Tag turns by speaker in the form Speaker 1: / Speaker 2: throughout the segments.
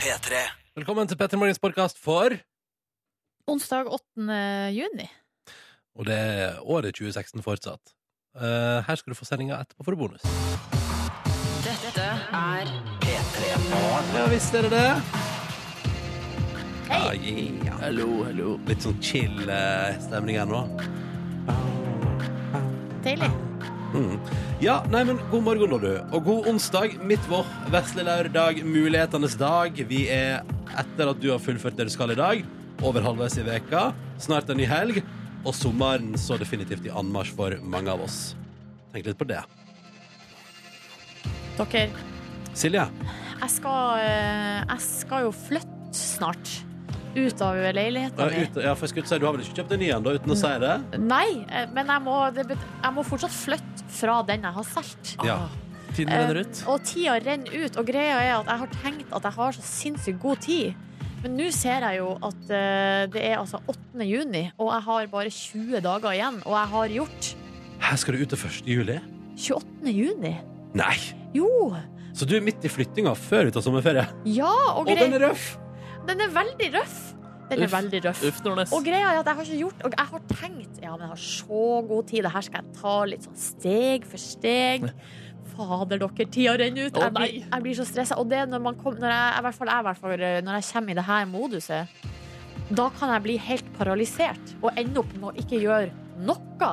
Speaker 1: P3.
Speaker 2: Velkommen til Petter Morgens podkast for
Speaker 3: Onsdag 8. juni.
Speaker 2: Og det er året 2016 fortsatt. Eh, her skal du få sendinga etterpå for bonus.
Speaker 4: Dette er
Speaker 2: Ja visst er det det.
Speaker 3: Hei.
Speaker 2: Ja, yeah. Litt sånn chill eh, stemning her nå.
Speaker 3: Deilig.
Speaker 2: Mm. Ja, nei, men god morgen, da, du. Og god onsdag, midt vår, vesle lørdag, mulighetenes dag. Vi er, etter at du har fullført det du skal i dag, over halvveis i veka, snart en ny helg, og sommeren så definitivt i anmarsj for mange av oss. Tenk litt på det.
Speaker 3: Dere,
Speaker 2: Silje,
Speaker 3: jeg skal, eh, jeg skal jo flytte snart. Ut av leiligheta
Speaker 2: ja,
Speaker 3: mi.
Speaker 2: ut, ja, for jeg skulle si, du har vel ikke kjøpt en ny ennå uten å si det?
Speaker 3: Nei, eh, men jeg må, det, bet- jeg må fortsatt flytte fra den jeg har solgt.
Speaker 2: Ja.
Speaker 5: Tiden
Speaker 3: Eh,
Speaker 5: renner ut.
Speaker 3: Og tida renner ut, og greia er at jeg har tenkt at jeg har så sinnssykt god tid. Men nå ser jeg jo at eh, det er altså 8. juni, og jeg har bare 20 dager igjen. Og jeg har gjort
Speaker 2: Her skal du ut til 1. juli?
Speaker 3: 28. juni.
Speaker 2: Nei!
Speaker 3: Jo!
Speaker 2: Så du er midt i flyttinga før vi tar sommerferie?
Speaker 3: Ja, og
Speaker 2: Og den
Speaker 3: greia
Speaker 2: er røff!
Speaker 3: Den er veldig røff. Den er
Speaker 5: Uff.
Speaker 3: veldig røff.
Speaker 5: Uff, Nordnes.
Speaker 3: Og greia er at jeg har ikke gjort Og jeg har tenkt Ja, men jeg har så god tid Det her skal jeg ta litt sånn steg for steg Fader dere, tida renner ut
Speaker 5: Å,
Speaker 3: jeg, blir,
Speaker 5: nei.
Speaker 3: jeg blir så stresset Og det er når man kommer Når jeg, i hvert fall, jeg, i hvert fall, eh, når jeg kommer i det her moduset Da kan jeg bli helt paralysert Og ende opp med å ikke gjøre noe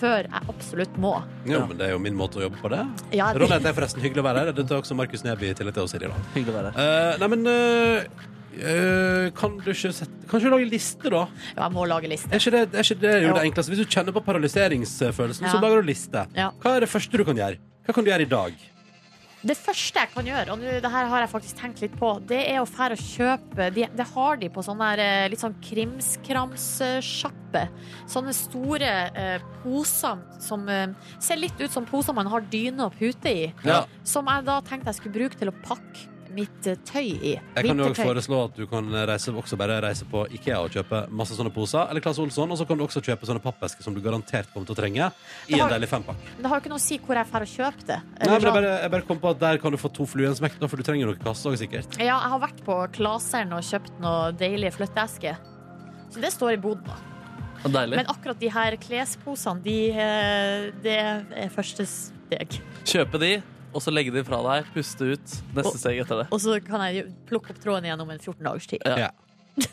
Speaker 3: Før jeg absolutt må
Speaker 2: Jo,
Speaker 5: Ja.
Speaker 2: men det er jo min måte å jobbe på, det.
Speaker 3: ja,
Speaker 2: Ronny, det er forresten hyggelig å være her. Dette er også Markus Neby i tillegg til oss, Silje. da.
Speaker 5: Hyggelig å være her.
Speaker 2: Eh, nei, men eh, eh, Kan du ikke sette Kan du ikke lage liste, da?
Speaker 3: ja, jeg må lage liste
Speaker 2: Er ikke det, er ikke det jo
Speaker 3: Jo.
Speaker 2: det enkleste? Hvis du kjenner på paralyseringsfølelsen, så
Speaker 3: Ja.
Speaker 2: lager du liste.
Speaker 3: Ja.
Speaker 2: Hva er det første du kan gjøre? Hva kan du gjøre i dag?
Speaker 3: Det første jeg kan gjøre, og nå, det her har jeg faktisk tenkt litt på, det er å fære og kjøpe de, Det har de på sånn der eh, litt sånn krimskramssjappe. Sånne store eh, poser som eh, ser litt ut som poser man har dyne og pute i.
Speaker 2: Ja.
Speaker 3: Som jeg da tenkte jeg skulle bruke til å pakke mitt eh, tøy i.
Speaker 2: Jeg kan jo også
Speaker 3: Vintertøy.
Speaker 2: foreslå at du kan reise, også bare reise på Ikea og kjøpe masse sånne poser. Eller Claes Olsson. Og så kan du også kjøpe sånne pappesker som du garantert kommer til å trenge.
Speaker 3: Det
Speaker 2: I en
Speaker 3: har-
Speaker 2: deilig fempakk.
Speaker 3: Men Det har jo ikke noe å si hvor jeg drar og kjøper det.
Speaker 2: Nei, men jeg
Speaker 3: sånn.
Speaker 2: bare, jeg bare kom på at der kan du få to fluer i en smekk, da, for du trenger noen kasser også, sikkert.
Speaker 3: sånn. Ja, jeg har vært på Klaseren og kjøpt noe deilige flytteesker. Så det står i boden. da.
Speaker 5: Deilig.
Speaker 3: Men akkurat de her klesposene, de, eh, det er første steg.
Speaker 5: Kjøpe de, og så legge de fra deg. Puste ut.
Speaker 3: Og-
Speaker 5: Neste steg etter det.
Speaker 3: Og så kan jeg jo plukke opp tråden igjen om en 14 dagers tid.
Speaker 5: Ja.
Speaker 2: Ja.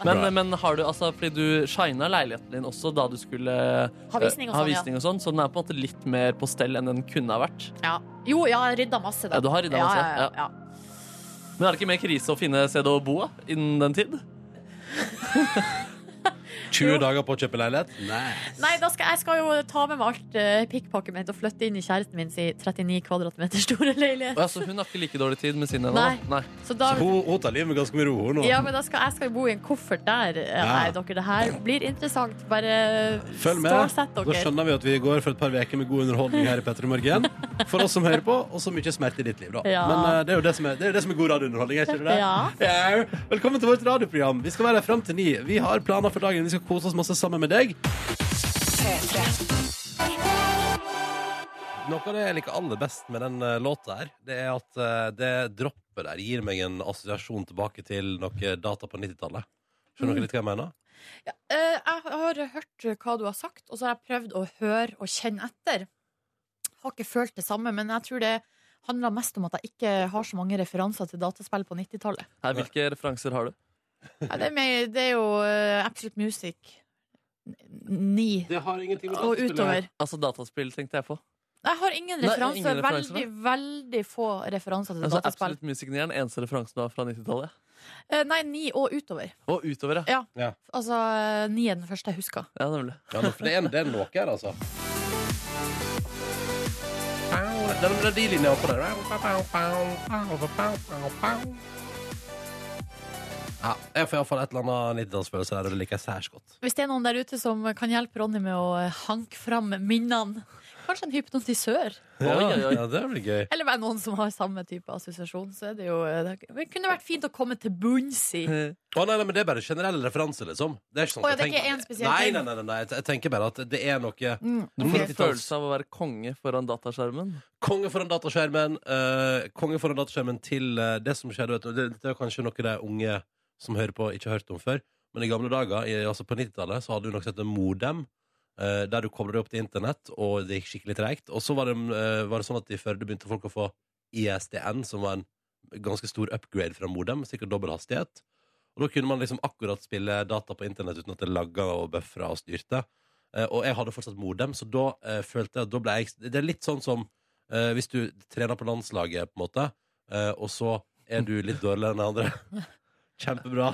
Speaker 2: Bra.
Speaker 5: Men, men har du, altså, fordi du shina leiligheten din også da du skulle
Speaker 3: Ha visning og
Speaker 5: eh, ha
Speaker 3: sånn, ja.
Speaker 5: visning og sånn, så den er på en måte litt mer på stell enn den kunne ha vært.
Speaker 3: Ja. Jo, ja, jeg rydda masse, da.
Speaker 5: Ja, du har rydda
Speaker 3: Ja,
Speaker 5: masse,
Speaker 3: Ja, ja,
Speaker 5: Men er det ikke mer krise å finne sted å bo da, innen den tid?
Speaker 2: 20 dager på å kjøpe leilighet? Nei.
Speaker 3: Nei, da skal, jeg skal jo ta med meg alt eh, pikkpakket mitt og flytte inn i kjæresten min sin 39 kvadratmeter store leilighet.
Speaker 5: Og altså, hun har ikke like dårlig tid med sin ennå.
Speaker 3: Nei.
Speaker 5: da. Nei.
Speaker 3: Så da,
Speaker 2: Hun, hun tar livet med ganske mye ro, hun nå.
Speaker 3: ja, men da skal, jeg skal jo bo i en koffert der. Eh,
Speaker 2: Ja.
Speaker 3: Nei, dere, det her blir interessant. Bare
Speaker 2: Følg med.
Speaker 3: stålsett
Speaker 2: Da
Speaker 3: dere.
Speaker 2: skjønner vi at vi går for et par uker med god underholdning her i Petter i morgen. For oss som hører på, og så mye smerte i ditt liv, da.
Speaker 3: Ja.
Speaker 2: Men eh, det er jo det som er, det er, jo det som er god radiounderholdning, er ikke det det?
Speaker 3: Ja.
Speaker 2: Ja. Velkommen til vårt radioprogram. Vi skal være her fram til ni. Vi har planer for dagen. Vi skal kose oss masse sammen med deg. Noe av det jeg liker aller best med den eh, låta her, det er at eh, det droppet der gir meg en assosiasjon tilbake til noe data på 90-tallet.
Speaker 3: Mm.
Speaker 2: Skjønner dere litt hva jeg mener?
Speaker 3: Eh, jeg har hørt hva du har sagt, og så har jeg prøvd å høre og kjenne etter. Har ikke følt det samme, men jeg tror det handler mest om at jeg ikke har så mange referanser til dataspill på 90-tallet.
Speaker 5: Nei, hvilke referanser har du?
Speaker 3: Ja, det, er mer- det er jo eh, Absolute Music 9
Speaker 2: Det har ingenting
Speaker 3: og utover.
Speaker 5: Altså dataspill, tenkte jeg på.
Speaker 3: Jeg har ingen
Speaker 5: Nei,
Speaker 3: referanser.
Speaker 5: ingen referanser,
Speaker 3: veldig, veldig få referanser til
Speaker 5: Altså,
Speaker 3: dataspill.
Speaker 5: Absolutt musikken er den eneste referansen du har fra 90-tallet.
Speaker 3: Eh, Nei, 9 og utover.
Speaker 5: Og utover, ja.
Speaker 3: Altså, eh, 9 er den første jeg husker.
Speaker 5: ja nemlig.
Speaker 2: Ja, men for det er, en- det er noe her, altså. Den melodilinja oppå der. Ja, jeg får iallfall et eller annet 90-tallsfølelse der, og det liker jeg særs godt.
Speaker 3: Hvis det er noen der ute som kan hjelpe Ronny med å hanke fram eh, minnene, Kanskje en hypnotisør.
Speaker 5: Oi, oi, oi.
Speaker 2: Ja, det blir gøy.
Speaker 3: Eller bare noen som har samme type assosiasjon. Så er det jo eh, det kunne vært fint å komme til bunns i.
Speaker 2: Å, nei, nei, men Det er bare generelle referanser, liksom. Det er ikke sånn
Speaker 3: Å, ja,
Speaker 2: at
Speaker 3: det er
Speaker 2: jeg
Speaker 3: ikke
Speaker 2: tenker-
Speaker 3: én spesiell
Speaker 2: nei,
Speaker 3: ting.
Speaker 2: nei, nei, nei, nei, jeg tenker bare at det er noe
Speaker 3: Mm,
Speaker 5: Du får
Speaker 3: ok.
Speaker 5: en følelse av å være konge foran dataskjermen.
Speaker 2: Konge foran dataskjermen. eh, konge foran dataskjermen til eh, det som skjedde. Vet du. Det, det er kanskje noe de unge som hører på, ikke har hørt om før. Men i gamle dager, i, altså på 90-tallet, så hadde du noe som heter Modem. eh, der du koblet opp til internett, og det gikk skikkelig tregt. Og så var det, eh, var det sånn at i Førde begynte folk å få ISDN, som var en ganske stor upgrade fra Modem. Sikkert dobbel hastighet. Og da kunne man liksom akkurat spille data på internett uten at det lagga og buffra og styrte. Eh, og jeg hadde fortsatt modem, så da eh, følte jeg at da ble jeg Det er litt sånn som eh, hvis du trener på landslaget, på en måte, eh, og så er du litt dårligere enn de andre. Kjempebra.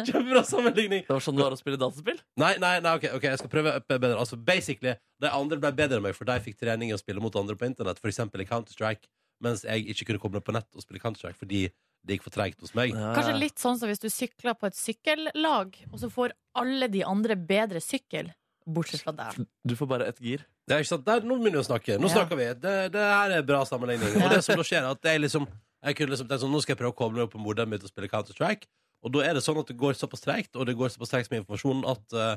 Speaker 2: Kjempebra sammenligning.
Speaker 5: Det var sånn det var å spille dataspill.
Speaker 2: Nei, nei, nei, ok, ok, jeg skal prøve opp bedre Altså, basically, de andre ble bedre enn meg For de fikk trening i å spille mot andre på internett For eksempel i Counter-Strike Mens jeg ikke kunne koble på nett og spille Counter-Strike Fordi det gikk for tregt hos meg
Speaker 3: Kanskje litt sånn som hvis du sykler på et sykkellag, og så får alle de andre bedre sykkel. Bortsett fra deg.
Speaker 5: Du får bare ett gir.
Speaker 2: Det er ikke sant, Der, Nå begynner vi å snakke Nå
Speaker 3: Ja.
Speaker 2: snakker vi Det, det her er bra sammenligning Og
Speaker 3: Ja.
Speaker 2: det som da skjer er at det er liksom Jeg kunne liksom tenkt sånn Nå skal jeg prøve å koble meg opp på modem mitt og spille Counter-Strike Og da er det sånn at det går såpass tregt Og det går såpass tregt med informasjonen At eh,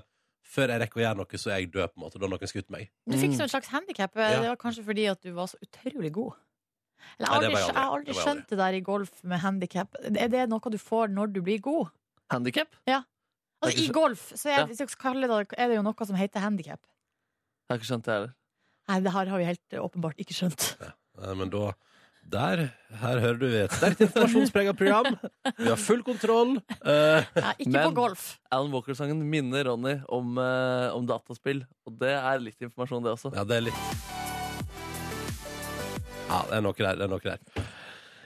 Speaker 2: før jeg rekker å gjøre noe Så er jeg død på en måte Da har noen skutt meg
Speaker 3: Du fikk så et slags handikap. Det
Speaker 2: Ja.
Speaker 3: var kanskje fordi at du var så utrolig god.
Speaker 2: Nei,
Speaker 3: Eller,
Speaker 2: det
Speaker 3: jeg
Speaker 2: var
Speaker 3: har
Speaker 2: jeg
Speaker 3: aldri, jeg har
Speaker 2: aldri. Det var
Speaker 3: aldri
Speaker 2: jeg aldri.
Speaker 3: skjønt det der i golf med handikap. Er det noe du får når du blir god?
Speaker 5: Handikap? Jeg har
Speaker 3: Altså,
Speaker 5: ikke
Speaker 3: I
Speaker 5: skjønt-
Speaker 3: golf så er,
Speaker 5: Ja.
Speaker 3: hvis jeg skal kalle det, det, er det jo noe som heter handikap.
Speaker 5: Jeg har ikke skjønt det heller.
Speaker 3: Nei, det her har vi helt eh, åpenbart ikke skjønt.
Speaker 2: Nei, Eh, men da Der, her hører du et sterkt informasjonspreget program. Vi har full kontroll. Eh,
Speaker 3: Nei, ikke på
Speaker 5: Men-
Speaker 3: golf.
Speaker 5: Alan Walker-sangen minner Ronny om, eh, om dataspill, og det er litt informasjon, det også.
Speaker 2: ja, det er litt Ja, det er noe der. Det er noe der.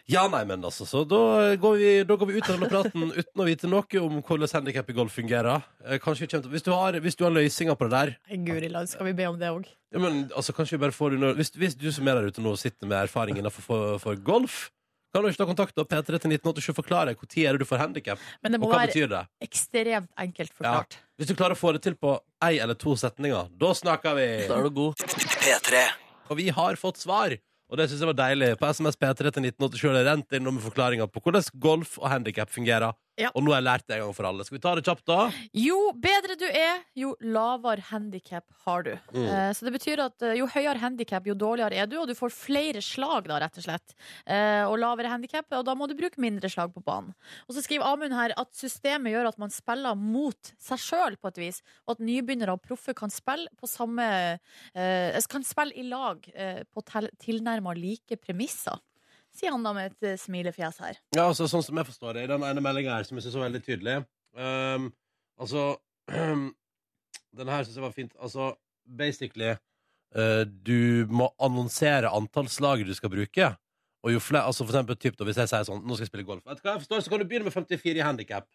Speaker 2: Ja, nei, men altså, så da går vi, da går vi ut av denne praten uten å vite noe om hvordan handikap i golf fungerer. Eh, Kanskje vi kommer til, hvis, du har, hvis du har løsninger på det der
Speaker 3: Nei, Guri land, skal vi be om det òg?
Speaker 2: ja, men, altså, kanskje vi bare får det under, hvis, hvis du som er der ute nå sitter med erfaring innenfor for, for golf, kan du ikke ta kontakt med P3 til 1987 og forklare når er det du får handikap,
Speaker 3: Men det
Speaker 2: og
Speaker 3: må
Speaker 2: hva
Speaker 3: være
Speaker 2: betyr det?
Speaker 3: ekstremt enkelt forklart.
Speaker 2: Hvis du klarer å få det til på ei eller to setninger, da snakker
Speaker 5: Da
Speaker 2: vi!
Speaker 5: er du god.
Speaker 2: Og vi har fått svar! Og det syns jeg var deilig. På SMS P3 til 1987 har det rent inn noe med forklaringer på hvordan golf og handikap fungerer.
Speaker 3: Ja.
Speaker 2: Og nå har jeg lært det en gang for alle. Skal vi ta det kjapt, da?
Speaker 3: Jo bedre du er, jo lavere handikap har du.
Speaker 2: Mm.
Speaker 3: Eh, Så det betyr at eh, jo høyere handikap, jo dårligere er du, og du får flere slag da, rett og slett. Eh, Og lavere handikap, og da må du bruke mindre slag på banen. Og så skriver Amund her at systemet gjør at man spiller mot seg sjøl på et vis, og at nybegynnere og proffe kan spille på samme eh, Kan spille i lag eh, på tel- tilnærma like premisser. Sier han da med et eh, smilefjes her.
Speaker 2: Ja, altså sånn som jeg forstår det i den ene meldinga her, som jeg syns var veldig tydelig ehm, Altså Den her syns jeg var fint. Altså basically eh, Du må annonsere antall slag du skal bruke. Og jo flere, altså for eksempel typ, da, Hvis jeg sier sånn Nå skal jeg spille golf. Vet du hva jeg forstår, så kan du begynne med 54 i handikap.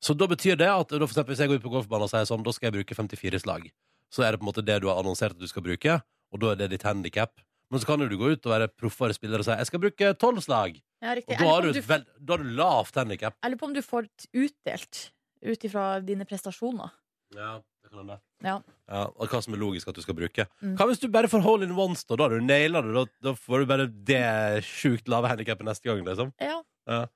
Speaker 2: så da betyr det at da for eksempel, hvis jeg går ut på golfbanen og sier sånn Da skal jeg bruke 54 slag. Så er det på en måte det du har annonsert at du skal bruke, og da er det ditt handikap. Men så kan jo du gå ut og være proffere spiller og si 'jeg skal bruke tolv slag'.
Speaker 3: Ja, riktig.
Speaker 2: Og
Speaker 3: Jeg
Speaker 2: da har
Speaker 3: lurer på
Speaker 2: du,
Speaker 3: om
Speaker 2: et vel- da har du lavt handikap.
Speaker 3: Jeg lurer på om du får t- utdelt ut ifra dine prestasjoner.
Speaker 2: Ja, det kan hende.
Speaker 3: Ja.
Speaker 2: og hva som er logisk at du skal bruke.
Speaker 3: Mm.
Speaker 2: Hva hvis du bare får hole in ones, da? Da har du naila det. Da, da får du bare det sjukt lave handikapet neste gang, liksom.
Speaker 3: ja.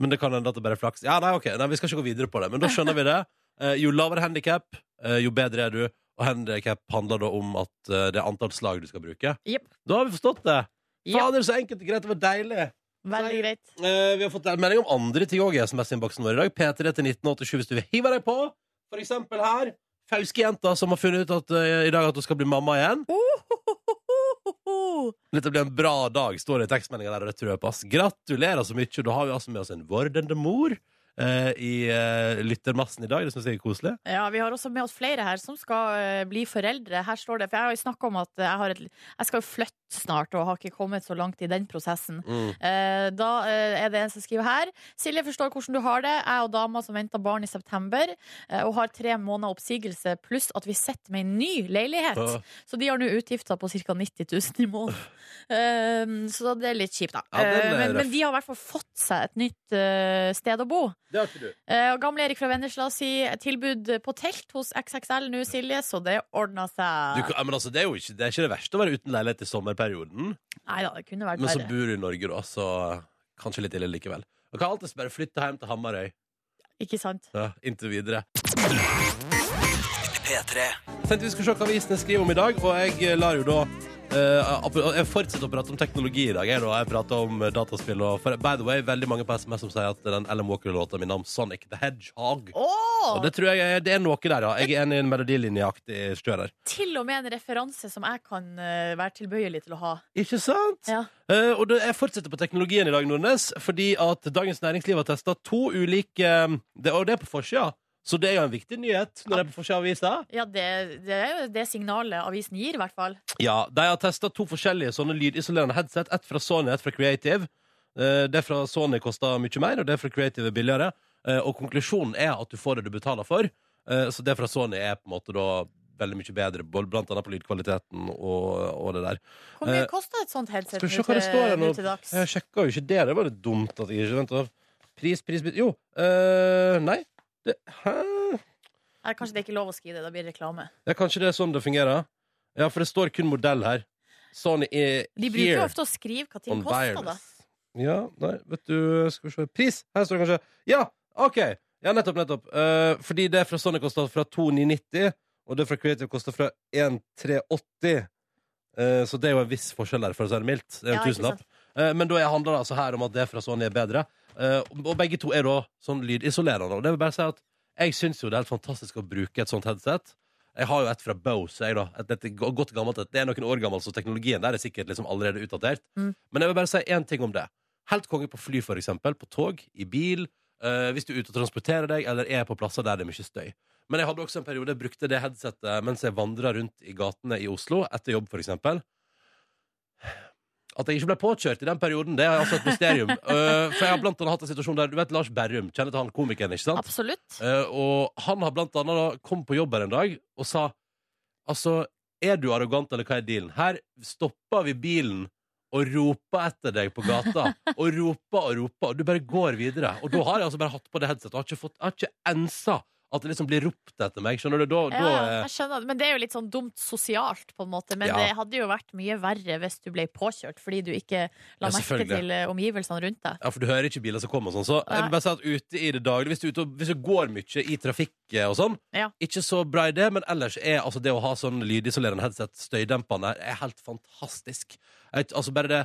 Speaker 2: Men det kan hende at det bare er flaks. Ja, nei, ok, nei, vi skal ikke gå videre på det. Men da skjønner vi det. Eh, jo lavere handikap, eh, jo bedre er du. Og handikap handler da om at eh, det er antall slag du skal bruke.
Speaker 3: Jepp.
Speaker 2: Da har vi forstått det.
Speaker 3: Ja.
Speaker 2: Fader, så enkelt og greit. Det var deilig.
Speaker 3: Veldig greit.
Speaker 2: Eh, vi har fått en melding om andre ting òg i SMS-innboksen vår i dag. P3 til 1987 hvis du vil hive deg på. For eksempel her. Fauskejenta som har funnet ut at, eh, i dag at hun skal bli mamma igjen. Dette blir en bra dag, står det i tekstmeldinga der. og Det tror jeg på, ass. Gratulerer så mye. Da har vi altså med oss en vordende mor eh, i eh, lyttermassen i dag. Det syns jeg er koselig.
Speaker 3: Ja, Vi har også med oss flere her som skal eh, bli foreldre. Her står det, for Jeg har jo snakka om at jeg, har et, jeg skal jo flytte snart, og har ikke kommet så langt i den prosessen.
Speaker 2: Mm.
Speaker 3: Eh, Da eh, er det en som skriver her. Silje forstår hvordan du har det. Jeg og dama som venter barn i september, eh, og har tre måneder oppsigelse, pluss at vi sitter med en ny leilighet.
Speaker 2: Ja.
Speaker 3: Så de har nå utgifter på ca. 90 000 i måneden. Eh, Så det er litt kjipt, da.
Speaker 2: Ja, den er
Speaker 3: Eh, men,
Speaker 2: røff.
Speaker 3: men de har i hvert fall fått seg et nytt eh, sted å bo.
Speaker 2: Det har ikke du.
Speaker 3: Eh, Og gamle Erik fra Vennesla sier tilbud på telt hos XXL nå, Silje, så det ordna
Speaker 2: du
Speaker 3: seg.
Speaker 2: kan- ja, men altså, det, er jo ikke, det er ikke det verste å være uten leilighet i sommerperioden.
Speaker 3: Nei da, det kunne vært
Speaker 2: Men så
Speaker 3: verre.
Speaker 2: bor du i Norge, da, så kanskje litt ille likevel. Du kan alltids bare flytte hjem til Hamarøy.
Speaker 3: Ikke sant?
Speaker 2: Ja, inntil videre. Tenkte vi skulle se hva avisene skriver om i dag, og jeg lar jo da eh, app- jeg fortsetter å prate om teknologi i dag. Jeg, da. jeg prater om eh, dataspill. Og for, by the way, veldig mange på SMS som sier at den Ellen Walker-låta mi navn Sonic the Hedgehog.
Speaker 3: Åh!
Speaker 2: Og det tror jeg er, det er noe der, ja. Jeg er enig i en melodilinjeaktig stør her.
Speaker 3: Til og med en referanse som jeg kan eh, være tilbøyelig til å ha.
Speaker 2: Ikke sant?
Speaker 3: Ja.
Speaker 2: Eh, og da, jeg fortsetter på teknologien i dag, Nordnes, fordi at Dagens Næringsliv har testa to ulike eh, det, Og det er på forsida, så det er jo en viktig nyhet når det er på forsida av avisa.
Speaker 3: Ja, det, det er jo det signalet avisen gir, i hvert fall.
Speaker 2: Ja, de har testa to forskjellige sånne lydisolerende headset. Ett fra Sony, ett fra Creative. Eh, Det fra Sony kosta mye mer, og det fra Creative er billigere. Eh, Og konklusjonen er at du får det du betaler for. Eh, Så det fra Sony er på en måte da veldig mye bedre, bl- blant annet på lydkvaliteten og, og det der.
Speaker 3: Hvor mye
Speaker 2: Eh,
Speaker 3: kosta et sånt headset
Speaker 2: Skal vi
Speaker 3: nå
Speaker 2: se hva det står her
Speaker 3: til,
Speaker 2: nå?
Speaker 3: nå til dags?
Speaker 2: Jeg sjekka jo ikke det. Det var litt dumt at jeg ikke venta. Pris, pris, pris Jo, eh, nei. Det, hæ?
Speaker 3: Nei, kanskje det er ikke lov å skrive det, da blir det reklame.
Speaker 2: Ja, kanskje det er sånn det fungerer? Ja, for det står kun modell her. Sony er
Speaker 3: De bruker jo
Speaker 2: here
Speaker 3: ofte å skrive hva ting
Speaker 2: on
Speaker 3: koster, da.
Speaker 2: wireless. Ja, nei, vet du Skal vi se. Pris! Her står det kanskje Ja, OK! Ja, nettopp, nettopp. Eh, fordi det fra Sony kosta fra 2990, og det fra Creative kosta fra 1380. Eh, så det er jo en viss forskjell der, for å si det mildt. Det er jo
Speaker 3: Ja,
Speaker 2: en
Speaker 3: ikke
Speaker 2: tusenlapp. Eh, Men da handler det altså her om at det fra Sony er bedre. Eh, Og begge to er da sånn lydisolerende. Og det vil bare si at jeg syns jo det er helt fantastisk å bruke et sånt headset. Jeg har jo et fra Bose, jeg, da. Et, et go- godt gammelt et. Det er noen år gammelt, så teknologien der er sikkert liksom allerede utdatert.
Speaker 3: Mm.
Speaker 2: Men jeg vil bare si én ting om det. Helt konge på fly, for eksempel. På tog, i bil. eh, hvis du er ute og transporterer deg, eller er på plasser der det er mye støy. Men jeg hadde også en periode jeg brukte det headsetet mens jeg vandra rundt i gatene i Oslo, etter jobb, for eksempel. At jeg ikke ble påkjørt i den perioden, det er altså et mysterium. Eh, for jeg har blant annet hatt en situasjon der Du vet Lars Berrum, kjenner til han komikeren, ikke sant?
Speaker 3: Absolutt.
Speaker 2: Eh, og han har blant annet da kom på jobb her en dag og sa Altså, er du arrogant, eller hva er dealen? Her stopper vi bilen og roper etter deg på gata. Og roper og roper, og du bare går videre. Og da har jeg altså bare hatt på det headsetet og har ikke, fått, jeg har ikke ensa at det liksom blir ropt etter meg. Skjønner du? Da,
Speaker 3: Ja,
Speaker 2: da eh,
Speaker 3: jeg skjønner. det. Men det er jo litt sånn dumt sosialt, på en måte. Men
Speaker 2: Ja.
Speaker 3: det hadde jo vært mye verre hvis du ble påkjørt fordi du ikke
Speaker 2: Ja,
Speaker 3: la merke
Speaker 2: selvfølgelig.
Speaker 3: til eh, omgivelsene rundt deg.
Speaker 2: Ja, for du hører ikke biler som kommer og sånn. Så jeg vil bare si at ute i det daglige, hvis du, er ute og, hvis du går mye i trafikk eh, og sånn,
Speaker 3: Ja.
Speaker 2: ikke så bra i det, men ellers er altså det å ha sånn lydisolerende headset, støydempende, er helt fantastisk. Jeg, altså bare det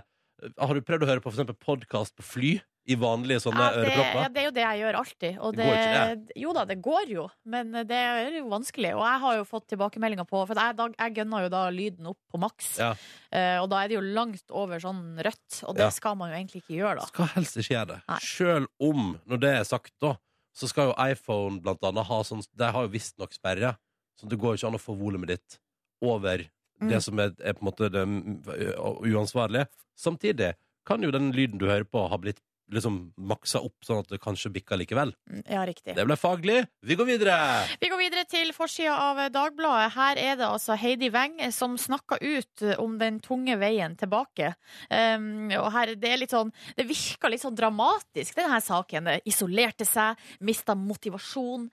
Speaker 2: Har du prøvd å høre på for eksempel podkast på fly? I vanlige sånne
Speaker 3: Ja, det, ja,
Speaker 2: ørepropper?
Speaker 3: det er jo det jeg gjør alltid. Og
Speaker 2: Det
Speaker 3: det,
Speaker 2: går ikke,
Speaker 3: jo da, det går jo, men eh, det er jo vanskelig. Og jeg har jo fått tilbakemeldinger på For jeg, da- jeg gønna jo da lyden opp på maks,
Speaker 2: Ja.
Speaker 3: Eh, og da er det jo langt over sånn rødt, og det
Speaker 2: Ja.
Speaker 3: skal man jo egentlig ikke gjøre, da.
Speaker 2: Skal helst ikke gjøre det.
Speaker 3: Nei.
Speaker 2: Sjøl om, når det er sagt, da, så skal jo iPhone blant annet ha sånn De har jo visstnok sperre, så det går jo ikke an å få volumet ditt over det
Speaker 3: Mm.
Speaker 2: som er, er på en måte det mm, u- uansvarlige. Samtidig kan jo den lyden du hører på, ha blitt liksom maksa opp, sånn at det kanskje bikker likevel.
Speaker 3: Mm, Ja, riktig.
Speaker 2: Det ble faglig. Vi går videre!
Speaker 3: Vi går videre til forsida av Dagbladet. Her er det altså Heidi Weng som snakker ut om den tunge veien tilbake. Um, og her, det, er litt sånn, det virker litt sånn dramatisk, denne saken. Det Isolerte seg, mista motivasjon,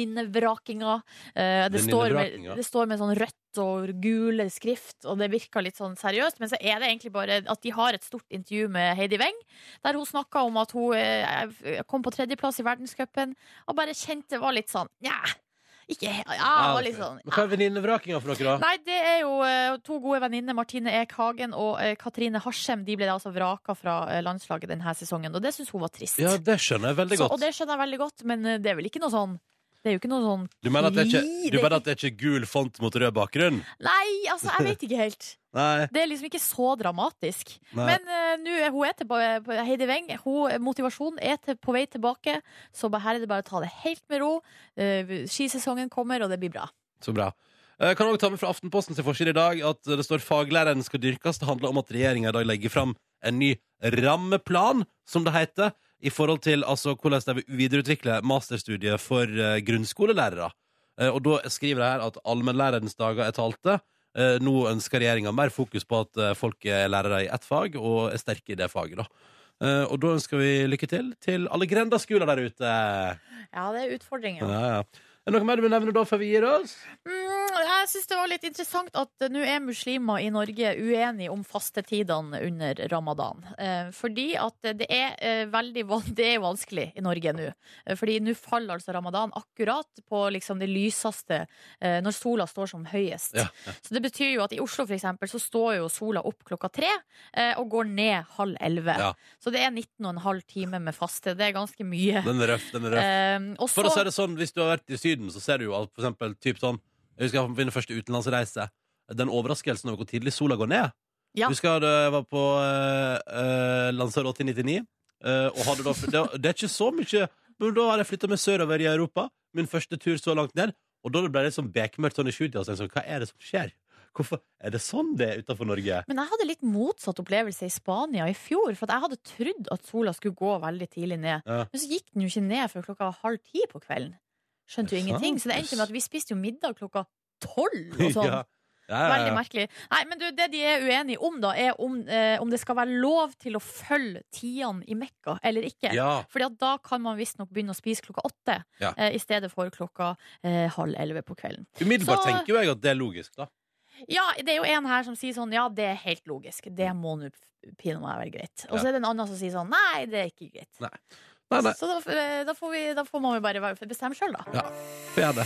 Speaker 3: venninnevrakinga. Eh, det, står med-
Speaker 2: Venninnevrakinga.
Speaker 3: det står med sånn rødt og gul skrift, og det virker litt sånn seriøst. Men så er det egentlig bare at de har et stort intervju med Heidi Weng, der hun snakka om at hun eh, kom på tredjeplass i verdenscupen, og bare kjente det var litt sånn Nja, ikke he- Ja, det var litt sånn
Speaker 2: Men hva er venninnevrakinga for dere, da?
Speaker 3: Nei, det er jo eh, to gode venninner, Martine Eek Hagen og eh, Katrine Harsem. De ble da altså vraka fra eh, landslaget denne sesongen, og det syns hun var trist.
Speaker 2: Ja, det skjønner jeg veldig
Speaker 3: Så,
Speaker 2: godt.
Speaker 3: og det skjønner jeg veldig godt, men eh, det er vel ikke noe sånn Det er jo ikke noe sånn
Speaker 2: Du mener at det er ikke,
Speaker 3: Nei,
Speaker 2: du
Speaker 3: det-
Speaker 2: mener at det er ikke gul font mot rød bakgrunn?
Speaker 3: Nei, altså, jeg vet ikke helt.
Speaker 2: Nei.
Speaker 3: Det er liksom ikke så dramatisk.
Speaker 2: Nei.
Speaker 3: Men eh, nå er hun er tilbake, Heidi Weng, hun, motivasjonen er til, på vei tilbake, så her er det bare å ta det helt med ro. Eh, skisesongen kommer, og det blir bra.
Speaker 2: Så bra. Eh, Kan også ta med fra Aftenposten til forside i dag at det står faglæreren skal dyrkes. Det handler om at regjeringa i dag legger fram en ny rammeplan, som det heter, i forhold til altså, hvordan de vil videreutvikle masterstudiet for eh, grunnskolelærere. Eh, og da skriver jeg her at allmennlærerens dager er talte. Eh, nå ønsker regjeringa mer fokus på at eh, folk er lærere i ett fag og er sterke i det faget, da. Eh, og da ønsker vi lykke til til alle grendaskoler der ute.
Speaker 3: Ja, det er utfordringer.
Speaker 2: Ja, ja. Er det noe mer du vil nevne da før vi gir oss?
Speaker 3: Mm, jeg syns det var litt interessant at eh, nå er muslimer i Norge uenige om fastetidene under ramadan. Eh, fordi at eh, det er eh, veldig van- det er vanskelig i Norge nå. Eh, fordi nå faller altså ramadan akkurat på liksom det lyseste, eh, når sola står som høyest.
Speaker 2: Ja,
Speaker 3: Så det betyr jo at i Oslo for eksempel, så står jo sola opp klokka tre eh, og går ned halv elleve.
Speaker 2: Ja.
Speaker 3: Så det er 19 og en halv time med faste. Det er ganske mye.
Speaker 2: Den er røff. den er røff
Speaker 3: Eh, og
Speaker 2: For å
Speaker 3: så-
Speaker 2: si det sånn, Hvis du har vært i Syden, så ser du jo alt, for eksempel, typ sånn, Jeg husker jeg på min første utenlandsreise. Den overraskelsen over hvor tidlig sola går ned.
Speaker 3: Ja.
Speaker 2: Husker jeg var på uh, Lanzarote i 99. eh, og hadde da, det, det er ikke så mye Men da har jeg flytta meg sørover i Europa. Min første tur så langt ned. Og da ble det sånn bekmørkt sånn i sjutida. Så jeg sånn, hva er det som skjer? Hvorfor er det sånn det er utafor Norge?
Speaker 3: Men jeg hadde litt motsatt opplevelse i Spania i fjor. For at jeg hadde trodd at sola skulle gå veldig tidlig ned.
Speaker 2: Ja.
Speaker 3: Men så gikk den jo ikke ned før klokka halv ti på kvelden. Skjønte jo
Speaker 2: Er det
Speaker 3: ingenting.
Speaker 2: sant?
Speaker 3: Så det endte med at vi spiste jo middag klokka tolv og sånn.
Speaker 2: Ja. Ja, ja,
Speaker 3: Veldig
Speaker 2: ja.
Speaker 3: merkelig. Nei, men du, det de er uenige om, da, er om, eh, om det skal være lov til å følge tidene i Mekka eller ikke.
Speaker 2: Ja.
Speaker 3: Fordi at da kan man visstnok begynne å spise klokka åtte
Speaker 2: Ja.
Speaker 3: eh, i stedet for klokka eh, halv elleve på kvelden.
Speaker 2: Umiddelbart
Speaker 3: Så-
Speaker 2: tenker jo jeg at det er logisk, da.
Speaker 3: Ja, det er jo en her som sier sånn Ja, det er helt logisk. Det må nå pinadø være greit.
Speaker 2: Ja.
Speaker 3: Og så er det en annen som sier sånn Nei, det er ikke greit.
Speaker 2: Nei, nei.
Speaker 3: Så da, f- da, får vi, da får man jo bare være- bestemme sjøl, da.
Speaker 2: Ja, får gjøre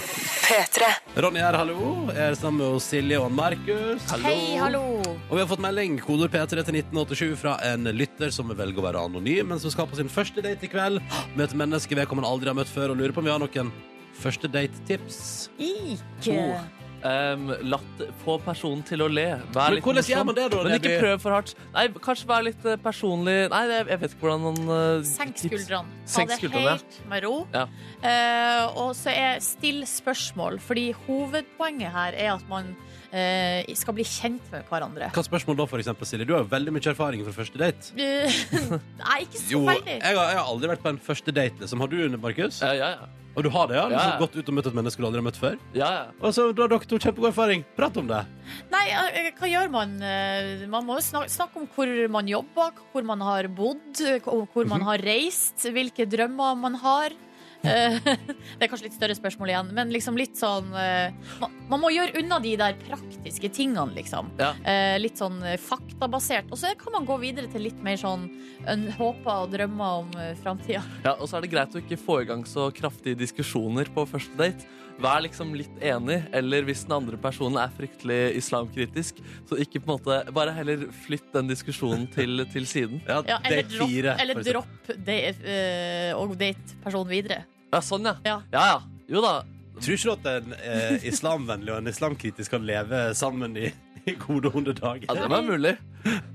Speaker 2: det. Ronny her, hallo. Jeg er sammen med Silje og Markus.
Speaker 3: Hei, hallo.
Speaker 2: Og vi har fått melding, koder P3 til 1987, fra en lytter som velger å være anonym, men som skal på sin første date i kveld. Møter mennesker vedkommende aldri har møtt før, og lurer på om vi har noen første date-tips.
Speaker 3: Ikke
Speaker 5: Oh. Ehm, latt få personen til å le. Vær
Speaker 2: Men
Speaker 5: litt
Speaker 2: hvordan gjør
Speaker 5: morsom,
Speaker 2: man det da,
Speaker 5: Men
Speaker 2: Nebby?
Speaker 5: ikke prøv for hardt. Nei, kanskje vær litt eh, personlig. Nei, jeg, jeg vet ikke hvordan man eh,
Speaker 3: Senk
Speaker 5: tips-
Speaker 3: skuldrene. Ta
Speaker 5: Senk
Speaker 3: det
Speaker 5: skuldrene, ja.
Speaker 3: helt med ro.
Speaker 5: Ja.
Speaker 3: Eh, og så er still spørsmål, fordi hovedpoenget her er at man eh, skal bli kjent med hverandre.
Speaker 2: Hva spørsmål da, for eksempel, Silje? Du har jo veldig mye erfaring fra første date.
Speaker 3: Eh, Nei, ikke så
Speaker 2: Jo, jeg
Speaker 3: veldig.
Speaker 2: har, jeg har aldri vært på en første date, liksom. Har du, Markus?
Speaker 5: Ja, ja, ja.
Speaker 2: Og du har det, ja? Liksom,
Speaker 5: Ja.
Speaker 2: Gått ut og møtt et menneske du aldri har møtt før?
Speaker 5: ja, ja.
Speaker 2: Og så da har dere to kjempegod erfaring. Prat om det.
Speaker 3: Nei, eh, hva gjør man? Eh, Man må jo snakke, snakke om hvor man jobber, hvor man har bodd, eh, hvor hvor
Speaker 2: Mhm.
Speaker 3: man har reist, hvilke drømmer man har. Eh, Det er kanskje litt større spørsmål igjen, men liksom litt sånn eh, Man, man må gjøre unna de der praktiske tingene, liksom.
Speaker 5: Ja.
Speaker 3: Eh, Litt sånn eh, faktabasert. Og så kan man gå videre til litt mer sånn en- håper og drømmer om eh, framtida.
Speaker 5: Ja, og så er det greit å ikke få i gang så kraftige diskusjoner på første date. Vær liksom litt enig, eller hvis den andre personen er fryktelig islamkritisk, så ikke på en måte Bare heller flytt den diskusjonen til, til siden.
Speaker 3: Ja, eller
Speaker 2: date
Speaker 3: dropp,
Speaker 2: fire,
Speaker 3: eller
Speaker 2: for eksempel.
Speaker 3: dropp det, eh, og date personen videre.
Speaker 5: Ja, sånn, ja.
Speaker 3: Ja.
Speaker 5: Ja, ja. Jo da.
Speaker 2: Tror ikke du at en eh, islamvennlig og en islamkritisk kan leve sammen i, i gode og onde
Speaker 5: Ja,
Speaker 2: dager?
Speaker 5: det var mulig.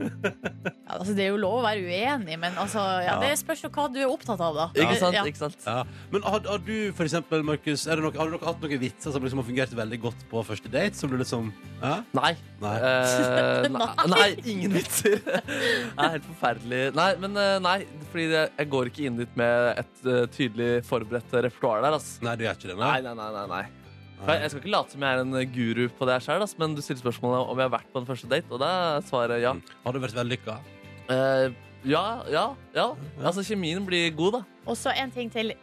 Speaker 3: Ja, altså, det er jo lov å være uenig, men altså, ja,
Speaker 2: Ja.
Speaker 3: det spørs jo hva du er opptatt av, da.
Speaker 5: Ikke sant?
Speaker 3: Ja.
Speaker 5: Ikke sant?
Speaker 2: Ja. Men har, har du for eksempel, Markus, er det nok- har dere hatt noen vitser som liksom har fungert veldig godt på første date? Som du liksom ja?
Speaker 5: Nei.
Speaker 2: Nei.
Speaker 5: Eh, nei.
Speaker 3: Nei.
Speaker 5: nei, ingen vitser. det er helt forferdelig. Nei, men eh, nei, fordi jeg, jeg går ikke inn dit med et eh, tydelig forberedt repertoar der, ass.
Speaker 2: Nei, du gjør ikke det? Nei.
Speaker 5: Nei, nei, nei, nei, nei. For Jeg jeg skal ikke late som jeg er en guru på det her selv, ass, men du stiller spørsmålet om jeg har vært på en første date, og da er svaret ja.
Speaker 2: Mm. Har du vært vellykka?
Speaker 5: Eh, ja, ja, ja. Altså, kjemien blir god, da.
Speaker 3: Og så en ting til.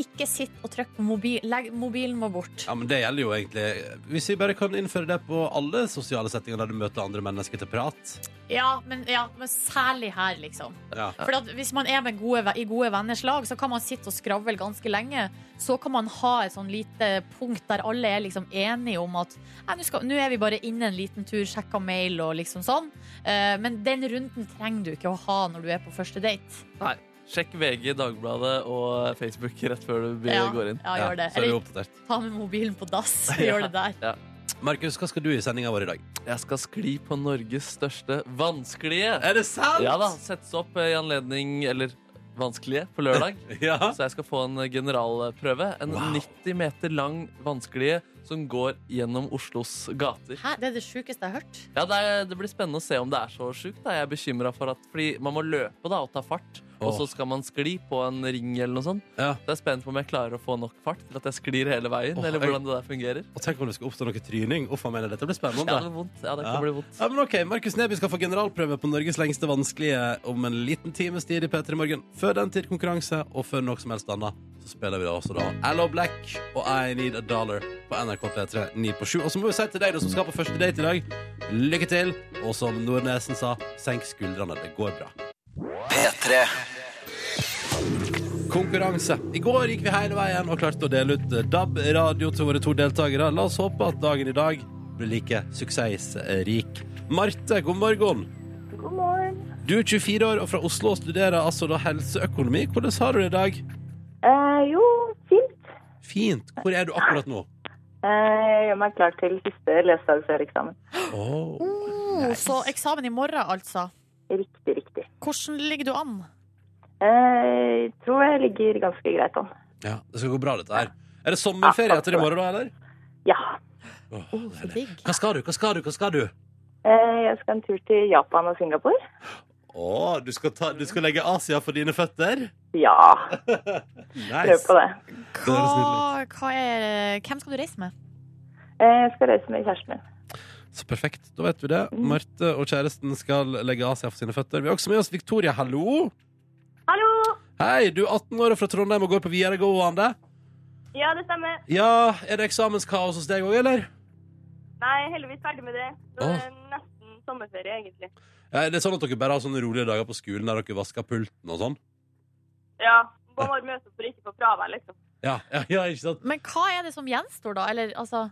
Speaker 3: Ikke sitt og trykk på mobil. Legg, mobilen må bort.
Speaker 2: Ja, men det gjelder jo egentlig Hvis vi bare kan innføre det på alle sosiale settinger der du møter andre mennesker til prat.
Speaker 3: Ja, men, ja, men særlig her, liksom.
Speaker 2: Ja.
Speaker 3: For at hvis man er med gode, ve- i gode venners lag, så kan man sitte og skravle ganske lenge. Så kan man ha et sånn lite punkt der alle er liksom enige om at «Nei, nå skal- nå er vi bare inne en liten tur, sjekka mail og liksom sånn. Eh, Men den runden trenger du ikke å ha når du er på første date.
Speaker 5: Nei. Sjekk VG, Dagbladet og Facebook rett før du be-
Speaker 3: Ja,
Speaker 5: går inn.
Speaker 3: ja, gjør det.
Speaker 2: så er
Speaker 3: Eller
Speaker 2: du oppdatert.
Speaker 3: Ta med mobilen på dass. Gjør det der.
Speaker 2: Markus, hva skal du i sendinga vår i dag?
Speaker 5: Jeg skal skli på Norges største vanskelige.
Speaker 2: Er det sant?!
Speaker 5: Ja da, settes opp eh, i eh, anledning Eller vanskelige på lørdag.
Speaker 2: Ja.
Speaker 5: Så jeg skal få en eh, generalprøve. En
Speaker 2: Wow.
Speaker 5: 90 meter lang vanskelige som går gjennom Oslos gater.
Speaker 3: Hæ, det er det sjukeste jeg har hørt.
Speaker 5: Ja, det, er, det blir spennende å se om det er så sjukt. da. Jeg er bekymra for at Fordi man må løpe da og ta fart. Og så
Speaker 2: Åh.
Speaker 5: skal man skli på en ring eller noe sånt.
Speaker 2: ja.
Speaker 5: Så jeg er spent på om jeg klarer å få nok fart til at jeg sklir hele veien.
Speaker 2: Åh,
Speaker 5: eller
Speaker 2: jeg-
Speaker 5: hvordan det der fungerer.
Speaker 2: Og tenk om det skal oppstå noe tryning. Uff, jeg mener, dette blir
Speaker 5: Ja,
Speaker 2: spennende.
Speaker 5: det blir vondt. Ja, det kan
Speaker 2: Ja.
Speaker 5: bli vondt.
Speaker 2: Ja, men ok, Markus Neby skal få generalprøve på Norges lengste vanskelige om en liten times tid i P3 Morgen. Før den tid konkurranse, og før noe som helst annet, så spiller vi da også da Allo Black og I Need A Dollar på NRK P3 9 på 7. Og så må vi si til deg da, som skal på første date i dag, lykke til. Og som Nordnesen sa, senk skuldrene. Det går bra. Konkurranse. I går gikk vi hele veien og klarte å dele ut eh, DAB-radio til våre to deltakere. La oss håpe at dagen i dag blir like suksessrik. Marte, god morgen.
Speaker 1: God morgen.
Speaker 2: Du er 24 år og fra Oslo og studerer altså da helseøkonomi. Hvordan har du det i dag?
Speaker 1: Eh, jo, fint.
Speaker 2: Fint. Hvor er du akkurat nå?
Speaker 1: Eh, jeg gjør meg klar til siste lesedag før eksamen.
Speaker 2: Åh.
Speaker 3: Oh, så eksamen i morgen, altså.
Speaker 1: Riktig, riktig.
Speaker 3: Hvordan ligger du an?
Speaker 1: Eh, jeg tror jeg ligger ganske greit an.
Speaker 2: Ja, det skal gå bra, dette her. Er det sommerferie etter i morgen, da, eller?
Speaker 1: Ja.
Speaker 2: Åh,
Speaker 3: Oh, så
Speaker 2: deilig.
Speaker 3: digg.
Speaker 2: hva skal du, hva skal du, hva skal du?
Speaker 1: Eh, jeg skal en tur til Japan og Singapore.
Speaker 2: Å, du skal, ta, du skal legge Asia for dine føtter?
Speaker 1: Ja, prøv
Speaker 2: Nice.
Speaker 1: på det.
Speaker 2: høres
Speaker 3: Hva, hva er, hvem skal du reise med?
Speaker 1: Eh, jeg skal reise med kjæresten min.
Speaker 2: Så perfekt, da vet vi det. Marte og kjæresten skal legge Asia for sine føtter. Vi har også med oss Victoria, hallo.
Speaker 1: Hallo!
Speaker 2: Hei, du er 18 år og fra Trondheim og går på videregående.
Speaker 1: Ja, det stemmer.
Speaker 2: Ja, er det eksamenskaos hos deg òg, eller?
Speaker 1: Nei, heldigvis ferdig med det.
Speaker 2: Så det er
Speaker 1: nesten sommerferie, egentlig.
Speaker 2: Ja, er det sånn at dere bare har sånne rolige dager på skolen der dere vasker pulten og sånn?
Speaker 1: Ja, må bare møte opp for ikke få fravær, liksom.
Speaker 2: Ja, ja, ja, ikke sant?
Speaker 3: Men hva er det som gjenstår, da? Eller altså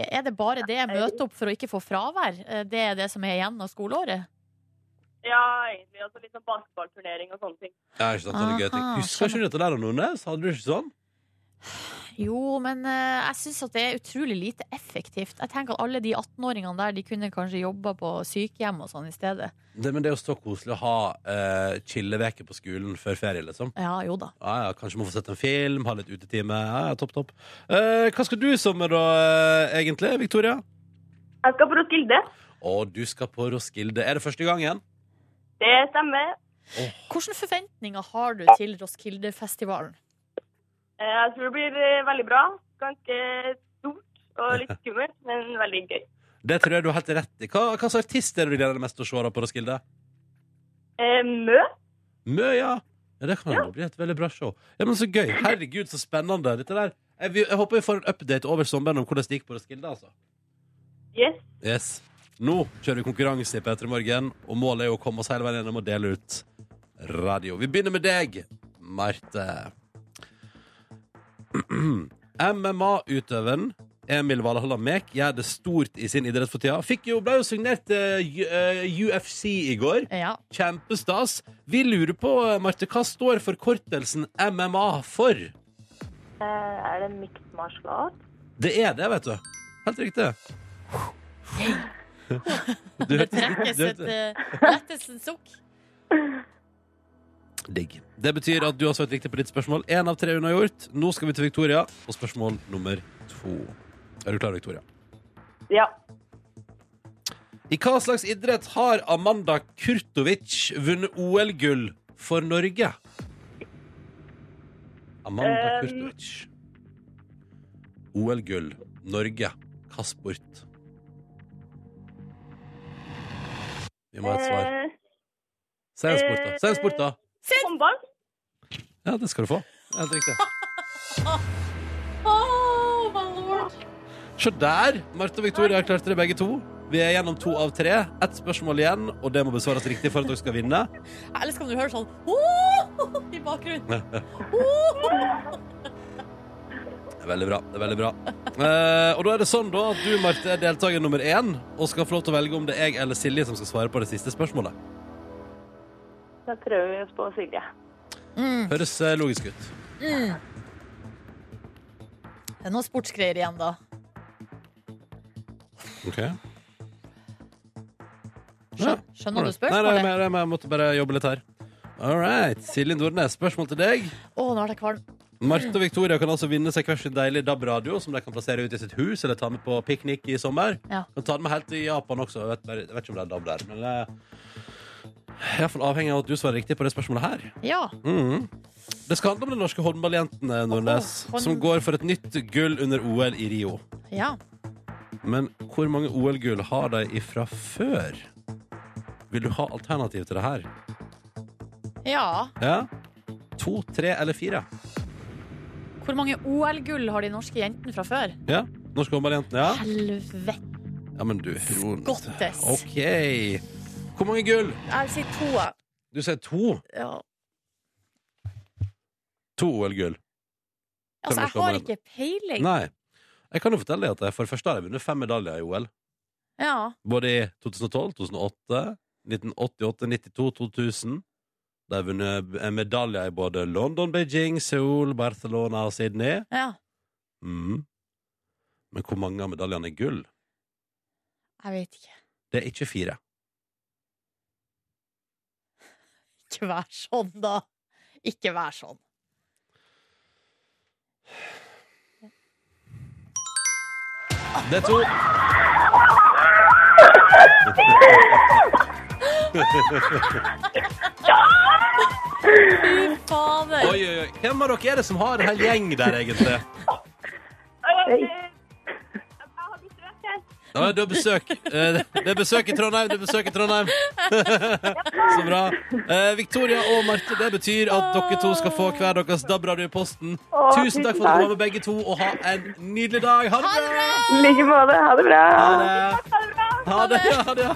Speaker 3: Er det bare det jeg møter opp for å ikke få fravær? Eh, Det er det som er igjen av skoleåret?
Speaker 1: Ja, egentlig. Og så litt sånn basketballturnering og sånne ting.
Speaker 2: Ja, ikke sant, sånne gøy ting.
Speaker 3: Aha,
Speaker 2: Husker ikke du dette der, Nordnes? Hadde du ikke sånn?
Speaker 3: Jo, men eh, jeg syns at det er utrolig lite effektivt. Jeg tenker at alle de 18-åringene der, de kunne kanskje jobba på sykehjem og sånn i stedet.
Speaker 2: Det, men det er jo så koselig å ha uh, chilleveke på skolen før ferie, liksom.
Speaker 3: Ja, jo da.
Speaker 2: Ja, ja, kanskje man får sett en film, ha litt utetime. Ja, ja, topp, topp. Eh, hva skal du i sommer, da, eh, egentlig, Victoria?
Speaker 1: Jeg skal på Roskilde.
Speaker 2: Å, du skal på Roskilde. Er det første gangen?
Speaker 1: Det stemmer.
Speaker 3: Hvilke forventninger har du til Roskildefestivalen?
Speaker 1: Eh, Jeg tror det blir eh, veldig bra. Ganske stort og litt skummelt, men veldig gøy.
Speaker 2: Det tror jeg du har helt rett i. Hva, hva slags artist er det du gleder deg mest til å se da på Roskilde?
Speaker 1: Eh, Mø?
Speaker 2: Mø, ja. ja det kan jo bli et veldig bra show. Ja, men Så gøy. Herregud, så spennende. Dette der. Jeg, vi- jeg håper vi får en update over sommeren om hvordan det gikk på Roskilde. Altså.
Speaker 1: Yes.
Speaker 2: Yes. Nå kjører vi konkurranse i P3 Morgen, og målet er jo å komme oss hele veien gjennom og dele ut radio. Vi begynner med deg, Marte. MMA-utøveren Emil Valhalla Mek gjør det stort i sin idrett for tida. Fikk jo, ble jo signert eh, til UFC i går.
Speaker 3: Ja.
Speaker 2: Kjempestas. Vi lurer på, Marte, hva står forkortelsen MMA for?
Speaker 1: Eh, Er det mixed martial art?
Speaker 2: Det er det, vet du. Helt riktig. Du
Speaker 3: Det
Speaker 2: hørte-
Speaker 3: trekkes
Speaker 2: du
Speaker 3: et
Speaker 2: hørte-
Speaker 3: eh, lettes en sukk.
Speaker 2: Digg. Det betyr at du har svart riktig på ditt spørsmål. Én av tre hun har gjort. Nå skal vi til Victoria og spørsmål nummer to. Er du klar, Victoria?
Speaker 1: Ja.
Speaker 2: I hva slags idrett har Amanda Kurtovic vunnet OL-gull for Norge? Amanda
Speaker 1: Um.
Speaker 2: Kurtovic. OL-gull. Norge. Hva sport? Vi må ha et svar.
Speaker 1: Eh,
Speaker 2: Si en sport, da. Si en sport, da.
Speaker 1: Håndball?
Speaker 2: Ja, det skal du få. Helt riktig.
Speaker 3: Oh, my lord!
Speaker 2: Se der! Marte og Victoria klarte det begge to. Vi er gjennom to av tre. Ett spørsmål igjen, og det må besvares riktig for at dere skal vinne.
Speaker 3: Ellers kan du høre sånn oh! i bakgrunnen. Oh!
Speaker 2: Det er veldig bra. det er veldig bra eh, Og da er det sånn da at du, Marte, er deltaker nummer én og skal få lov til å velge om det er jeg eller Silje som skal svare på det siste spørsmålet.
Speaker 1: Da prøver vi oss på Silje.
Speaker 3: Mm,
Speaker 2: Høres eh, logisk ut.
Speaker 3: mm. Det er noen sportsgreier igjen, da.
Speaker 2: Ok
Speaker 3: Skjø- Skjønner du
Speaker 2: Nei, nei,
Speaker 3: spørsmålet?
Speaker 2: men jeg, jeg måtte bare jobbe litt her. All right. Silje Nordnes, spørsmål til deg.
Speaker 3: Å, nå er det kvalm.
Speaker 2: Marte og Victoria kan altså vinne seg hver sin deilige DAB-radio, som de kan plassere ut i sitt hus eller ta med på piknik i sommer.
Speaker 3: Ja.
Speaker 2: Kan ta den med helt til Japan også. Jeg vet, bare- jeg vet ikke om det er DAB der. Men eh, det er iallfall avhengig av at du svarer riktig på det spørsmålet her.
Speaker 3: Ja.
Speaker 2: Mhm. Det skal handle om de norske håndballjentene, Nordnes,
Speaker 3: Åh, hånd-
Speaker 2: som går for et nytt gull under OL i Rio.
Speaker 3: ja.
Speaker 2: Men hvor mange OL-gull har de ifra før? Vil du ha alternativ til det her?
Speaker 3: Ja.
Speaker 2: Ja? To, tre eller fire?
Speaker 3: Hvor mange OL-gull har de norske jentene fra før?
Speaker 2: Ja? Norske håndballjentene, ja?
Speaker 3: Helvete.
Speaker 2: Ja, men du, Ron.
Speaker 3: Skottes.
Speaker 2: OK. Hvor mange gull?
Speaker 3: Jeg sier to. jeg.
Speaker 2: Du sier to.
Speaker 3: Ja.
Speaker 2: To OL-gull.
Speaker 3: Altså, jeg har ikke peiling.
Speaker 2: Nei. Jeg kan jo fortelle deg at jeg for det første har jeg vunnet fem medaljer i OL.
Speaker 3: Ja.
Speaker 2: Både i 2012, 2008, 1988, 92, 2000. De har vunnet b- medaljer i både London, Beijing, Seoul, Barcelona og Sydney.
Speaker 3: ja.
Speaker 2: Mhm. Men hvor mange av medaljene er gull?
Speaker 3: Jeg vet ikke.
Speaker 2: Det er ikke fire.
Speaker 3: Ikke vær sånn, da. Ikke vær sånn.
Speaker 2: Det er to.
Speaker 3: Fy fader.
Speaker 2: Oi, oi, oi. Hvem av dere er det som har en hel gjeng der, egentlig?
Speaker 1: Oi. Jeg har blitt rødt, jeg.
Speaker 2: Ja, du har besøk. Eh, Det er besøk i Trondheim, det er besøk i Trondheim. Så bra. Eh, Victoria og Marte, det betyr at dere to skal få hver deres DAB-radio i posten. Tusen takk for at du var med begge to, og ha en nydelig dag. Ha det bra!
Speaker 1: I like måte. Ha det bra.
Speaker 2: Ha det.
Speaker 1: Ha det bra.
Speaker 2: Ha det, ha det.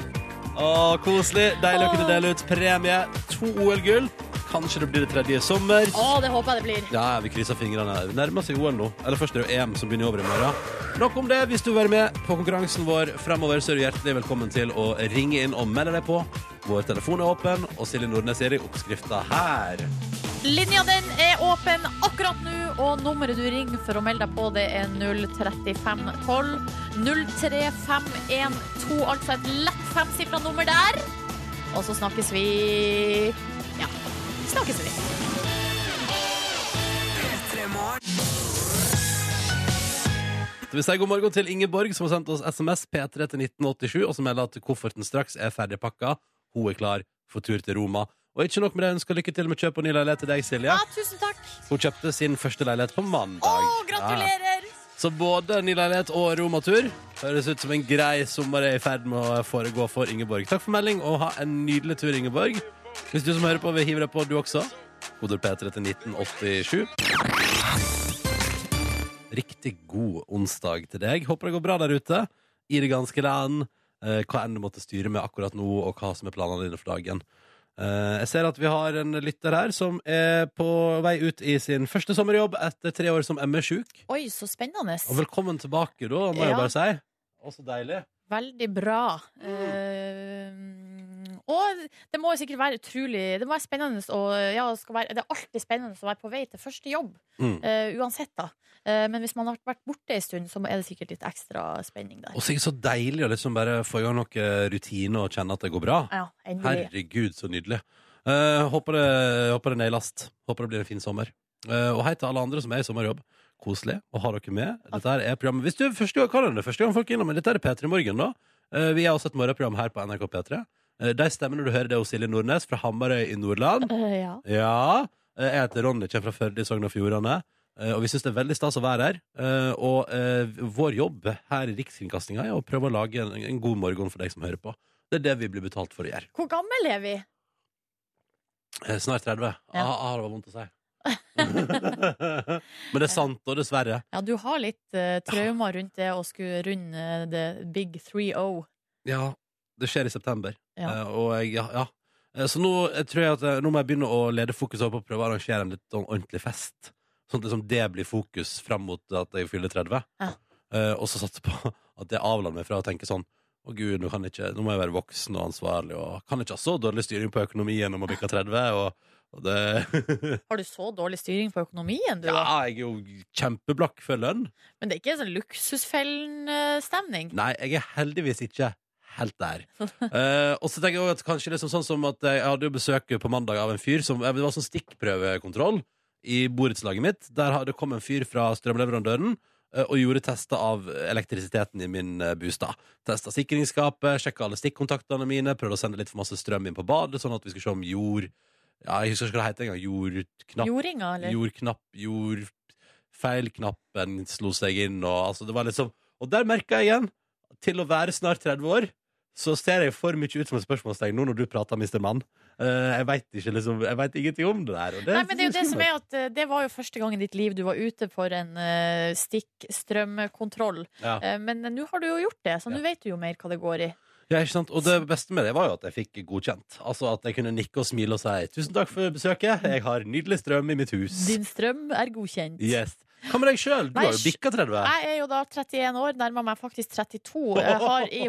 Speaker 2: Å, koselig. Deilig å kunne dele ut premie. To OL-gull. Kanskje det blir det tredje i sommer.
Speaker 3: Å, det håper jeg det blir.
Speaker 2: Ja, vi krysser fingrene. Det nærmer seg OL nå. Eller først er det jo EM som begynner i overmorgen. Nok om det. Hvis du vil være med på konkurransen vår fremover, så er du hjertelig velkommen til å ringe inn og melde deg på. Vår telefon er åpen, og Silje Nordnes gir deg oppskrifta her.
Speaker 3: Linja den er åpen akkurat nå, og nummeret du ringer for å melde deg på, det er 03512. 03512, altså et lett femsifra nummer der. Og så snakkes vi Ja, snakkes vi.
Speaker 2: Så vi sier god morgen til Ingeborg, som har sendt oss SMS P3 til 1987, og som melder at kofferten straks er ferdigpakka. Hun er klar for tur til Roma. Og ikke nok med det, hun skal lykke til med kjøp og ny leilighet til deg, Silje.
Speaker 3: Ja, tusen takk.
Speaker 2: Hun kjøpte sin første leilighet på
Speaker 3: Å,
Speaker 2: mandag. Ja.
Speaker 3: gratulerer.
Speaker 2: Så både ny leilighet og romatur høres ut som en grei sommer er i ferd med å foregå for Ingeborg. Takk for melding, og ha en nydelig tur, Ingeborg. Hvis du som hører på vil hive deg på, du også. Koder P3 til 1987. Riktig god onsdag til deg. Håper det går bra der ute i det ganske land. Eh, Hva enn du måtte styre med akkurat nå, og hva som er planene dine for dagen. Eh, Jeg ser at vi har en lytter her som er på vei ut i sin første sommerjobb etter tre år som E ME-sjuk.
Speaker 3: Oi, så spennende.
Speaker 2: Og velkommen tilbake, da, må jeg
Speaker 3: Ja.
Speaker 2: bare si. Å, så deilig.
Speaker 3: Veldig bra. Eh, og det må jo sikkert være utrolig Det må være spennende å, ja, det skal være, Det er alltid spennende å være på vei til første jobb.
Speaker 2: Mm.
Speaker 3: Eh, uansett, da. Eh, men hvis man har vært borte en stund, så er det sikkert litt ekstra spenning der.
Speaker 2: Og sikkert så deilig å liksom bare få i gang noe rutine og kjenne at det går bra.
Speaker 3: Ja, endelig.
Speaker 2: Herregud, så nydelig. Eh, håper, det, håper det nailast. Håper det blir en fin sommer. Eh, og hei til alle andre som er i sommerjobb. Koselig å ha dere med. Dette her er programmet Hvis du er første gang, hva er det første gang folk er innom, men dette er P3 Morgen, da. Eh, vi har også et morgenprogram her på NRK P3. Eh, de stemmene du hører, det er hos Silje Nordnes fra Hamarøy i Nordland.
Speaker 3: Eh, ja.
Speaker 2: Ja. eh, Jeg heter Ronny, kommer fra Førde i Sogn og Fjordane. eh, Og vi syns det er veldig stas å være her. Eh, Og eh, vår jobb her i Rikskringkastinga er å prøve å lage en, en god morgen for deg som hører på. Det er det vi blir betalt for å gjøre.
Speaker 3: Hvor gammel er vi?
Speaker 2: Eh, Snart 30.
Speaker 3: Ja.
Speaker 2: Ah, ah, det var vondt å si. Men det er sant, og dessverre.
Speaker 3: Ja, du har litt uh, traumer rundt det å skulle runde eh, the big 3-0.
Speaker 2: Ja, det skjer i september.
Speaker 3: Ja.
Speaker 2: Eh, Og jeg, ja, ja. Eh, Så nå eh, tror jeg at eh, nå må jeg begynne å lede fokuset over på å prøve å arrangere en litt sånn ordentlig fest. Sånn at liksom det blir fokus fram mot at jeg fyller 30.
Speaker 3: Ja.
Speaker 2: Eh, og så satse på at jeg avlader meg fra å tenke sånn å gud, nå, kan jeg ikke, nå må jeg være voksen og ansvarlig og kan ikke ha så dårlig styring på økonomien om å bikke 30. Og, og det
Speaker 3: Har du så dårlig styring på økonomien, du?
Speaker 2: Ja,
Speaker 3: da?
Speaker 2: jeg er jo kjempeblakk for lønn.
Speaker 3: Men det er ikke en sånn luksusfellen-stemning?
Speaker 2: Nei, jeg er heldigvis ikke helt der. Eh, og så tenker jeg også at kanskje liksom sånn som at jeg hadde jo besøk på mandag av en fyr som eh, Det var sånn stikkprøvekontroll i borettslaget mitt. Der hadde- kom en fyr fra strømleverandøren eh, og gjorde tester av elektrisiteten i min eh, bostad. Testa sikringsskapet, sjekka alle stikkontaktene mine, prøvde å sende litt for masse strøm inn på badet, sånn at vi skulle se om jord Ja, jeg husker ikke hva det heter engang. Jordknapp
Speaker 3: Jordinga, eller?
Speaker 2: Jordknapp, jord Feilknappen slo seg inn og, altså, det var liksom, og der merket jeg igjen Til å være snart 30 år Så ser jeg for mye ut som et spørsmålstegn Nå når du prater, Mr. Mann Eh, jeg, vet ikke, liksom, jeg vet ingenting om det der og
Speaker 3: Nei, men det er jo det
Speaker 2: skummelt.
Speaker 3: som er at eh, det var jo første gang i ditt liv du var ute for en eh, stikkstrømkontroll.
Speaker 2: Ja.
Speaker 3: Eh, men nå har du jo gjort det, så nå
Speaker 2: Ja.
Speaker 3: vet du jo mer hva det går i.
Speaker 2: Ja, ikke sant? Og det beste med det var jo at jeg fikk godkjent Altså at jeg kunne nikke og smile og si Tusen takk for besøket, jeg har nydelig strøm i mitt hus
Speaker 3: Din strøm er godkjent.
Speaker 2: Yes Hva med deg selv? Du
Speaker 3: Nei,
Speaker 2: har jo bikket 30
Speaker 3: Jeg er jo da 31 år, nærmer meg faktisk 32. Jeg har i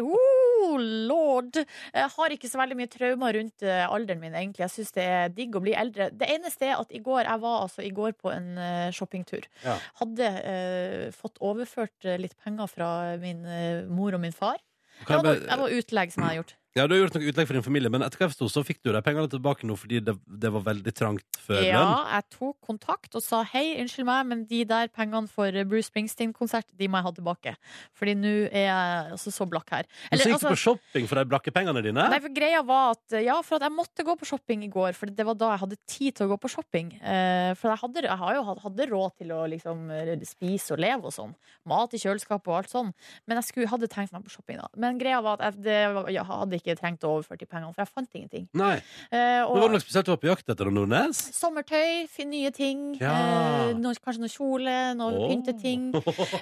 Speaker 3: Oh, lord! Jeg har ikke så veldig mye traumer rundt eh, alderen min, egentlig. Jeg syns det er digg å bli eldre. Det eneste er at i går Jeg var altså i går på en eh, shoppingtur.
Speaker 2: Ja.
Speaker 3: Hadde eh, fått overført eh, litt penger fra min eh, mor og min far.
Speaker 2: Kan
Speaker 3: Jeg
Speaker 2: jeg
Speaker 3: var,
Speaker 2: bare-
Speaker 3: jeg var utlegg, som jeg har gjort.
Speaker 2: Ja, du har gjort noe utlegg for din familie, men etter hva jeg forstod, så fikk du de pengene tilbake nå fordi det, det var veldig trangt før
Speaker 3: Ja,
Speaker 2: Mm, lønn.
Speaker 3: jeg tok kontakt og sa hei, unnskyld meg, men de der pengene for eh, Bruce Springsteen-konsert, de må jeg ha tilbake. Fordi nå er jeg altså så blakk her.
Speaker 2: Men
Speaker 3: Eller,
Speaker 2: så gikk
Speaker 3: altså-
Speaker 2: du på shopping for de blakke pengene dine?
Speaker 3: Nei, for greia var at eh, Ja, for at jeg måtte gå på shopping i går, for det var da jeg hadde tid til å gå på shopping. Eh, for jeg hadde, jeg har jo hatt- hadde råd til å liksom eh, spise og leve og sånn. Mat i kjøleskapet og alt sånn. Men jeg skulle, hadde tenkt meg på shopping, da. Men greia var at jeg, det, var- jeg hadde ikke trengt å overføre de pengene, for jeg fant ingenting.
Speaker 2: Nei.
Speaker 3: Eh,
Speaker 2: Nå var det noe spesielt du var på jakt etter, da, Nordnes.
Speaker 3: Sommertøy, fin- nye ting.
Speaker 2: Ja.
Speaker 3: Eh, noe, kanskje noe kjole, noe
Speaker 2: Åh.
Speaker 3: pynteting.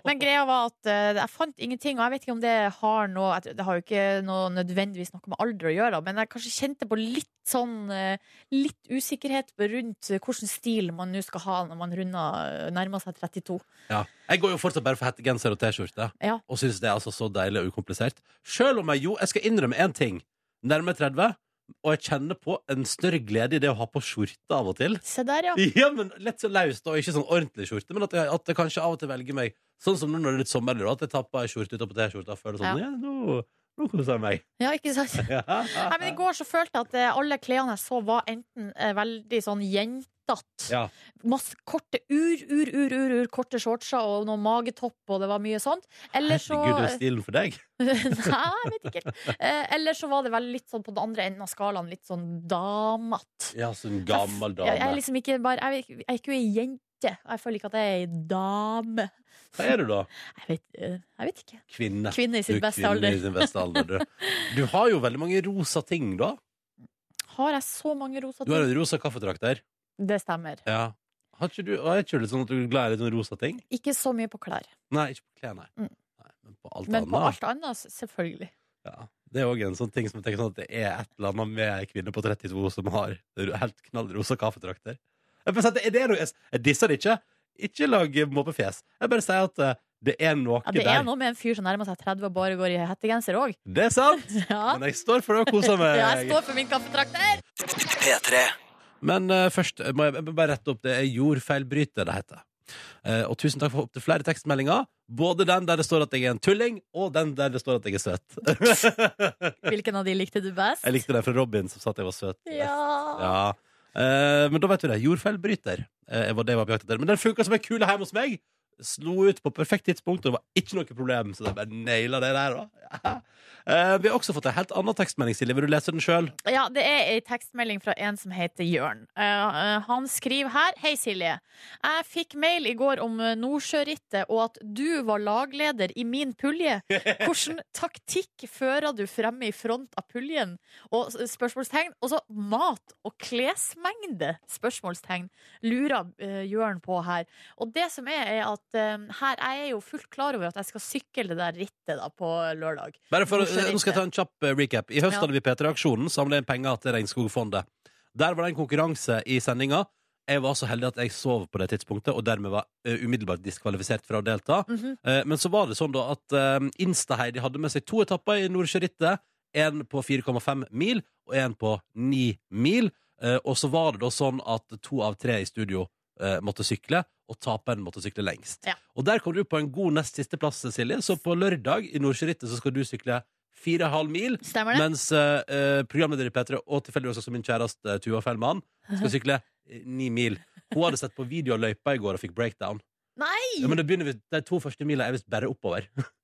Speaker 3: Men greia var at eh, jeg fant ingenting, og jeg vet ikke om det har noe jeg tror- Det har jo ikke noe nødvendigvis noe med alder å gjøre, men jeg kanskje kjente på litt sånn eh, Litt usikkerhet rundt eh, hvilken stil man nå skal ha når man runder, nærmer seg 32.
Speaker 2: Ja. Jeg går jo fortsatt bare for hettegenser og T-skjorte,
Speaker 3: Ja.
Speaker 2: og syns det er altså så deilig og ukomplisert. Sjøl om jeg jo, jeg skal innrømme én ting. Nærmere 30, og jeg kjenner på en større glede i det å ha på skjorte av og til.
Speaker 3: Se der, ja.
Speaker 2: Ja, men lett så laust og ikke sånn ordentlig skjorte. Men at jeg, at jeg kanskje av og til velger meg Sånn som nå når det er litt sommer, eller at jeg tapper ei skjorte utapå T-skjorta og føler sånn Ja, nå, nå koser jeg meg.
Speaker 3: ja ikke sant? Nei, men I går så følte jeg at eh, alle klærne jeg så, var enten eh, veldig sånn jentete.
Speaker 2: Ja.
Speaker 3: Masse korte ur, ur, ur, ur, ur korte shortser og noe magetopp, og det var mye sånt. Eller så
Speaker 2: Herregud, det er stilen for deg.
Speaker 3: Nei, jeg vet ikke. Eh, eller så var det vel litt sånn på den andre enden av skalaen, litt sånn damete.
Speaker 2: Ja, sånn gammel
Speaker 3: Jeg, jeg er
Speaker 2: dame.
Speaker 3: liksom ikke bare Jeg, er ikke- jeg er ikke ei jente. Jeg føler ikke at jeg er ei dame.
Speaker 2: Hva er du, da?
Speaker 3: Jeg vet, eh, jeg vet ikke.
Speaker 2: Kvinne.
Speaker 3: Kvinne i
Speaker 2: Du
Speaker 3: sin
Speaker 2: er
Speaker 3: beste
Speaker 2: kvinne
Speaker 3: alder.
Speaker 2: i sin beste alder, du. Du har jo veldig mange rosa ting, da.
Speaker 3: Har jeg så mange rosa
Speaker 2: Du har
Speaker 3: ting?
Speaker 2: en rosa kaffetrakter.
Speaker 3: Det stemmer.
Speaker 2: Ja. Har ikke du, er ikke du litt sånn at du er glad i litt sånn rosa ting?
Speaker 3: Ikke så mye på klær.
Speaker 2: Nei, ikke på klær, nei.
Speaker 3: Mm.
Speaker 2: nei. Men på alt
Speaker 3: Men på
Speaker 2: annet.
Speaker 3: alt annet, s- selvfølgelig.
Speaker 2: Ja. Det er òg en sånn ting som jeg tenker sånn at det er et eller annet med ei kvinne på 32 som har ro- helt knallrosa kaffetrakter. Jeg bare sier at det- det er noe, jeg disser det ikke. Ikke lag måpefjes. Jeg bare sier at eh, det er noe
Speaker 3: Ja, det
Speaker 2: der.
Speaker 3: er noe med en fyr som nærmer seg 30 og bare går i hettegenser òg.
Speaker 2: Det er sant!
Speaker 3: Ja.
Speaker 2: Men eh, jeg står for det og koser meg.
Speaker 3: Ja, Jeg står for min kaffetrakter!
Speaker 2: Men eh, først må jeg, jeg må bare rette opp det. Jeg gjorde feilbryter, det heter. Eh, og tusen takk for opptil flere tekstmeldinger. Både den der det står at jeg er en tulling, og den der det står at jeg er søt.
Speaker 3: Hvilken av de likte du best?
Speaker 2: jeg likte den fra Robin som sa at jeg var søt.
Speaker 3: Ja.
Speaker 2: Ja. Eh, men da vet du det. Jordfeilbryter eh, var det jeg var på jakt etter. Men den funka som ei kule hjemme hos meg. Slo ut på perfekt tidspunkt, og det var ikke noe problem. Så jeg bare naila det der, da. Eh, vi har også fått ei helt annen tekstmelding, Silje. Vil du lese den sjøl?
Speaker 3: Ja, det er ei tekstmelding fra en som heter Jørn. Eh, eh, han skriver her Hei, Silje. Jeg fikk mail i går om eh, Nordsjørittet og at du var lagleder i min pulje. Hvilken taktikk fører du fremme i front av puljen? Og s- spørsmålstegn. Og så mat og klesmengde! Spørsmålstegn. Lurer eh, Jørn på her. Og det som er, er at eh, her er jeg jo fullt klar over at jeg skal sykle det der rittet da på lørdag.
Speaker 2: Bare for,
Speaker 3: Hvorfor
Speaker 2: eh, nå skal jeg ta en kjapp eh, recap. I høst
Speaker 3: Ja.
Speaker 2: hadde vi P3-aksjonen, samlet inn penger til Regnskogfondet. Der var det en konkurranse i sendinga. Jeg var så heldig at jeg sov på det tidspunktet, og dermed var eh, umiddelbart diskvalifisert fra å delta.
Speaker 3: Mhm.
Speaker 2: Eh, Men så var det sånn da at eh, Insta-Heidi hadde med seg to etapper i Nordsjørittet. En på 4,5 mil, og en på 9 mil. Eh, Og så var det da sånn at to av tre i studio eh, måtte sykle, og taperen måtte sykle lengst.
Speaker 3: Ja.
Speaker 2: Og der kom du på en god nest siste plass, Silje. Så på lørdag i Nordsjørittet så skal du sykle 4,5 mil.
Speaker 3: Stemmer det?
Speaker 2: Mens eh, eh, programleder i P3 og tilfeldigvis også min kjæreste eh, Tuva Fellmann skal sykle eh, ni mil. Hun hadde sett på video av løypa i går og fikk breakdown.
Speaker 3: Nei!
Speaker 2: Ja, men det begynner vi, De to første mila er visst bare oppover.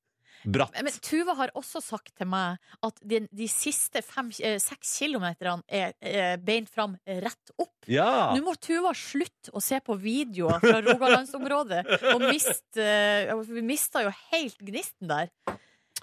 Speaker 2: Bratt.
Speaker 3: Eh, Men Tuva har også sagt til meg at de, de siste fem, eh, seks kilometerne er eh, beint fram, eh, rett opp.
Speaker 2: Ja!
Speaker 3: Nå må Tuva slutte å se på videoer fra Rogalandsområdet. Og mist, eh, vi mista jo helt gnisten der.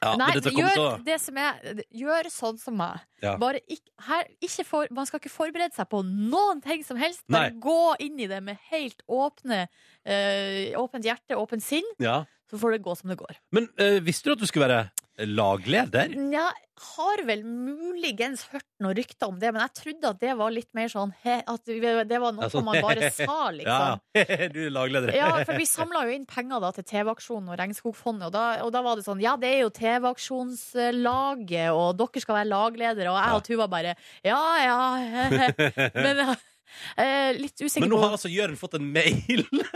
Speaker 2: ja
Speaker 3: Nei,
Speaker 2: men dette kommer
Speaker 3: gjør,
Speaker 2: til å
Speaker 3: det som er, gjør sånn som meg.
Speaker 2: Ja.
Speaker 3: Bare ikk- her, ikke for, man skal ikke forberede seg på noen ting som helst. Bare
Speaker 2: Nei.
Speaker 3: gå inn i det med helt åpne, eh, åpent hjerte, åpent sinn.
Speaker 2: ja.
Speaker 3: Så får det gå som det går.
Speaker 2: Men eh, visste du at du skulle være lagleder?
Speaker 3: Jeg har vel muligens hørt noen rykter om det, men jeg trodde at det var litt mer sånn he, At det var noe
Speaker 2: Ja, sånn,
Speaker 3: man bare sa, liksom.
Speaker 2: Ja, du er lagleder.
Speaker 3: Ja, for vi samla jo inn penger da, til TV-aksjonen og Regnskogfondet. Og da, og da var det sånn Ja, det er jo TV-aksjonslaget, og dere skal være lagledere. Og jeg og Tuva bare Ja, ja. Men eh, litt usikker
Speaker 2: Men nå
Speaker 3: på
Speaker 2: har altså Jørn fått en mail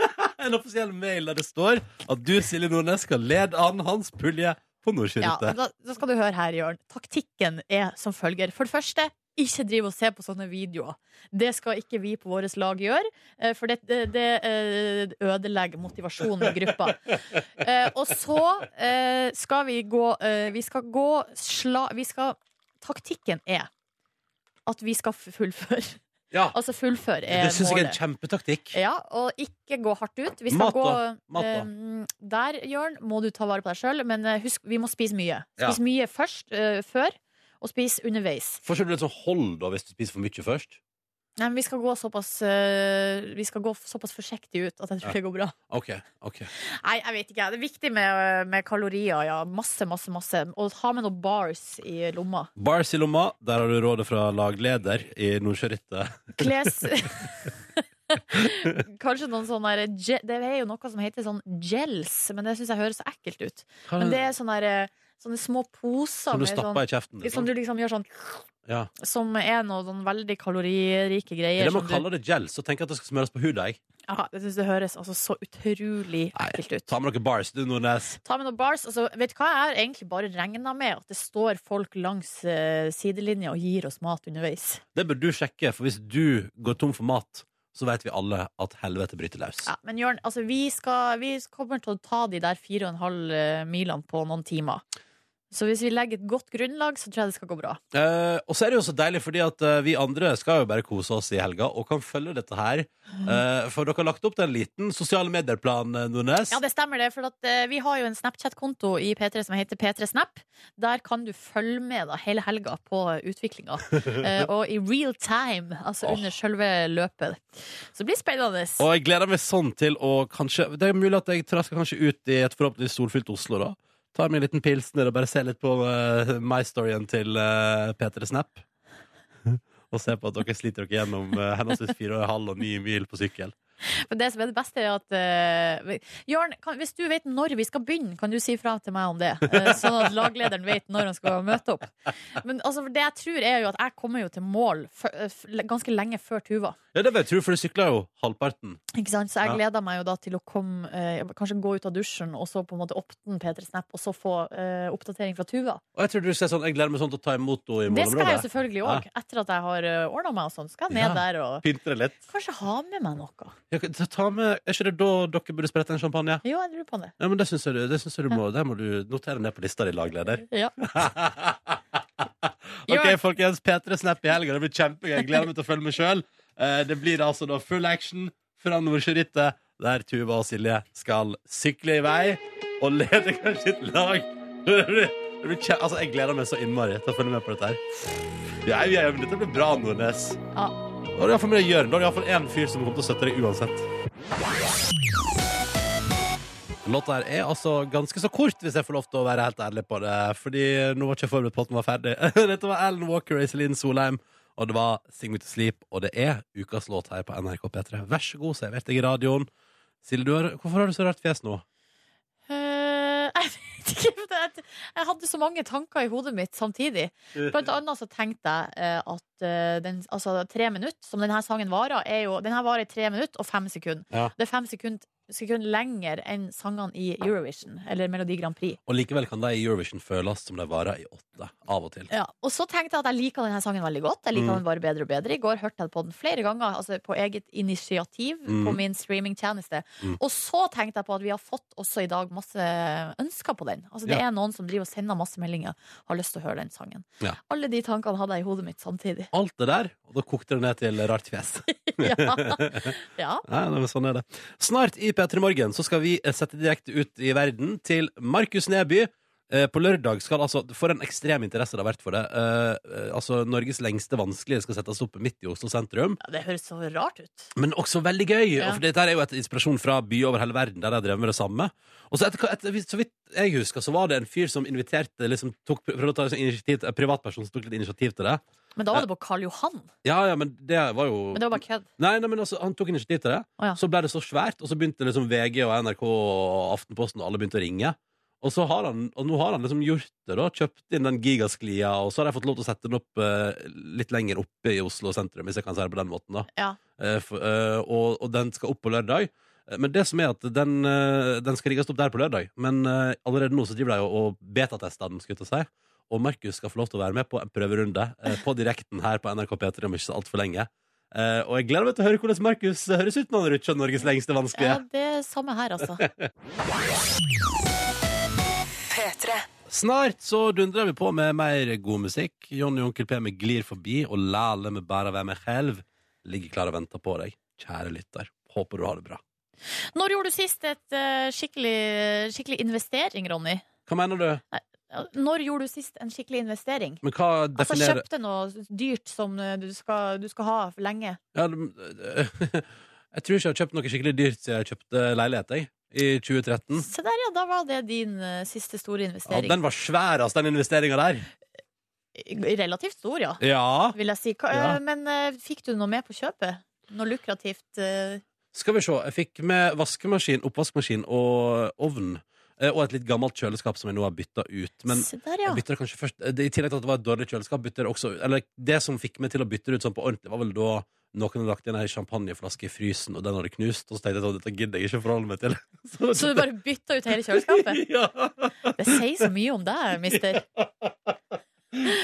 Speaker 2: En offisiell mail der det står At du, Silje Nordnes, skal lede an hans pulje På
Speaker 3: ja,
Speaker 2: Nordsjørytte
Speaker 3: da, da skal du høre her, Jørn. Taktikken er som følger. For det første ikke driv og se på sånne videoer. Det skal ikke vi på vårt lag gjøre, eh, for det, det, det eh, ødelegger motivasjonen i gruppa. Eh, Og så eh, skal vi gå eh, Vi skal gå sla... Vi skal Taktikken er at vi skal fullføre.
Speaker 2: Ja,
Speaker 3: Altså fullføre er
Speaker 2: det synes jeg er en
Speaker 3: målet. Eh,
Speaker 2: kjempetaktikk
Speaker 3: Ja, og ikke gå hardt ut. Vi skal
Speaker 2: Mat da,
Speaker 3: gå
Speaker 2: mat da.
Speaker 3: eh, Der, Jørn, må du ta vare på deg sjøl, men eh, husk, vi må spise mye.
Speaker 2: Ja.
Speaker 3: Spis mye først, eh, før, og spis underveis.
Speaker 2: Får ikke du litt sånn hold da hvis du spiser for mye først?
Speaker 3: Nei, men vi skal gå såpass eh, Vi skal gå såpass forsiktig ut at
Speaker 2: Ja.
Speaker 3: jeg tror det går bra.
Speaker 2: Ok, ok
Speaker 3: Nei, jeg vet ikke. Det er viktig med, eh, med kalorier, ja. Masse, masse, masse. Og ha med noen bars i lomma.
Speaker 2: Bars i lomma, der har du rådet fra lagleder I Nordsjørytte
Speaker 3: Kles Kanskje noen sånne der, ge- Det er jo noe som heter sånn gels, men det syns jeg høres så ekkelt ut. Men det er sånne, der, eh, sånne små poser
Speaker 2: Som du
Speaker 3: med sånn,
Speaker 2: stapper i kjeften liksom.
Speaker 3: som du liksom gjør sånn
Speaker 2: ja.
Speaker 3: Som er noen sånn veldig kaloririke
Speaker 2: Det
Speaker 3: greier.
Speaker 2: er det man
Speaker 3: som du,
Speaker 2: kaller det gel, så tenk at det skal smøres på huden jeg.
Speaker 3: ja, jeg syns det høres altså så utrolig
Speaker 2: Nei.
Speaker 3: ekkelt ut.
Speaker 2: Ta med noen bars, du Nordnes
Speaker 3: Ta med noen bars. Altså, vet du hva, jeg har egentlig bare regna med at det står folk langs eh, sidelinja og gir oss mat underveis.
Speaker 2: Det bør du sjekke, for hvis du går tom for mat Så vet vi alle at helvete bryter løs
Speaker 3: Ja, men Jørn, altså, vi, skal, vi kommer til å ta de der fire og en halv eh, milene på noen timer. Så hvis vi legger et godt grunnlag, så tror jeg det skal gå bra.
Speaker 2: Eh, og så er det jo så deilig, fordi at eh, vi andre skal jo bare kose oss i helga og kan følge dette her.
Speaker 3: Mm.
Speaker 2: Eh, for dere har lagt opp til en liten sosiale medier-plan, eh, Nordnes.
Speaker 3: Ja, det stemmer det, for at, eh, vi har jo en Snapchat-konto i P3 som heter P3snap. Der kan du følge med da, hele helga på utviklinga. Eh, og i real time, altså
Speaker 2: Åh.
Speaker 3: under selve løpet. Så det blir spennende.
Speaker 2: Og jeg gleder meg sånn til å kanskje Det er mulig at jeg trasker kanskje ut i et forhåpentligvis solfylt Oslo, da. Tar meg en liten pilsner og bare ser litt på eh, my storyen til eh, P3 Snap. og ser på at dere sliter dere gjennom eh, henholdsvis fire og en halv og ni mil på sykkel.
Speaker 3: Men det som er det beste, er at eh, vi- Jørn, kan, hvis du vet når vi skal begynne, kan du si fra til meg om det. eh, sånn at laglederen vet når han skal møte opp. Men altså, for det jeg tror, er jo at jeg kommer jo til mål før- eh, f- ganske lenge før Tuva.
Speaker 2: Ja, det vil jeg tro, for du sykler jo halvparten.
Speaker 3: Ikke sant? Så jeg
Speaker 2: Ja.
Speaker 3: gleder meg jo da til å komme eh, Kanskje gå ut av dusjen, og så på en måte åpne P3 Snap, og så få eh, oppdatering fra Tuva.
Speaker 2: Og jeg tror du sier sånn Jeg gleder meg sånn til å ta imot henne i
Speaker 3: Det skal jeg
Speaker 2: målområdet.
Speaker 3: jo selvfølgelig òg. Etter at jeg har uh, ordna meg og sånn, skal jeg ned
Speaker 2: Ja.
Speaker 3: der og
Speaker 2: Pynte det litt.
Speaker 3: Kanskje ha med meg noe.
Speaker 2: Ja, ta- ta med, er ikke det da dere burde sprette en champagne?
Speaker 3: Jo, jeg lurer på det.
Speaker 2: Ja, men det syns jeg, du- det synes jeg du må, det må du notere ned på lista di, lagleder.
Speaker 3: Ja.
Speaker 2: OK, folkens. P3 Snap i helga. Det blir kjempegøy. Jeg gleder meg til å følge med sjøl. Det blir altså da full action fra Nordsjørittet, der Tuva og Silje skal sykle i vei og lede kanskje sitt lag. Det blir, det blir kje, altså, jeg gleder meg så innmari til å følge med på dette her. Ja, ja, men dette blir bra, Nordnes.
Speaker 3: Ja.
Speaker 2: Da har du iallfall med deg Jørn. Da har du iallfall én fyr som kommer til å støtte deg uansett. Låta her er altså ganske så kort, hvis jeg får lov til å være helt ærlig på det. Fordi nå var ikke jeg forberedt på at den var ferdig. Dette var Alan Walker og Iselin Solheim, og det var Sing Me To Sleep. Og det er ukas låt her på NRK P3. Vær så god, servert deg i radioen. Silje, du har, hvorfor har du så rart fjes nå?
Speaker 3: Eh, jeg vet ikke. men Jeg, jeg hadde så mange tanker i hodet mitt samtidig. Blant annet så tenkte jeg eh, at eh, den, altså, tre minutter, som denne sangen varer, er jo Den her varer i tre minutter og fem sekunder.
Speaker 2: Ja.
Speaker 3: Det er fem sekunder sekunder lenger enn sangene i Eurovision eller Melodi Grand Prix.
Speaker 2: Og likevel kan de i Eurovision føles som de varer i åtte, av og til.
Speaker 3: Ja, og så tenkte jeg at jeg liker denne sangen veldig godt. Jeg liker
Speaker 2: Mm.
Speaker 3: den bare bedre og bedre. I går hørte jeg på den flere ganger, altså på eget initiativ
Speaker 2: Mm.
Speaker 3: på min streamingtjeneste.
Speaker 2: Mm.
Speaker 3: Og så tenkte jeg på at vi har fått også i dag masse ønsker på den. Altså det
Speaker 2: Ja.
Speaker 3: er noen som driver og sender masse meldinger har lyst til å høre den sangen.
Speaker 2: Ja.
Speaker 3: Alle de tankene hadde jeg i hodet mitt samtidig.
Speaker 2: Alt det der, og da kokte det ned til rart fjes.
Speaker 3: ja. ja.
Speaker 2: Nei, nei, men sånn er det. Snart i P3 Morgen så skal vi eh, sette direkte ut i verden til Markus Neby. Eh, På lørdag skal altså For en ekstrem interesse det har vært for det. Eh, eh, altså Norges lengste vanskelige skal settes opp midt i Oslo sentrum.
Speaker 3: Det høres så rart ut.
Speaker 2: Men også veldig gøy!
Speaker 3: Ja.
Speaker 2: For dette her er jo et inspirasjon fra byer over hele verden der de har drevet med det samme. Og så etter, hva- etter, Så vidt jeg husker, så var det en fyr som inviterte liksom, tok, prøvde å ta sånn initiativ, En privatperson som tok litt initiativ til det.
Speaker 3: Men da var det på Karl Johan.
Speaker 2: Ja, ja, men det var jo
Speaker 3: Men det var bare kødd.
Speaker 2: Nei, nei, men altså, han tok initiativ til det.
Speaker 3: Å, ja.
Speaker 2: Så ble det så svært, og så begynte liksom VG og NRK og Aftenposten og alle begynte å ringe. Og, så har han, og nå har han liksom gjort det, da. Kjøpt inn den gigasklia, og så har de fått lov til å sette den opp eh, litt lenger oppe i Oslo sentrum, hvis jeg kan si det på den måten, da.
Speaker 3: Ja.
Speaker 2: Eh, for, eh, og, og den skal opp på lørdag. Eh, Men det som er at den, eh, den skal rigges opp der på lørdag. Men eh, allerede nå så driver de jo og betatester den, skulle jeg til å si. Og Markus skal få lov til å være med på en prøverunde eh, på direkten her på NRK P3 om ikke så altfor lenge. Eh, og jeg gleder meg til å høre hvordan Markus høres ut når han rutsjer Norges lengste
Speaker 3: ja,
Speaker 2: vanskelige.
Speaker 3: det er samme her, altså.
Speaker 2: Snart så dundrer vi på med mer god musikk. Jonny og Onkel P med Glir forbi og Lale med Bæra være meg selv ligger klar og venter på deg. Kjære lytter, håper du har det bra.
Speaker 3: Når gjorde du sist et eh, skikkelig, skikkelig investering, Ronny?
Speaker 2: Hva mener du?
Speaker 3: Når gjorde du sist en skikkelig investering?
Speaker 2: Men hva
Speaker 3: Altså
Speaker 2: definerer
Speaker 3: kjøpte noe dyrt som eh, du skal, du skal ha for lenge.
Speaker 2: Ja, det- jeg tror ikke jeg har kjøpt noe skikkelig dyrt siden jeg kjøpte leilighet jeg, i 2013.
Speaker 3: Se der, ja. Da var det din eh, siste store
Speaker 2: Ja,
Speaker 3: investering.
Speaker 2: den var svær, altså, den investeringa der.
Speaker 3: Relativt stor, ja.
Speaker 2: Ja.
Speaker 3: Vil jeg si. Hva,
Speaker 2: Ja.
Speaker 3: eh, Men eh, fikk du noe med på kjøpet? Noe lukrativt? eh,
Speaker 2: Skal vi se. Jeg fikk med vaskemaskin, oppvaskmaskin og ovn. Eh, Og et litt gammelt kjøleskap som jeg nå har bytta ut. Men
Speaker 3: Se der, ja.
Speaker 2: jeg bytter det kanskje først eh, det- I tillegg til at det var et dårlig kjøleskap, bytter det også ut Eller det som fikk meg til å bytte det ut sånn på ordentlig, var vel da noen hadde lagt igjen ei champagneflaske i frysen, og den hadde knust, og så tenkte jeg at dette gidder jeg ikke forholde meg til.
Speaker 3: Så du bare bytta ut hele kjøleskapet?
Speaker 2: ja.
Speaker 3: Det sier så mye om deg, mister.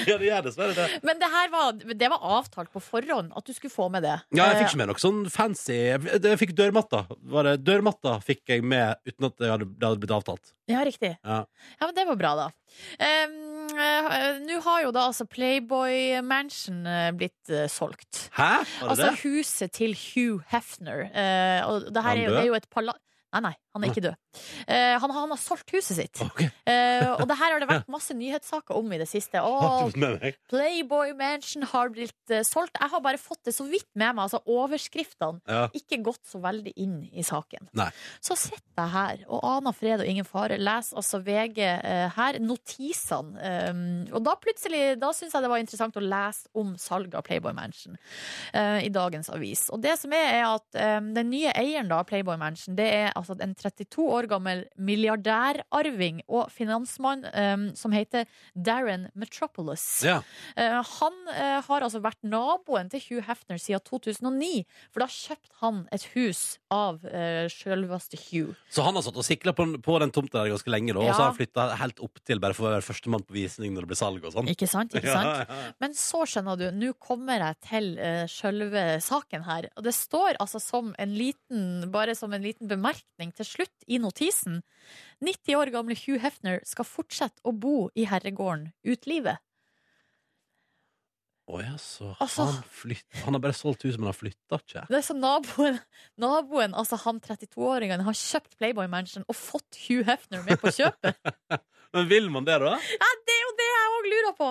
Speaker 2: ja, det gjør dessverre det.
Speaker 3: Men det her var, det var avtalt på forhånd at du skulle få med det.
Speaker 2: Ja, jeg fikk ikke med noe sånn fancy Jeg jeg fikk dørmatta. Var det- Dørmatta fikk jeg med uten at det hadde, det hadde blitt avtalt.
Speaker 3: Ja, riktig.
Speaker 2: Ja.
Speaker 3: Ja, men det var bra, da. Em, eh, Nå har jo da altså Playboy Mansion eh, blitt eh, solgt.
Speaker 2: Hæ? Var det
Speaker 3: Altså
Speaker 2: det?
Speaker 3: huset til Hugh Hefner. Eh, og det
Speaker 2: Er
Speaker 3: her
Speaker 2: han
Speaker 3: er, jo-
Speaker 2: død?
Speaker 3: er jo et pala... Nei, nei, han er ikke død. Eh, han, han har solgt huset sitt.
Speaker 2: Ok,
Speaker 3: Eh, og det her har det vært masse nyhetssaker om i det siste.
Speaker 2: har
Speaker 3: Å,
Speaker 2: ikke fått med meg.
Speaker 3: Playboy Mansion har blitt eh, solgt. Jeg har bare fått det så vidt med meg. Altså overskriftene
Speaker 2: Ja.
Speaker 3: ikke gått så veldig inn i saken.
Speaker 2: Nei.
Speaker 3: Så sitter jeg her og aner fred og ingen fare. Leser altså VG eh, her, notisene. eh, og da plutselig da syns jeg det var interessant å lese om salget av Playboy Mansion eh, i dagens avis. Og det som er, er at eh, den nye eieren da, av Playboy Mansion, det er altså en 32 år gammel milliardærarving og finansmann eh, som heter Darren Metropolis.
Speaker 2: Ja.
Speaker 3: Eh, han eh, har altså vært naboen til Hugh Hefner siden 2009, for da kjøpte han et hus av uh, selveste Hugh.
Speaker 2: Så han har satt og sikla på, på den tomta der ganske lenge, da, og
Speaker 3: Ja.
Speaker 2: så har han flytta helt opp til bare for å være førstemann på visning når det blir salg og sånn.
Speaker 3: Ikke sant? Ikke sant?
Speaker 2: Ja, ja.
Speaker 3: Men så skjønner du, nå kommer jeg til uh, sjølve saken her. Og det står altså som en liten, bare som en liten bemerkning til slutt i notisen. 90 år gamle Hugh Hefner skal fortsette å bo i herregården ut livet.
Speaker 2: Å ja, så
Speaker 3: Altså.
Speaker 2: han flytt- Han har bare solgt huset, men han flytta ikke.
Speaker 3: Det er så naboen, naboen altså han 32-åringen, har kjøpt Playboy Mansion og fått Hugh Hefner med på kjøpet.
Speaker 2: Men vil man det, da?
Speaker 3: det er jo det jeg òg lurer på!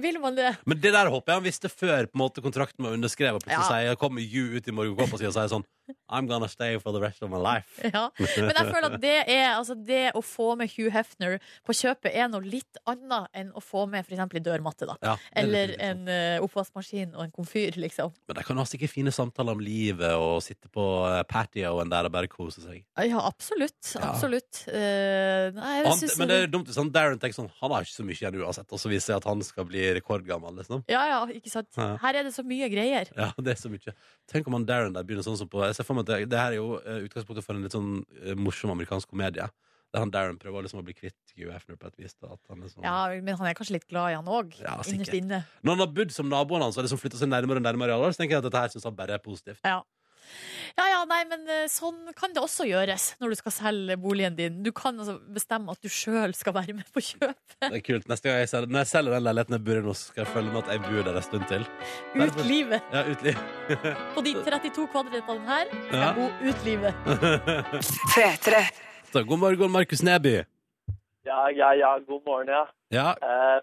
Speaker 3: Vil man det?
Speaker 2: Men det der håper jeg han visste før på en måte kontrakten var underskrevet. Og
Speaker 3: Ja.
Speaker 2: plutselig sier, kommer you ut i morgenkåpa si og sier sånn I'm gonna stay for the rest of my life.
Speaker 3: Ja. Men jeg føler at det er altså det å få med Hugh Hefner på kjøpet er noe litt annet enn å få med f.eks. ei dørmatte, da.
Speaker 2: Ja, det er
Speaker 3: Eller
Speaker 2: litt interessant.
Speaker 3: en eh, oppvaskmaskin og en komfyr, liksom.
Speaker 2: Men de kan ha sikkert fine samtaler om livet og sitte på eh, patioen der og bare kose seg.
Speaker 3: Ja, absolutt.
Speaker 2: Ja.
Speaker 3: Absolutt. Eh, nei, jeg
Speaker 2: Han,
Speaker 3: synes-
Speaker 2: men det er dumt hvis han Darren tenker sånn Han har ikke så mye igjen uansett, og så viser det seg at han skal bli rekordgammel. Liksom.
Speaker 3: Ja, ja, ikke sant.
Speaker 2: Ja.
Speaker 3: Her er det så mye greier.
Speaker 2: Ja, det er så mye Tenk om han Darren der begynner sånn som på Jeg ser ser for meg at det, det her er jo eh, utgangspunktet for en litt sånn eh, morsom amerikansk komedie. Der han Darren prøver liksom å bli kvitt Hugh Hefner på et vis. Da, at han er sånn,
Speaker 3: Ja, men han er kanskje litt glad i han òg,
Speaker 2: Ja, sikkert.
Speaker 3: innerst inne.
Speaker 2: Når han har bodd som naboen hans og liksom flytta seg nærmere og nærmere, i alder, så tenker jeg at dette her synes han bare er positivt.
Speaker 3: Ja. ja, ja, nei, men eh, sånn kan det også gjøres når du skal selge boligen din. Du kan altså bestemme at du sjøl skal være med på kjøp.
Speaker 2: Det er kult. Neste gang jeg selger, når jeg selger den leiligheten jeg bor i nå, så skal jeg følge med at jeg bor der en stund til.
Speaker 3: Ut livet.
Speaker 2: Ja, utli.
Speaker 3: På de 32 kvadratene her skal
Speaker 2: Ja.
Speaker 3: jeg bo ut livet.
Speaker 2: Så, God morgen, Markus Neby.
Speaker 6: Ja, ja, ja. God morgen, ja.
Speaker 2: Ja,
Speaker 6: Eh,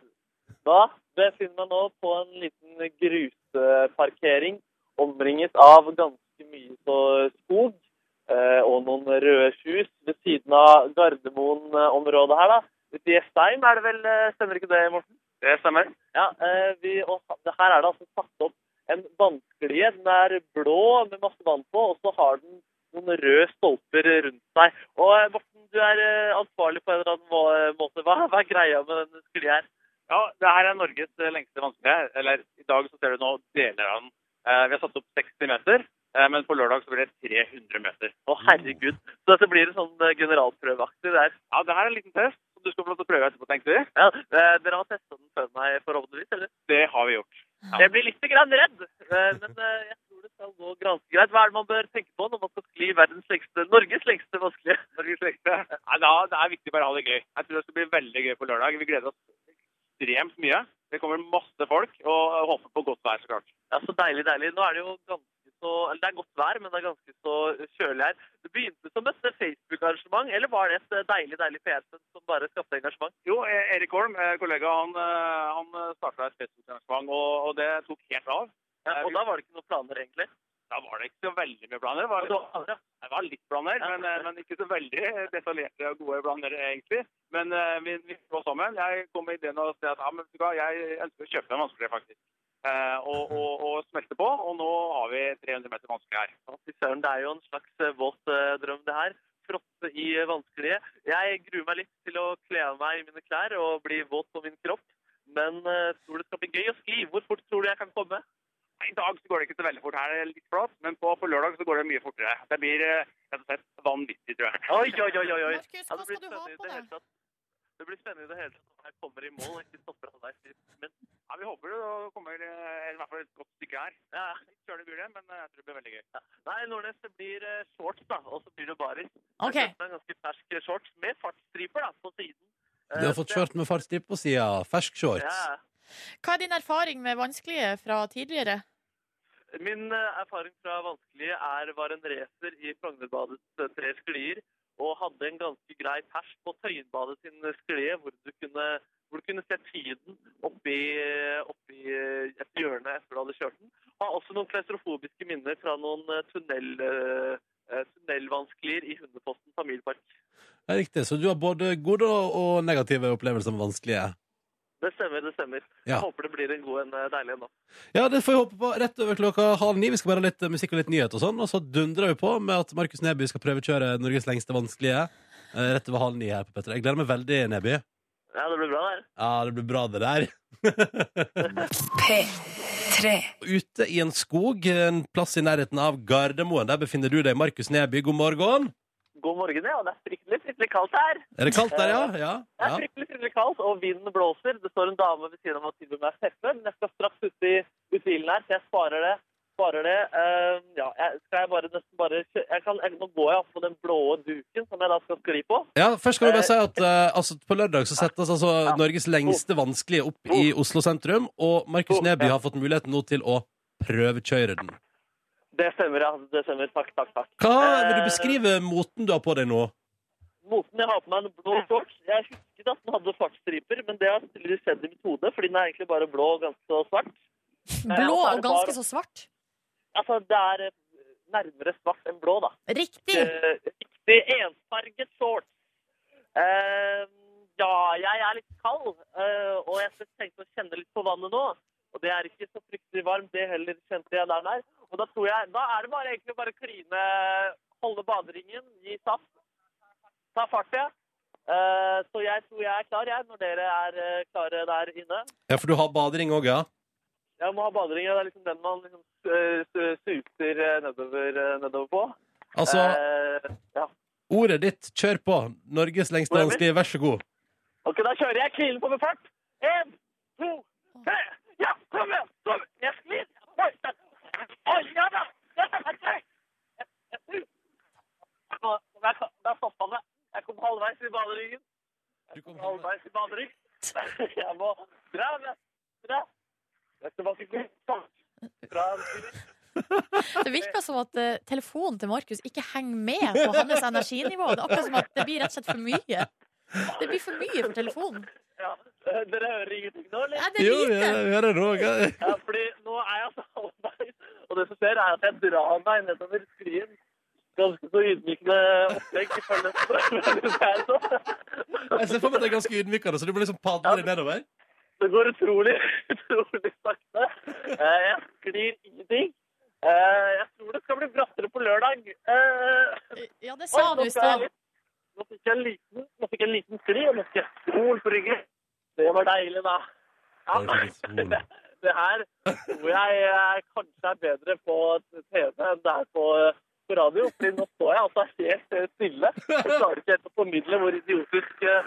Speaker 6: da befinner jeg meg nå på en liten grusparkering, omringet av ganske mye så skog eh, og noen røde hus ved siden av Gardermoen-området her, da. Ute i Jessheim er det vel, eh, stemmer ikke det, Morten? Det stemmer. Ja, eh, vi, og ha- her er det altså satt opp en vannsklie. Den er blå med masse vann på, og så har den noen røde stolper rundt seg. Og eh, Morten, du er eh, ansvarlig på en eller annen må- måte. Hva, hva er greia med denne sklia her?
Speaker 7: Ja, det her er Norges eh, lengste vannsklie. Eller i dag så ser du nå deler av den. Eh, Vi har satt opp 60 meter, eh, men på lørdag så blir det 300 meter.
Speaker 6: Å, herregud. Så dette blir en sånn eh, generalprøveaktig der.
Speaker 7: Ja, det her er en liten test som du skal få lov til å prøve etterpå, tenkte vi.
Speaker 6: Ja, eh, dere har testa den før meg, forhåpentligvis? eller?
Speaker 7: Det har vi gjort.
Speaker 6: Jeg blir litt grann redd, eh, men eh, jeg tror det skal gå ganske greit. Hva er det man bør tenke på når man skal skli verdens lengste, Norges lengste vanskelige?
Speaker 7: Norges lengste. Nei, da, det er viktig å bare ha det gøy. Jeg tror det skal bli veldig gøy på lørdag. Vi gleder oss ekstremt mye. Det kommer masse folk, og håper på godt vær, så klart.
Speaker 6: Ja, så deilig, deilig. Nå er det jo ganske så Eller det er godt vær, men det er ganske så kjølig her. Det begynte som et Facebook-arrangement, eller var det et eh, deilig, deilig PR-sett som bare skapte engasjement?
Speaker 7: Jo, E- Erik Holm, eh, kollega, han, eh, han starta et Facebook-arrangement, og, og det tok helt av.
Speaker 6: Ja, og da var det ikke noen planer, egentlig.
Speaker 7: Da var det ikke så veldig mye planer. Det var,
Speaker 6: Og det var andre.
Speaker 7: Det var litt planer, men, eh, men ikke så veldig detaljerte og gode planer, egentlig. Men eh, vi, vi så sammen. Jeg kom med ideen og sa at ja, men, vet du hva, jeg ønsker å kjøpe en vanskelig, faktisk. Eh, og, og, og smelte på, og nå har vi 300 meter vanskelig her.
Speaker 6: Ja, Fy søren, det er jo en slags eh, våt eh, drøm, det her. Frotte i eh, vanskelige. Jeg gruer meg litt til å kle av meg i mine klær og bli våt på min kropp. Men eh, tror det skal bli gøy å skli. Hvor fort tror du jeg kan komme?
Speaker 7: I dag så går det ikke så veldig fort her, det er litt flatt, men på, på lørdag så går det mye fortere. Det blir eh, rett og slett vanvittig, tror jeg.
Speaker 6: Oi, oi, oi, oi. oi.
Speaker 3: Markus,
Speaker 6: Ja,
Speaker 3: hva
Speaker 6: det blir
Speaker 3: skal du ha
Speaker 6: spennende i
Speaker 3: på deg?
Speaker 6: det hele tatt. Det blir spennende i det hele tatt om jeg kommer i mål og ikke stopper halvveis. Men
Speaker 7: Ja, vi håper det kommer eh, i hvert fall et godt stykke her.
Speaker 6: ja,
Speaker 7: Litt kjølig blir det, men eh, jeg tror det blir veldig gøy.
Speaker 6: Nei, Nordnes, det blir eh, shorts, da. Og så blir det baris.
Speaker 3: Ok.
Speaker 6: Jeg kjøpte meg En ganske fersk eh, shorts med fartsstriper da, på siden. Eh,
Speaker 2: du har fått skjørt med fartstip på sida. Fersk shorts.
Speaker 6: Ja.
Speaker 3: Hva er din erfaring med vanskelige fra tidligere?
Speaker 6: Min eh, erfaring fra vanskelige er, var en racer i Frognerbadets eh, tre sklier, og hadde en ganske grei pers på Tøyenbadet sin eh, sklie, hvor du kunne, hvor du kunne se tiden oppi, oppi eh, et hjørne etter du hadde kjørt den. Har også noen klaustrofobiske minner fra noen eh, tunnel, eh, eh, tunnelvanskelier i Hundeposten familiepark.
Speaker 2: Det er riktig. Så du har både gode og- og negative opplevelser med vanskelige.
Speaker 6: Det stemmer, det stemmer.
Speaker 2: Ja.
Speaker 6: Jeg håper det blir en god en, eh, deilig en nå.
Speaker 2: Ja, det får vi håpe på. Rett over klokka halv ni. Vi skal bare ha litt eh, musikk og litt nyhet og sånn. Og så dundrer vi på med at Markus Neby skal prøvekjøre Norges lengste vanskelige. eh, Rett over halv ni her på Petter. Jeg gleder meg veldig, Neby.
Speaker 6: Ja, det blir bra det her.
Speaker 2: Ja, det blir bra, det der. Ute i en skog, en plass i nærheten av Gardermoen. Der befinner du deg, Markus Neby. God morgen.
Speaker 6: God morgen, ja. Det er fryktelig, fryktelig kaldt her.
Speaker 2: Er det kaldt der, ja? Ja.
Speaker 6: Det er
Speaker 2: ja.
Speaker 6: fryktelig fryktelig kaldt, og vinden blåser. Det står en dame ved siden av og tilbyr meg teppe, men jeg skal straks ut i, ut i ilden her, så jeg sparer det. Sparer det. Eh, ja, jeg, skal jeg bare nesten bare kjø- jeg kan, jeg, Nå går jeg opp på den blå duken som jeg da skal skli på.
Speaker 2: Ja, først kan vi bare si at eh, altså, På lørdag så settes altså Norges lengste vanskelige opp i
Speaker 6: Oh.
Speaker 2: Oslo sentrum, og Markus Neby har fått muligheten nå til å prøvekjøre den.
Speaker 6: Det stemmer, ja. Det stemmer. Takk, takk, takk.
Speaker 2: Hva Vil du beskrive moten du har på deg nå?
Speaker 6: Moten jeg har på meg, er en blå shorts. Jeg husket at den hadde fartsstriper, men det har tydeligvis skjedd i mitt hode, fordi den er egentlig bare blå og ganske så svart.
Speaker 3: Blå
Speaker 6: altså, er
Speaker 3: og
Speaker 6: det
Speaker 3: ganske
Speaker 6: bare-
Speaker 3: så svart.
Speaker 6: Altså, det er eh, nærmere svart enn blå, da.
Speaker 3: Riktig!
Speaker 6: Eh, Riktig ensfarget shorts. Eh, ja, jeg er litt kald, eh, og jeg tenkte å kjenne litt på vannet nå. Og det er ikke så fryktelig varmt, det heller kjente jeg der. der. Og da tror jeg, da er det bare egentlig bare å kline, holde baderingen, gi saft, ta fart, ja. Eh, så jeg tror jeg er klar, jeg, når dere er eh, klare der inne.
Speaker 2: Ja, For du har badering òg, ja?
Speaker 6: Ja, må ha baderingen. Det er liksom den man liksom, eh, su- suser eh, nedover, eh, nedover på.
Speaker 2: Altså,
Speaker 6: Eh, ja.
Speaker 2: ordet ditt, kjør på. Norges lengste
Speaker 6: Hvor er
Speaker 2: danske, vær så god.
Speaker 6: Ok, da kjører jeg kvilen på med fart. En, to, tre. Ja, kom igjen! Kom igjen! Jeg sklir! Oi, da. Oi, ja da! Ja, da, da, da. Jeg- jeg- Nå- Der kom- der stoppa det. Jeg kom halvveis i baderyggen.
Speaker 2: Du kom
Speaker 6: Halvveis i baderygg. Jeg må dra, dra, dra. Jeg skal bare ikke Dra,
Speaker 3: Det virker som at eh, telefonen til Markus ikke henger med på hans energinivå. Det er akkurat som at det blir rett og slett for mye. Det blir for mye for telefonen.
Speaker 6: ja. Eh, Dere hører ingenting nå, eller?
Speaker 3: Nei, det er lite.
Speaker 2: det nå.
Speaker 6: Ja, fordi nå er jeg altså halvveis, og det som skjer er at jeg drar meg nedover skrien. Ganske så ydmykende opplegg i følge.
Speaker 2: Jeg ser for meg at det er ganske ydmykende, så du må liksom padle deg nedover.
Speaker 6: Det går utrolig, utrolig sakte. Eh, Jeg sklir ingenting. Eh, Jeg tror det skal bli brattere på lørdag. Eh,
Speaker 3: Ja, det
Speaker 6: Oi,
Speaker 3: sa du
Speaker 6: nå
Speaker 3: i
Speaker 6: skal jeg
Speaker 3: stad.
Speaker 6: litt- Nå fikk jeg en liten, nå fikk jeg en liten skli, og nå fikk jeg sol på ryggen. Det var deilig, da. Ja.
Speaker 2: Oi, det er sol.
Speaker 6: Det her tror jeg eh, kanskje er bedre på TV enn det er på, eh, på radio. fordi nå står jeg altså helt eh, stille. Jeg klarer ikke helt å formidle hvor idiotisk eh,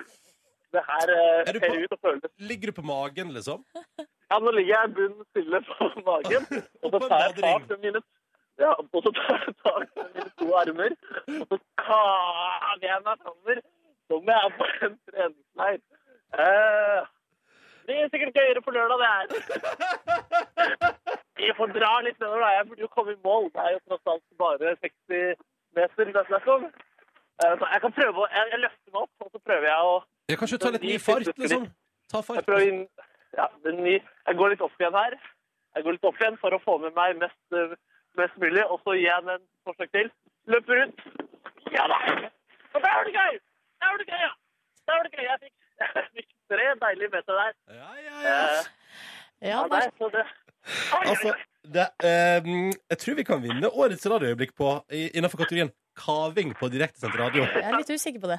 Speaker 6: det her eh,
Speaker 2: Er du
Speaker 6: ser
Speaker 2: på-
Speaker 6: ut og føles.
Speaker 2: Ligger du på magen, liksom?
Speaker 6: Ja, nå ligger jeg bunn stille på magen, og så
Speaker 2: På en
Speaker 6: tar jeg
Speaker 2: badering.
Speaker 6: tak med mine ja, og så tar jeg tak med mine to armer, og så kaver jeg meg framover. Som jeg er på en treningsleir. Eh, det er sikkert gøyere på lørdag, det her. Vi får dra litt nedover, da. Jeg burde jo komme i mål. Det er jo tross alt bare 60 meter det er snakk om. Eh, så jeg kan prøve å jeg, jeg løfter meg opp, og så prøver jeg å
Speaker 2: Ja, kanskje du tar litt ny fart, liksom? Ta
Speaker 6: jeg
Speaker 2: fart.
Speaker 6: prøver å inn... Ja, den ny... Jeg går litt opp igjen her. Jeg går litt opp igjen for å få med meg mest, eh, mest mulig, og så gir jeg den en forsøk til. Løper ut. Ja da! Og der var det gøy! Der var det gøy, ja! Der var det gøy. Jeg fikk, jeg fikk tre deilige meter der.
Speaker 2: Ja, ja, ja.
Speaker 6: Eh,
Speaker 3: Ja,
Speaker 6: ja,
Speaker 3: der.
Speaker 6: nei, så det... Oi, oi,
Speaker 2: Altså,
Speaker 6: oi.
Speaker 2: det, eh, jeg tror vi kan vinne årets radioøyeblikk på i- innenfor kategorien kaving på direktesendt radio.
Speaker 3: Jeg er litt usikker på det.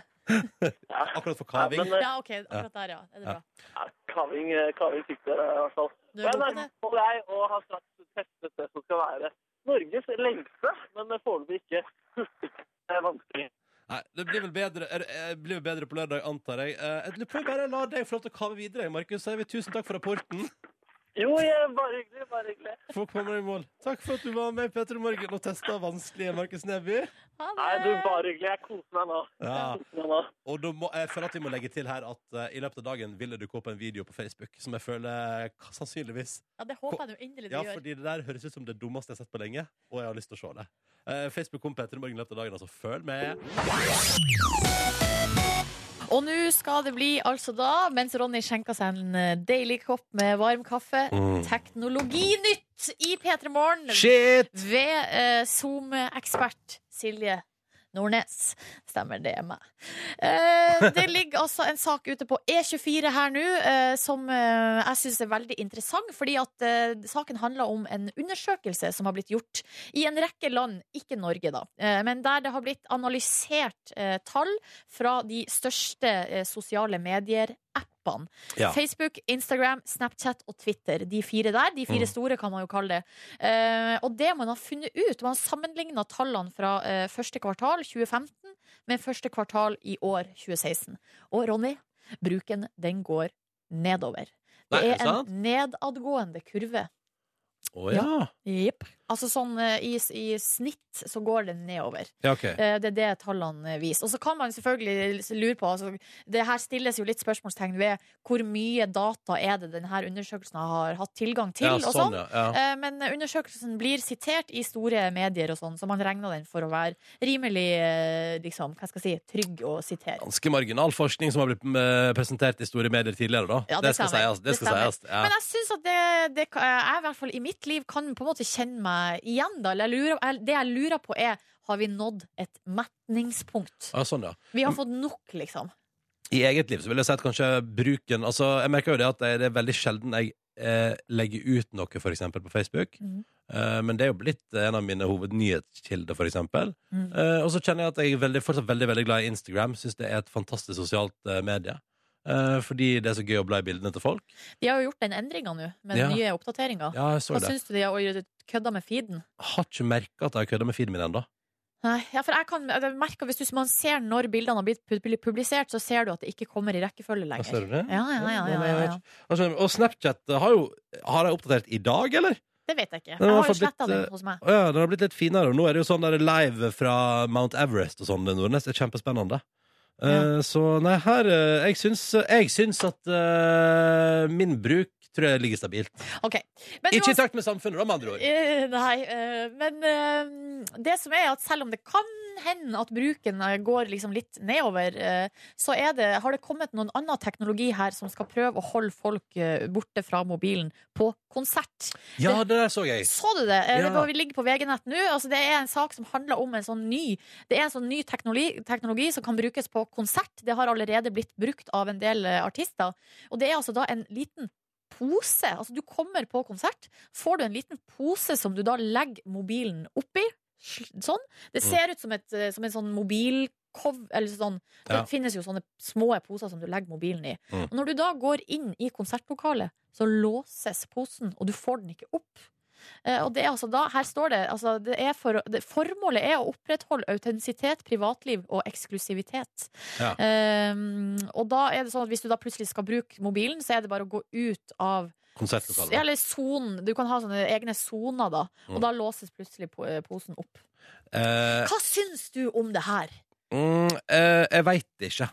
Speaker 6: Ja.
Speaker 2: Akkurat for
Speaker 6: Ja,
Speaker 2: kaving.
Speaker 6: men eh,
Speaker 3: Ja, OK. Akkurat der, ja. Er det bra.
Speaker 6: ja, kaving, eh, kaving fikk dere i hvert fall.
Speaker 3: Du
Speaker 6: Men
Speaker 3: er god på
Speaker 6: eh,
Speaker 3: det.
Speaker 6: nå er jeg og har straks testet det som skal være Norges lengste, men foreløpig ikke hurtigste vanskelig.
Speaker 2: Nei, det blir vel bedre, er, er, blir vel bedre på lørdag, antar jeg. Eh, jeg lurer på om jeg bare la deg få lov til å kave videre, Markus. Så er vi tusen takk for rapporten.
Speaker 6: Jo, ja, bare hyggelig, bare hyggelig.
Speaker 2: For å komme deg i mål. Takk for at du var med, Petter Morgen, og testa vanskelige Markus Neby.
Speaker 6: Nei,
Speaker 3: Ha
Speaker 6: du,
Speaker 3: det.
Speaker 6: bare hyggelig. Jeg koser meg nå.
Speaker 2: Ja.
Speaker 6: Jeg koser meg nå.
Speaker 2: Og da må, jeg føler at vi må legge til her at eh, i løpet av dagen vil det dukke opp en video på Facebook som jeg føler k- sannsynligvis
Speaker 3: Ja, det håper jeg nå endelig
Speaker 2: Ja,
Speaker 3: du gjør.
Speaker 2: fordi det der høres ut som det dummeste jeg har sett på lenge, og jeg har lyst til å se det. Eh, Facebook kom Petter Morgen i løpet av dagen, altså følg med.
Speaker 3: Og nå skal det bli, altså da, mens Ronny skjenker seg en eh, deilig kopp med varm kaffe,
Speaker 2: Mm.
Speaker 3: Teknologinytt i P3 Morgen
Speaker 2: Shit!
Speaker 3: ved eh, Zoom-ekspert Silje Nordnes. Stemmer det er meg. Eh, det ligger altså en sak ute på E24 her nå eh, som eh, jeg syns er veldig interessant, fordi at eh, saken handler om en undersøkelse som har blitt gjort i en rekke land, ikke Norge da, eh, men der det har blitt analysert eh, tall fra de største eh, sosiale medier-appene.
Speaker 2: Ja.
Speaker 3: Facebook, Instagram, Snapchat og Twitter. De fire der. De fire
Speaker 2: Mm.
Speaker 3: store, kan man jo kalle det. Eh, og det man har funnet ut Man har sammenligna tallene fra eh, første kvartal 2015 med første kvartal i år 2016. Og Ronny, bruken den går nedover. Det
Speaker 2: Nei, er det
Speaker 3: er
Speaker 2: sant?
Speaker 3: en nedadgående kurve.
Speaker 2: Å ja.
Speaker 3: Jepp. Altså sånn eh, i, i snitt så går det nedover.
Speaker 2: Ja, OK.
Speaker 3: Eh, Det er det tallene viser. Og så kan man selvfølgelig lure på altså, Det her stilles jo litt spørsmålstegn ved hvor mye data er det denne undersøkelsen har hatt tilgang til.
Speaker 2: ja,
Speaker 3: og sånn.
Speaker 2: sånn, ja. ja.
Speaker 3: Eh, Men undersøkelsen blir sitert i store medier, og sånn, så man regner den for å være rimelig eh, liksom, hva skal jeg si, trygg å sitere.
Speaker 2: Ganske marginal forskning som har blitt eh, presentert i store medier tidligere, da.
Speaker 3: Ja, det
Speaker 2: skal
Speaker 3: stemmer.
Speaker 2: sies. Det
Speaker 3: Det
Speaker 2: skal
Speaker 3: stemmer.
Speaker 2: sies. Ja.
Speaker 3: Men jeg syns at det, det kan- jeg i hvert fall i mitt liv kan på en måte kjenne meg igjen, da. Eller jeg lurer, jeg- det jeg lurer på, er har vi nådd et metningspunkt?
Speaker 2: Ja, sånn, ja.
Speaker 3: Vi har fått nok, liksom.
Speaker 2: I eget liv så vil jeg si at kanskje bruken Altså, jeg merker jo det at det det er veldig sjelden jeg eh, legger ut noe, for eksempel, på Facebook.
Speaker 3: Mhm.
Speaker 2: Eh, men det er jo blitt en av mine hovednyhetskilder, for eksempel.
Speaker 3: Mhm.
Speaker 2: Eh, og så kjenner jeg at jeg er veldig, fortsatt veldig, veldig glad i Instagram. Syns det er et fantastisk sosialt eh, medie. eh, fordi det er så gøy å bla i bildene til folk.
Speaker 3: De har jo gjort den endringa nå, med den
Speaker 2: Ja.
Speaker 3: nye oppdateringa.
Speaker 2: Ja, jeg så
Speaker 3: Hva
Speaker 2: det.
Speaker 3: syns du de har og kødda med feeden?
Speaker 2: Har ikke merka at jeg har kødda med feeden min ennå.
Speaker 3: Nei, ja, for jeg kan jeg merker, Hvis du, man ser når bildene har blitt pu- publisert, så ser du at det ikke kommer i rekkefølge
Speaker 2: Ja, ser
Speaker 3: lenger.
Speaker 2: du det?
Speaker 3: Ja, ja, ja, ja, ja, ja.
Speaker 2: Altså, Og Snapchat har jo Har jeg oppdatert i dag, eller?
Speaker 3: Det vet jeg ikke.
Speaker 2: har
Speaker 3: Jeg har jo
Speaker 2: fått litt,
Speaker 3: sletta den
Speaker 2: eh,
Speaker 3: hos meg.
Speaker 2: Å ja, den har blitt litt finere. Og nå er det jo sånn der live fra Mount Everest og sånn. det Nordnes det er kjempespennende. Eh,
Speaker 3: Ja.
Speaker 2: Så nei, her eh, Jeg syns, jeg syns at eh, min bruk tror jeg ligger stabilt.
Speaker 3: Ok. Men
Speaker 2: Ikke i takt med samfunnet, da, med andre ord.
Speaker 3: Eh, Nei, eh, men eh, det som er at selv om det kan hende at bruken eh, går liksom litt nedover, eh, så er det, har det kommet noen annen teknologi her som skal prøve å holde folk eh, borte fra mobilen på konsert.
Speaker 2: Ja, det der så jeg.
Speaker 3: Så du det? Eh,
Speaker 2: Ja.
Speaker 3: Det går- vi ligger på VG-nett nå. Altså, det er en sak som handler om en sånn ny Det er en sånn ny teknologi, teknologi som kan brukes på konsert. Det har allerede blitt brukt av en del eh, artister. Og det er altså da en liten pose. Altså, du kommer på konsert, får du en liten pose som du da legger mobilen oppi. sl- Sånn. Det
Speaker 2: Mm.
Speaker 3: ser ut som, et, eh, som en sånn mobil... Eller sånn. Det
Speaker 2: Ja.
Speaker 3: finnes jo sånne små poser som du legger mobilen i.
Speaker 2: Mm.
Speaker 3: Og når du da går inn i konsertlokalet, så låses posen, og du får den ikke opp. Eh, Og det er altså da, her står det, altså det er for, det, Formålet er å opprettholde autentisitet, privatliv og eksklusivitet.
Speaker 2: Ja.
Speaker 3: Ehm, og da er det sånn at hvis du da plutselig skal bruke mobilen, så er det bare å gå ut av ja,
Speaker 2: Konsertlokalet.
Speaker 3: Eller sonen. Du kan ha sånne egne soner, da. Og
Speaker 2: Mm.
Speaker 3: da låses plutselig po- eh, posen opp.
Speaker 2: Eh,
Speaker 3: Hva syns du om det her?
Speaker 2: Mm, eh, jeg veit ikke.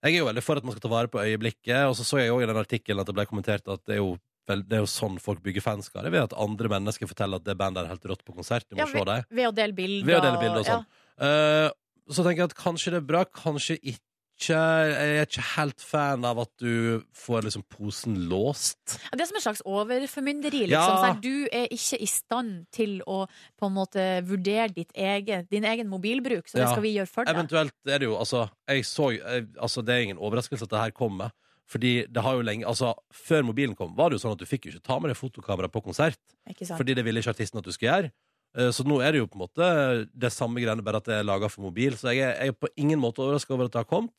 Speaker 2: Jeg er jo veldig for at man skal ta vare på øyeblikket, og så så jeg jo i den artikkelen at det ble kommentert at det er jo vel, det er jo sånn folk bygger fanskare, ved at andre mennesker forteller at det bandet er helt rått på konsert. Du må
Speaker 3: Ja,
Speaker 2: se dem.
Speaker 3: Ved å dele bilder?
Speaker 2: Ved å dele bilder og
Speaker 3: ja.
Speaker 2: sånn. Eh, så tenker jeg at kanskje det er bra, kanskje ikke. Jeg er ikke helt fan av at du får liksom posen låst.
Speaker 3: Det er som en slags overformynderi. Liksom.
Speaker 2: Ja.
Speaker 3: Sånn, du er ikke i stand til å på en måte vurdere ditt egen, din egen mobilbruk, så det
Speaker 2: Ja.
Speaker 3: skal vi gjøre for deg.
Speaker 2: Eventuelt er det jo altså, jeg så, jeg, altså Det er ingen overraskelse at det her kommer. Fordi det har jo lenge, altså Før mobilen kom, var det jo sånn at du fikk jo ikke ta med deg fotokamera på konsert.
Speaker 3: Ikke sant?
Speaker 2: Fordi det ville ikke artisten at du skulle gjøre. Eh, Så nå er det jo på en måte det samme greiene, bare at det er laga for mobil. Så jeg er, jeg er på ingen måte overraska over at det har kommet.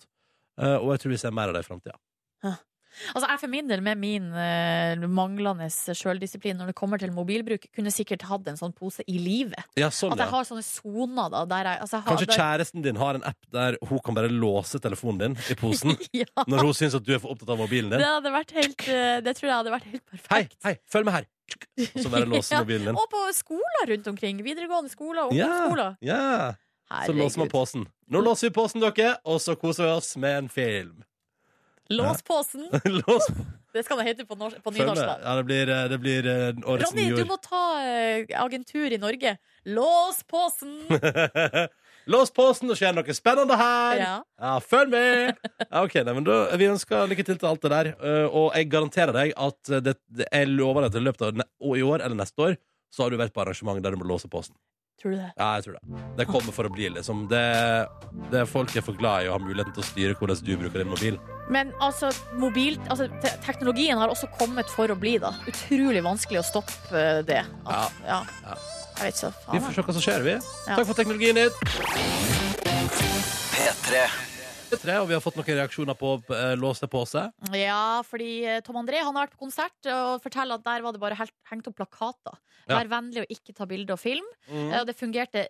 Speaker 2: eh, Og jeg tror vi ser mer av det i framtida.
Speaker 3: Altså, jeg for min del, med min eh, manglende sjøldisiplin når det kommer til mobilbruk, kunne sikkert hatt en sånn pose i livet.
Speaker 2: Ja, sånn,
Speaker 3: At jeg
Speaker 2: ja.
Speaker 3: har sånne soner, da. Der jeg, altså, jeg har,
Speaker 2: Kanskje kjæresten din har en app der hun kan bare låse telefonen din i posen
Speaker 3: Ja,
Speaker 2: når hun syns at du er for opptatt av mobilen din.
Speaker 3: det hadde vært helt eh, Det tror jeg hadde vært helt
Speaker 2: Hei,
Speaker 3: perfekt.
Speaker 2: hei, følg med her! Og så bare låse
Speaker 3: Ja,
Speaker 2: mobilen din.
Speaker 3: Og på skoler rundt omkring. Videregående skoler og
Speaker 2: Ja.
Speaker 3: ungdomsskoler.
Speaker 2: Ja, Så
Speaker 3: Herregud.
Speaker 2: låser man posen. Nå låser vi posen, dere, og så koser vi oss med en film.
Speaker 3: Lås posen!
Speaker 2: Lås
Speaker 3: Det skal det hete på, norsk, på
Speaker 2: følg
Speaker 3: nynorsk.
Speaker 2: med.
Speaker 3: da.
Speaker 2: Ja, det blir, eh, det blir eh, årets
Speaker 3: Ronny, du
Speaker 2: nyord.
Speaker 3: må ta eh, agentur i Norge. Lås posen!
Speaker 2: Lås posen, det skjer noe spennende her!
Speaker 3: Ja.
Speaker 2: Ja, følg med! Ja, ok, nei, men da, Vi ønsker lykke til til alt det der. eh, Og jeg garanterer deg at det, det, jeg lover deg at i løpet av ne og i år eller neste år så har du vært på arrangement der du må låse posen.
Speaker 3: Tror du det?
Speaker 2: Ja, jeg tror det. Det kommer for å bli, liksom. Det, det er folk er for glad i å ha muligheten til å styre hvordan du bruker din mobil.
Speaker 3: Men altså, mobil, altså te teknologien har også kommet for å bli, da. Utrolig vanskelig å stoppe eh, det. At, ja.
Speaker 2: Ja.
Speaker 3: Jeg vet ikke.
Speaker 2: Vi
Speaker 3: Faen,
Speaker 2: får
Speaker 3: altså. jeg.
Speaker 2: se hva som skjer, vi. Takk for teknologien din. P3, og vi har fått noen reaksjoner på eh, låste pose.
Speaker 3: ja, fordi eh, Tom André han har vært på konsert og forteller at der var det bare helt, hengt opp plakater.
Speaker 2: Ja. Mhm.
Speaker 3: Vær vennlig og ikke ta bilde og film. Eh, Og det fungerte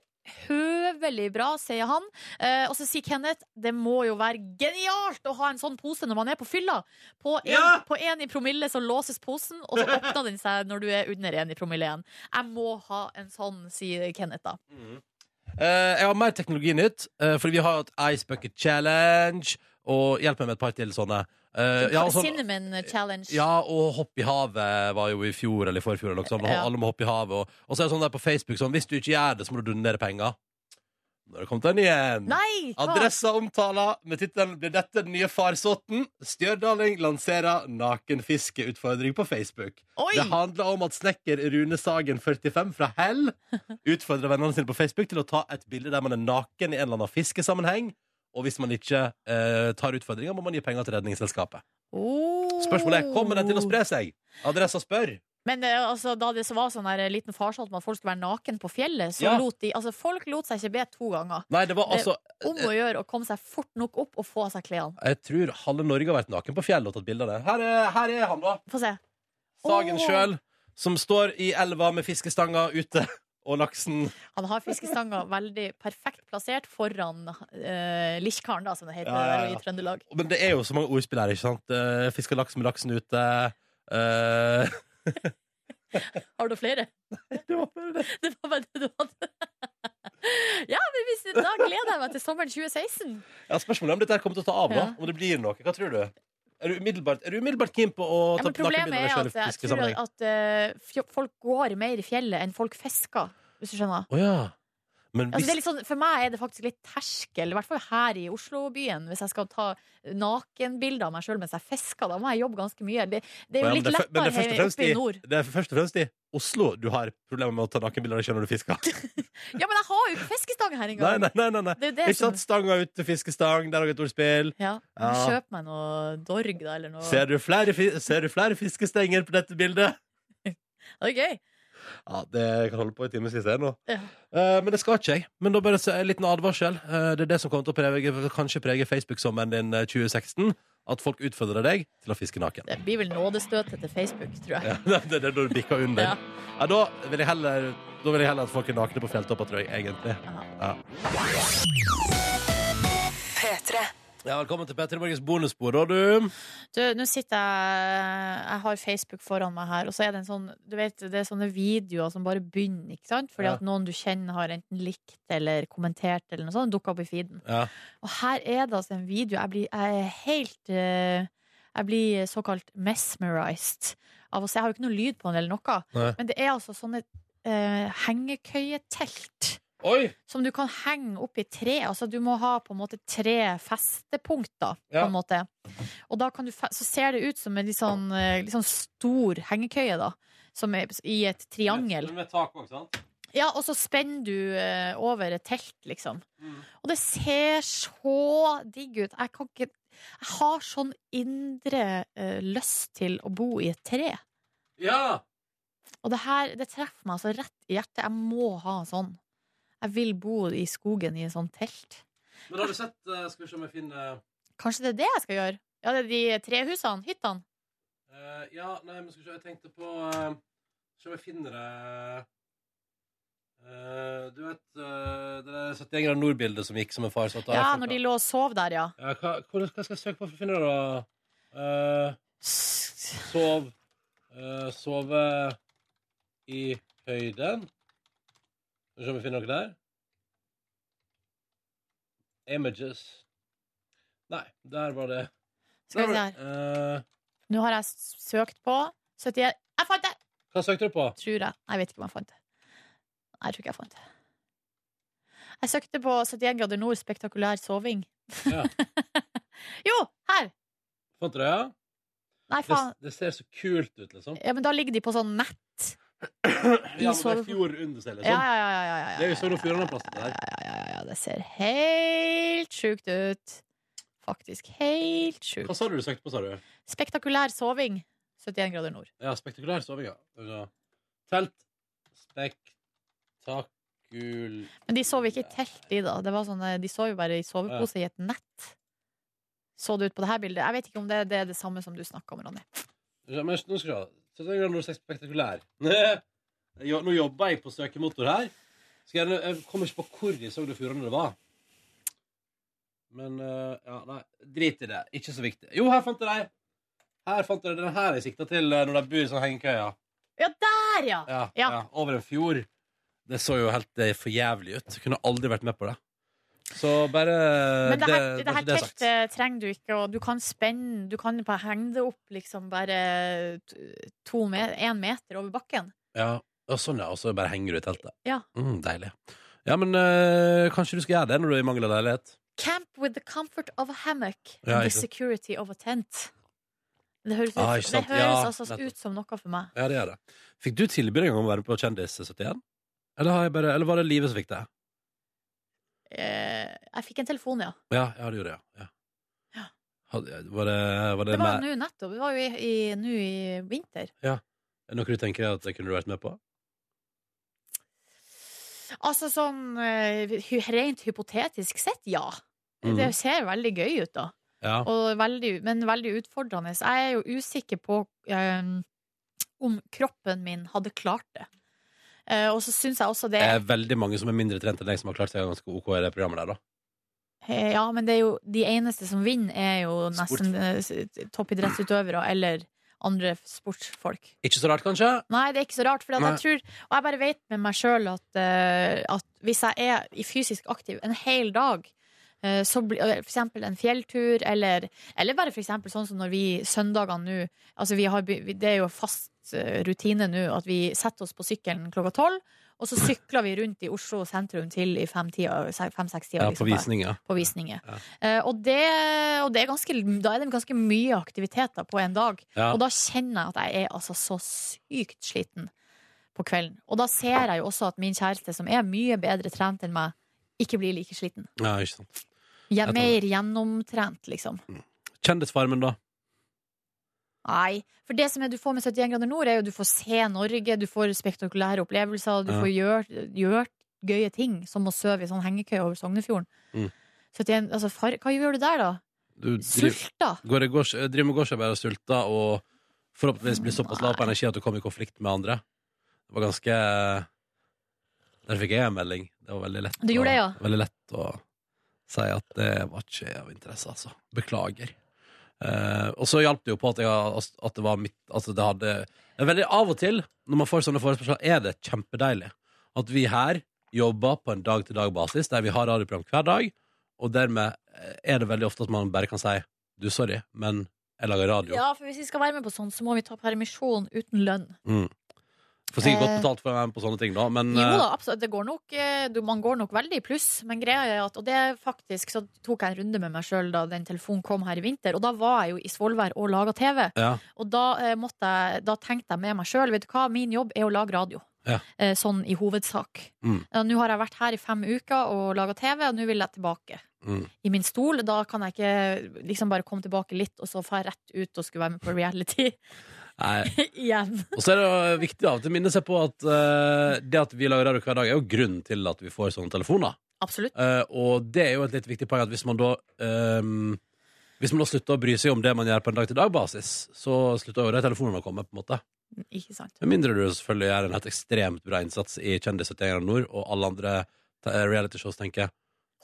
Speaker 3: høvelig bra, sier han. Eh, og så sier Kenneth det må jo være genialt å ha en sånn pose når man er på fylla. På en,
Speaker 2: Ja!
Speaker 3: på en i promille så låses posen, og så åpner den seg når du er under en i promille igjen. Jeg må ha en sånn, sier Kenneth da.
Speaker 2: Eh, jeg har mer teknologinytt, uh, fordi vi har hatt Ice Bucket Challenge. Og hjelp meg med et par til sånne. Eh, ja, og sånn-
Speaker 3: Cinnamon challenge.
Speaker 2: Ja, og hopp i havet var jo i fjor eller i forfjor. Eller noe sånt.
Speaker 3: Ja.
Speaker 2: Alle må hoppe i havet. Og, og så er det sånn der på Facebook sånn Hvis du ikke gjør det, så må du donere penger. Nå har det kommet den igjen.
Speaker 3: Nei! hva?
Speaker 2: Adressa omtaler med tittelen 'Blir dette den nye farsotten?' Stjørdaleng lanserer nakenfiskeutfordring på Facebook.
Speaker 3: Oi!
Speaker 2: Det handler om at snekker Rune Sagen, 45, fra Hell utfordrer vennene sine på Facebook til å ta et bilde der man er naken i en eller annen fiskesammenheng. Og hvis man ikke eh, tar utfordringa, må man gi penger til Redningsselskapet.
Speaker 3: Oh.
Speaker 2: Spørsmålet er kommer den til å spre seg. Adressa spør.
Speaker 3: Men eh, altså, da det så var sånn der liten farsott med at folk skulle være naken på fjellet, så
Speaker 2: Ja.
Speaker 3: lot de Altså, folk lot seg ikke be to ganger.
Speaker 2: Nei, det var
Speaker 3: Det-
Speaker 2: altså
Speaker 3: Om å gjøre å komme seg fort nok opp og få av seg klærne.
Speaker 2: Jeg tror halve Norge har vært naken på fjellet og tatt bilder av det. Her er, her er han, da.
Speaker 3: Få se.
Speaker 2: Sagen
Speaker 3: Åh.
Speaker 2: sjøl, som står i elva med fiskestanga ute. Og laksen
Speaker 3: Han har fiskestanga veldig perfekt plassert foran uh, Lichkaren, da, som det heter
Speaker 2: Ja, ja, ja.
Speaker 3: der i Trøndelag.
Speaker 2: Men det er jo så mange ordspill her, ikke sant? Eh, Fisker laks med laksen ute. eh,
Speaker 3: Har du flere?
Speaker 2: det var bare det.
Speaker 3: Det var bare det du hadde. ja, men hvis, da gleder jeg meg til sommeren 2016.
Speaker 2: Ja, spørsmålet er om dette her kommer til å ta av, da.
Speaker 3: Ja.
Speaker 2: Om det blir noe. Hva tror du? Er du umiddelbart, er du umiddelbart keen på å
Speaker 3: Ja,
Speaker 2: ta
Speaker 3: men problemet
Speaker 2: nakenbilder
Speaker 3: er
Speaker 2: av deg
Speaker 3: at
Speaker 2: sjøl i
Speaker 3: jeg
Speaker 2: fiske
Speaker 3: tror
Speaker 2: sammenheng? Å
Speaker 3: at eh, fjo- folk går mer i fjellet enn folk fisker, hvis du skjønner.
Speaker 2: ja. Men
Speaker 3: Altså, det
Speaker 2: hvis
Speaker 3: er litt sånn, for meg er det faktisk litt terskel, i hvert fall her i Oslo-byen, hvis jeg skal ta nakenbilder av meg sjøl mens jeg fisker. Da må jeg jobbe ganske mye. Det, det er
Speaker 2: Ja, men
Speaker 3: jo litt
Speaker 2: det er fø- men det
Speaker 3: lettere
Speaker 2: er først og
Speaker 3: her
Speaker 2: fremst
Speaker 3: oppe i
Speaker 2: i-
Speaker 3: nord.
Speaker 2: Det er først og fremst i Oslo du har problemer med å ta nakenbilder av deg sjøl når du fisker.
Speaker 3: Ja, men jeg har jo ikke fiskestang her
Speaker 2: Nei,
Speaker 3: engang!
Speaker 2: nei, nei, nei, nei.
Speaker 3: Det er sånn- jo det
Speaker 2: Ikke
Speaker 3: som
Speaker 2: sant? Stanga ute, fiskestang, der har jeg et ordspill.
Speaker 3: ja,
Speaker 2: Ja.
Speaker 3: Kjøp meg noe dorg, da, eller noe.
Speaker 2: Ser du flere, fi- ser du flere fiskestenger på dette bildet?
Speaker 3: Det er gøy.
Speaker 2: Ja, det kan holde på i timevis her nå.
Speaker 3: Ja.
Speaker 2: Eh, men det skal ikke jeg. Men da bare se- en liten advarsel. Eh, det er det som kommer til å prege, kanskje prege Facebook-sommeren din eh, 2016. At folk utfordrer deg til å fiske naken.
Speaker 3: Det blir vel nådestøtet til Facebook, tror jeg.
Speaker 2: Ja, det er det når du bikker under. ja.
Speaker 3: Ja.
Speaker 2: da, vil jeg heller, da vil jeg heller at folk er nakne på fjelltopper, tror jeg, egentlig.
Speaker 3: Ja.
Speaker 2: Ja. Ja, velkommen til Petter Morgens bonusbord, da, du.
Speaker 3: Du, nå sitter jeg Jeg har Facebook foran meg her, og så er det en sånn Du vet, det er sånne videoer som bare begynner, ikke sant? Fordi
Speaker 2: Ja.
Speaker 3: at noen du kjenner, har enten likt eller kommentert eller noe sånt, dukker opp i feeden.
Speaker 2: Ja.
Speaker 3: Og her er det altså en video Jeg blir jeg er helt eh, Jeg blir såkalt mesmerized av å se. Jeg har jo ikke noe lyd på den eller noe,
Speaker 2: Nei.
Speaker 3: men det er altså sånne eh, hengekøyetelt.
Speaker 2: Oi!
Speaker 3: Som du kan henge opp i tre. Altså, du må ha på en måte tre festepunkter.
Speaker 2: Ja.
Speaker 3: På en måte. Og da kan du, fe- så ser det ut som en litt sånn, eh, litt sånn stor hengekøye, da. Som er i et triangel.
Speaker 2: Med tak òg, sant?
Speaker 3: Ja, og så spenner du eh, over et telt, liksom. Og det ser så digg ut. Jeg kan ikke Jeg har sånn indre eh, lyst til å bo i et tre.
Speaker 2: Ja!
Speaker 3: Og det her, det treffer meg altså rett i hjertet. Jeg må ha en sånn. Jeg vil bo i skogen i en sånn telt.
Speaker 2: Men har du sett eh, Skal vi se om jeg finner
Speaker 3: Kanskje det er det jeg skal gjøre? Ja, det er de trehusene, hyttene.
Speaker 2: Eh, ja, nei, men skal vi se, jeg tenkte på uh, Se om jeg finner det Eh, Du vet eh, det der 71 grader nord-bildet som gikk som en far satt av
Speaker 3: Ja,
Speaker 2: iPhone,
Speaker 3: når de
Speaker 2: da.
Speaker 3: lå og sov der, ja.
Speaker 2: ja, hva, hvor- hva skal jeg søke på for å finne det, da? Eh,
Speaker 3: S-
Speaker 2: sov eh, Sove i høyden. Skal vi se om vi finner noe der. Images. Nei, der var det.
Speaker 3: Skal vi se
Speaker 2: Der
Speaker 3: her.
Speaker 2: var det. Eh,
Speaker 3: Nå har jeg s- søkt på 71 Jeg fant det!
Speaker 2: hva søkte du på?
Speaker 3: Tror jeg. Nei, jeg vet ikke om jeg fant det. Nei, jeg tror ikke jeg fant det. Jeg søkte på 71 grader nord, spektakulær soving.
Speaker 2: Ja.
Speaker 3: jo, her!
Speaker 2: Fant du det, ja?
Speaker 3: Nei,
Speaker 2: Det,
Speaker 3: faen.
Speaker 2: det ser så kult ut, liksom.
Speaker 3: Ja, men da ligger de på sånn nett.
Speaker 2: Ja, men det er
Speaker 3: sove-
Speaker 2: fjord under seg,
Speaker 3: Ja,
Speaker 2: liksom.
Speaker 3: ja, ja. ja, ja, ja.
Speaker 2: Det er jo Sogn og Fjordane-plass, det der.
Speaker 3: ja, ja, ja, ja, det ser helt sjukt ut. Faktisk helt
Speaker 2: Hva
Speaker 3: sjukt.
Speaker 2: sa du du søkte på, sa du?
Speaker 3: Spektakulær soving. 71 grader nord.
Speaker 2: Ja, spektakulær soving, ja. Skal vi se. Telt. Spektakul...
Speaker 3: Men de sov ikke i telt, de, da. Det var sånn, eh, de sov jo bare i sovepose i et nett. Så det ut på det her bildet? Jeg vet ikke om det, det er det samme som du snakka om, Ronny.
Speaker 2: Ja, men nå skal vi se. Så tenker jeg når du sier spektakulær. Jo, nå jobber jeg på søkemotor her. Skal jeg, jeg kommer ikke på hvor i Sogn og Fjordane det var. Men eh, ja, nei, drit i det. Ikke så viktig. Jo, her fant jeg deg! Her fant jeg den her jeg sikta til eh, når de bor i sånn hengekøye. Ja.
Speaker 3: Ja, der, ja!
Speaker 2: ja, ja.
Speaker 3: Ja.
Speaker 2: Over en fjord. Det så jo helt eh, for jævlig ut. Kunne aldri vært med på det. Så bare
Speaker 3: Men det her, det,
Speaker 2: bare
Speaker 3: her
Speaker 2: så Eh, er sagt.
Speaker 3: teltet trenger du ikke, og du kan spenne Du kan bare henge det opp liksom bare t- to me en meter over bakken.
Speaker 2: Ja, og sånn, ja. Og så bare henger du i teltet.
Speaker 3: Ja.
Speaker 2: Mm, deilig. Ja, men eh, kanskje du skal gjøre det når du er i mangel av leilighet?
Speaker 3: Camp with the comfort of a hammock
Speaker 2: Ja,
Speaker 3: and
Speaker 2: ikke
Speaker 3: the
Speaker 2: sant.
Speaker 3: security of a tent. Det høres, ut,
Speaker 2: Ah, ikke sant.
Speaker 3: det høres
Speaker 2: Ja,
Speaker 3: altså
Speaker 2: nettopp.
Speaker 3: ut som noe for meg.
Speaker 2: Ja, det gjør det. Fikk du tilbud en gang om å være med på Kjendis 71? Eller, har jeg bare, eller var det livet som fikk det?
Speaker 3: Eh, jeg fikk en telefon, ja.
Speaker 2: Ja, ja det gjorde jeg. Ja.
Speaker 3: Ja.
Speaker 2: Hadde, var det, var det,
Speaker 3: Det var
Speaker 2: mer-
Speaker 3: nå nettopp. Det var jo i, i, nå i vinter.
Speaker 2: Er det noe du tenker at jeg kunne vært med på?
Speaker 3: Altså sånn eh, hy- rent hypotetisk sett, ja.
Speaker 2: Mhm.
Speaker 3: Det ser veldig gøy ut, da.
Speaker 2: Ja.
Speaker 3: Og veldig, men veldig utfordrende. Jeg er jo usikker på eh, om kroppen min hadde klart det. Eh, og så syns jeg også det
Speaker 2: Det er veldig mange som er mindre trent enn deg, som har klart seg ganske OK i det programmet der, da.
Speaker 3: Eh, Ja, men det er jo de eneste som vinner, er jo
Speaker 2: Sport.
Speaker 3: nesten eh, s- toppidrettsutøvere eller andre sportsfolk.
Speaker 2: Ikke så rart, kanskje?
Speaker 3: Nei, det er ikke så rart, for at jeg tror, og jeg bare vet med meg sjøl at, eh, at hvis jeg er i fysisk aktiv en hel dag, eh, så blir eh, for eksempel en fjelltur, eller, eller bare for eksempel sånn som når vi søndagene nå altså vi har, be- vi- Det er jo fast eh, rutine nå at vi setter oss på sykkelen klokka tolv, og så sykler vi rundt i Oslo sentrum til i fem-seks-tida.
Speaker 2: Ja, på
Speaker 3: liksom,
Speaker 2: visning, ja.
Speaker 3: på visninger.
Speaker 2: Ja.
Speaker 3: Eh, og det, og det er ganske, da er det ganske mye aktiviteter på en dag.
Speaker 2: Ja.
Speaker 3: Og da kjenner jeg at jeg er altså så sykt sliten på kvelden. Og da ser jeg jo også at min kjæreste, som er mye bedre trent enn meg, ikke blir like sliten.
Speaker 2: ja ikke sant.
Speaker 3: Jeg
Speaker 2: Jeg
Speaker 3: er
Speaker 2: tar
Speaker 3: mer gjennomtrent, liksom.
Speaker 2: Kjendisfarmen, da?
Speaker 3: Nei. For det som er du får med 71 grader nord, er jo du får se Norge, du får spektakulære opplevelser, du
Speaker 2: Ja.
Speaker 3: får gjort, gjort gøye ting, som å sove i sånn hengekøye over Sognefjorden.
Speaker 2: Mm.
Speaker 3: 71, altså, far, hva gjør du der, da?
Speaker 2: Du driv,
Speaker 3: Sulta?
Speaker 2: går, i gårds- driver med gårdsarbeid og sulter og forhåpentligvis blir såpass lav på energi at du kommer i konflikt med andre. Det var ganske eh, Der fikk jeg en melding. Det var veldig lett,
Speaker 3: Du gjorde
Speaker 2: å,
Speaker 3: det, ja.
Speaker 2: veldig lett å si at det var ikke av interesse, altså. Beklager. Eh, og så hjalp det jo på at, jeg, at det var mitt Altså, det hadde det er veldig Av og til, når man får sånne forespørsler, er det kjempedeilig at vi her jobber på en dag-til-dag-basis, der vi har radioprogram hver dag, og dermed eh, er det veldig ofte at man bare kan si du, sorry, men jeg lager radio.
Speaker 3: Ja, for hvis vi skal være med på sånn, så må vi ta permisjon uten lønn.
Speaker 2: Får sikkert godt
Speaker 3: Eh.
Speaker 2: betalt for å være med på sånne ting, da, men
Speaker 3: Jo
Speaker 2: eh,
Speaker 3: da, absolutt. Det går nok, eh, du- man går nok veldig i pluss, men greia er at Og det faktisk så tok jeg en runde med meg sjøl da den telefonen kom her i vinter, og da var jeg jo i Svolvær og laga TV.
Speaker 2: Ja.
Speaker 3: Og da, eh, måtte jeg, da tenkte jeg med meg sjøl, vet du hva, min jobb er å lage radio.
Speaker 2: Ja.
Speaker 3: Eh, sånn i hovedsak.
Speaker 2: Mm.
Speaker 3: Eh, Nå har jeg vært her i fem uker og laga TV, og nå vil jeg tilbake.
Speaker 2: Mm.
Speaker 3: I min stol. Da kan jeg ikke liksom bare komme tilbake litt, og så dra rett ut og skulle være med på reality
Speaker 2: Nei,
Speaker 3: igjen.
Speaker 2: Og så er det jo viktig av og til å minne seg på at eh, det at vi lager radio hver dag, er jo grunnen til at vi får sånne telefoner.
Speaker 3: Absolutt.
Speaker 2: Eh, og det er jo et litt viktig poeng at hvis man da ehm, Hvis man da slutter å bry seg om det man gjør på en dag-til-dag-basis, så slutter jo de telefonene å komme. på en måte
Speaker 3: Ikke sant.
Speaker 2: Med mindre du selvfølgelig gjør en helt ekstremt bra innsats i Kjendis 71 grader nord, og alle andre eh, realityshows tenker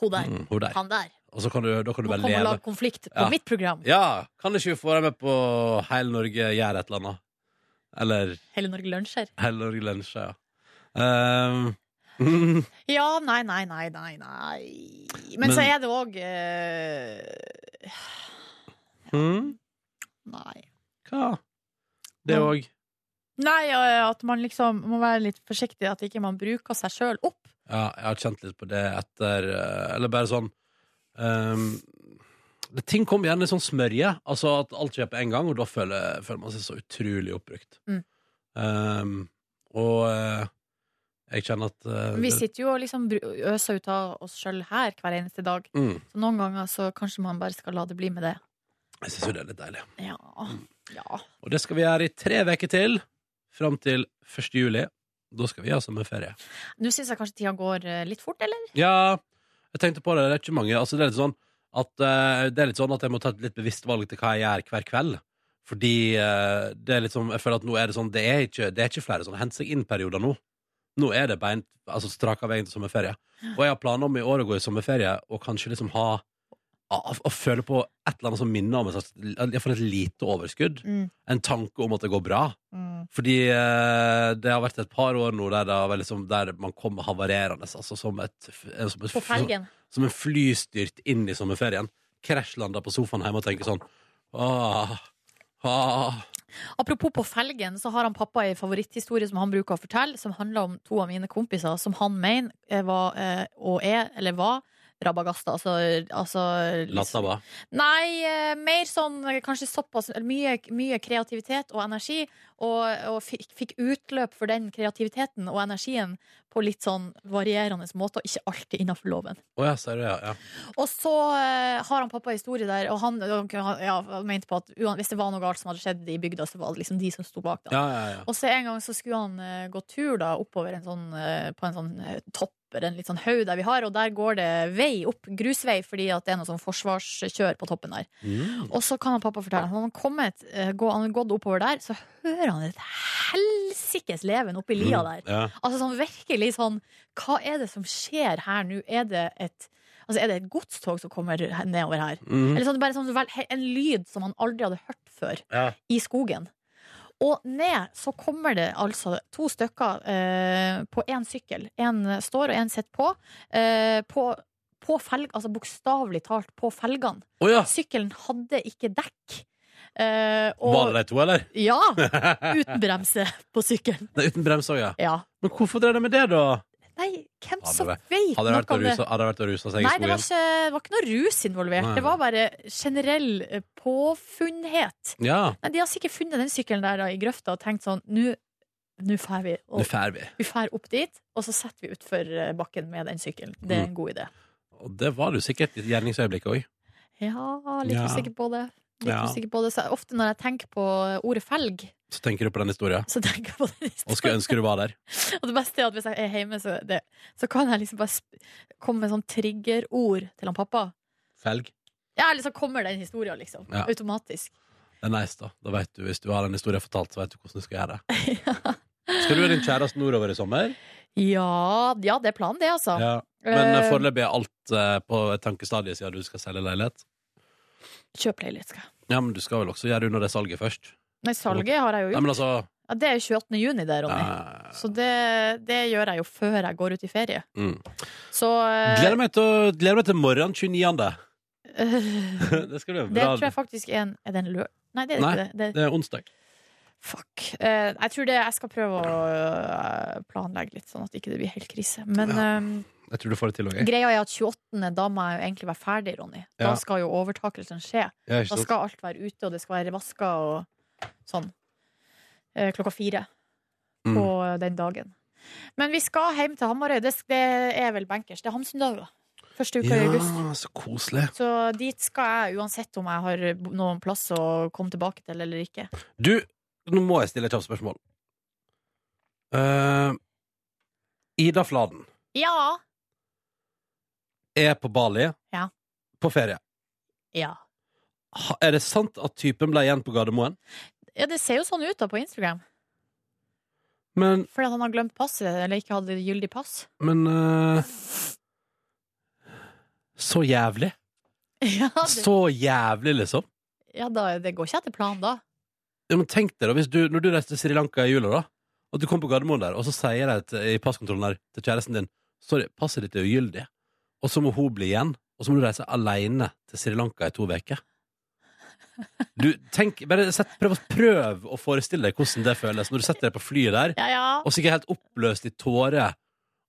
Speaker 3: Hun der.
Speaker 2: mm, hun der.
Speaker 3: Han der.
Speaker 2: Og så kan du, da kan du
Speaker 3: Nå
Speaker 2: bare
Speaker 3: kommer og
Speaker 2: leve.
Speaker 3: lager konflikt på
Speaker 2: Ja.
Speaker 3: mitt program.
Speaker 2: Ja, kan ikke vi få deg med på Hele Norge gjør et eller annet? Eller
Speaker 3: Hele Norge lunsjer.
Speaker 2: Hele Norge lunsjer, ja. Ehm,
Speaker 3: Ja, nei, nei, nei, nei, nei. Men,
Speaker 2: Men-
Speaker 3: så er det òg eh,
Speaker 2: Mm.
Speaker 3: Nei.
Speaker 2: Hva? Det
Speaker 3: Nå-
Speaker 2: òg.
Speaker 3: Nei, eh, at man liksom må være litt forsiktig, at ikke man bruker seg sjøl opp.
Speaker 2: Ja, jeg har kjent litt på det etter eh, Eller bare sånn ehm, det, Ting kommer gjerne i sånn smørje. Altså at alt skjer på en gang, og da føler, føler man seg så utrolig oppbrukt.
Speaker 3: Mm.
Speaker 2: Ehm, og eh, jeg kjenner at eh,
Speaker 3: Vi
Speaker 2: det-
Speaker 3: sitter jo og liksom bru- øser ut av oss sjøl her hver eneste dag.
Speaker 2: mm,
Speaker 3: Så noen ganger så kanskje man bare skal la det bli med det.
Speaker 2: Jeg syns jo det er litt deilig.
Speaker 3: Ja.
Speaker 2: Mm.
Speaker 3: ja.
Speaker 2: Og det skal vi gjøre i tre uker til. Fram til 1. juli. Da skal vi altså ha sommerferie.
Speaker 3: Nå syns jeg kanskje tida går eh, litt fort, eller?
Speaker 2: Ja, jeg tenkte på det. Det er ikke mange. Altså, det, er litt sånn at, eh, det er litt sånn at jeg må ta et litt bevisst valg til hva jeg gjør hver kveld. Fordi eh, det er litt sånn, jeg føler at nå er det sånn Det er ikke, det er ikke flere sånn hent seg inn-perioder nå. Nå er det beint, altså strak av veien til sommerferie. Og jeg har planer om i år å gå i sommerferie og kanskje liksom ha å, å føle på et eller annet som minner om et slags Jeg får et lite overskudd.
Speaker 3: Mm.
Speaker 2: En tanke om at det går bra. Fordi eh, det har vært et par år nå der, det har vært liksom, der man kommer havarerende, altså som et, f- eh, som et
Speaker 3: På
Speaker 2: fl-
Speaker 3: felgen.
Speaker 2: som en flystyrt inn i sommerferien. Krasjlanda på sofaen hjemme og tenker sånn Åh, åh.
Speaker 3: Apropos på felgen, så har han pappa ei favoritthistorie som han bruker å fortelle, som handler om to av mine kompiser som han mener eh, var eh, og er, eller var, rabagasta. Altså, altså liksom-
Speaker 2: Lataba.
Speaker 3: Nei, eh, mer sånn eh, kanskje såpass eller mye, mye kreativitet og energi, og, og fikk, fikk utløp for den kreativiteten og energien på litt sånn varierende måter, ikke alltid innafor loven.
Speaker 2: Å ja, sier du det, ja. ja.
Speaker 3: Og så eh, har han pappa historie der, og han, og han ja, han mente på at uan- hvis det var noe galt som hadde skjedd i bygda, så var det liksom de som sto bak. da.
Speaker 2: Ja, ja, ja.
Speaker 3: Og så en gang så skulle han eh, gå tur da, oppover en sånn, eh, på en sånn eh, topp, eller en litt sånn haug der vi har, og der går det vei opp, grusvei, fordi at det er noe sånn forsvarskjør på toppen der.
Speaker 2: Mm.
Speaker 3: Og så kan han pappa fortelle at han har kommet, eh, gå, han har gått oppover der, så hører han et helsikes leven oppi lia der.
Speaker 2: Mm. Ja.
Speaker 3: Altså sånn virkelig sånn Hva er det som skjer her nå? Er det et Altså er det et godstog som kommer he- nedover her?
Speaker 2: Mm.
Speaker 3: Eller sånn, bare sånn, vel- he- en lyd som han aldri hadde hørt før
Speaker 2: Ja.
Speaker 3: i skogen. Og ned så kommer det altså to stykker eh, på én sykkel. Én står og én sitter på. Eh, på på felg, altså bokstavelig talt på felgene.
Speaker 2: Å ja.
Speaker 3: Sykkelen hadde ikke dekk. Eh,
Speaker 2: Var
Speaker 3: og
Speaker 2: det de to, eller?
Speaker 3: ja, uten bremse på sykkelen.
Speaker 2: Nei, uten brems òg, ja.
Speaker 3: Ja.
Speaker 2: Men hvorfor drev de med det, da?
Speaker 3: Nei, hvem
Speaker 2: Hadde
Speaker 3: som
Speaker 2: det-
Speaker 3: vet
Speaker 2: Hadde
Speaker 3: noe
Speaker 2: det vært å
Speaker 3: om det?
Speaker 2: ruse- hadde det vært å ruse seg i
Speaker 3: Nei, det var,
Speaker 2: skogen?
Speaker 3: ikke, det var ikke noe rus involvert.
Speaker 2: Nei.
Speaker 3: Det var bare generell eh, påfunnhet.
Speaker 2: Ja,
Speaker 3: Nei, de har sikkert funnet den sykkelen der da, i grøfta og tenkt sånn Nå nå drar vi.
Speaker 2: nå
Speaker 3: Og
Speaker 2: drar vi.
Speaker 3: vi drar opp dit, og så setter vi utfor eh, bakken med den sykkelen. Det
Speaker 2: Mm.
Speaker 3: er en god idé.
Speaker 2: Og det var det jo sikkert i gjerningsøyeblikket òg.
Speaker 3: Ja, litt
Speaker 2: Ja.
Speaker 3: usikker på det. Litt
Speaker 2: Ja.
Speaker 3: usikker på det. Så ofte når jeg tenker på ordet felg,
Speaker 2: Så tenker du på den historien,
Speaker 3: så tenker jeg på den
Speaker 2: og skulle ønske du var der.
Speaker 3: Og det beste er at hvis jeg er hjemme, så, det, så kan jeg liksom bare sp- komme med sånn triggerord til han pappa.
Speaker 2: Felg.
Speaker 3: Ja, eller så kommer den historien, liksom.
Speaker 2: Ja.
Speaker 3: Automatisk.
Speaker 2: Det er nice, da. Da vet du, Hvis du har den historien fortalt, så vet du hvordan du skal gjøre det. Skal du og din kjæreste nordover i sommer?
Speaker 3: Ja, ja, det er planen, det, altså.
Speaker 2: Ja. Men eh,
Speaker 3: Eh,
Speaker 2: foreløpig er alt eh, på et tankestadie siden du skal selge leilighet.
Speaker 3: Eh, Kjøp leilighet, skal jeg.
Speaker 2: Ja, men du skal vel også gjøre unna det salget først?
Speaker 3: Nei, salget har jeg jo
Speaker 2: Nei,
Speaker 3: gjort.
Speaker 2: men altså
Speaker 3: Ja, det er jo 28. juni, det, Ronny.
Speaker 2: eh,
Speaker 3: Så det, det gjør jeg jo før jeg går ut i ferie.
Speaker 2: mm.
Speaker 3: Så eh,
Speaker 2: gleder, meg til, å- gleder meg til morgenen 29.
Speaker 3: eh,
Speaker 2: det skal bli en
Speaker 3: Det
Speaker 2: bra.
Speaker 3: tror jeg faktisk er en Er det en lø... Nei, det er
Speaker 2: Nei.
Speaker 3: ikke det. det er,
Speaker 2: Det er onsdag.
Speaker 3: fuck. Eh, jeg tror det jeg skal prøve å eh, planlegge litt, sånn at ikke det blir helt krise. Men eh,
Speaker 2: Jeg tror du får det til òg, jeg.
Speaker 3: Greia er at 28. da må jeg jo egentlig være ferdig, Ronny. Da
Speaker 2: Ja.
Speaker 3: skal jo overtakelsen skje.
Speaker 2: Ja, ikke
Speaker 3: Da
Speaker 2: sant?
Speaker 3: skal alt være ute, og det skal være vaska og sånn. Eh, Klokka fire
Speaker 2: Mm.
Speaker 3: på den dagen. Men vi skal hjem til Hamarøy. Det, det er vel bankers. Det er Hamsundager. Første uka i august.
Speaker 2: Ja, så koselig.
Speaker 3: Så dit skal jeg uansett om jeg har bo- noen plass å komme tilbake til eller ikke.
Speaker 2: Du, nå må jeg stille et kjapt spørsmål. Eh, Ida Fladen
Speaker 3: Ja!
Speaker 2: er på Bali
Speaker 3: Ja.
Speaker 2: på ferie.
Speaker 3: Ja.
Speaker 2: Ha- Er det sant at typen ble igjen på Gardermoen?
Speaker 3: ja, det ser jo sånn ut da på Instagram.
Speaker 2: Men,
Speaker 3: Fordi at han har glemt passet, eller ikke hadde gyldig pass.
Speaker 2: men eh, Så jævlig.
Speaker 3: Ja, det,
Speaker 2: Så jævlig, liksom.
Speaker 3: ja da, det går ikke etter planen da.
Speaker 2: Ja, men tenk deg da, hvis du, når du reiser til Sri Lanka i jula, da, at du kommer på Gardermoen der, og så sier de til- i passkontrollen der til kjæresten din Sorry, passet ditt er ugyldig. Og så må hun bli igjen, og så må du reise alene til Sri Lanka i to uker. Du, tenk, bare sett, prøv, å- prøv å forestille deg hvordan det føles når du setter deg på flyet der,
Speaker 3: Ja, ja.
Speaker 2: og sikkert helt oppløst i tårer,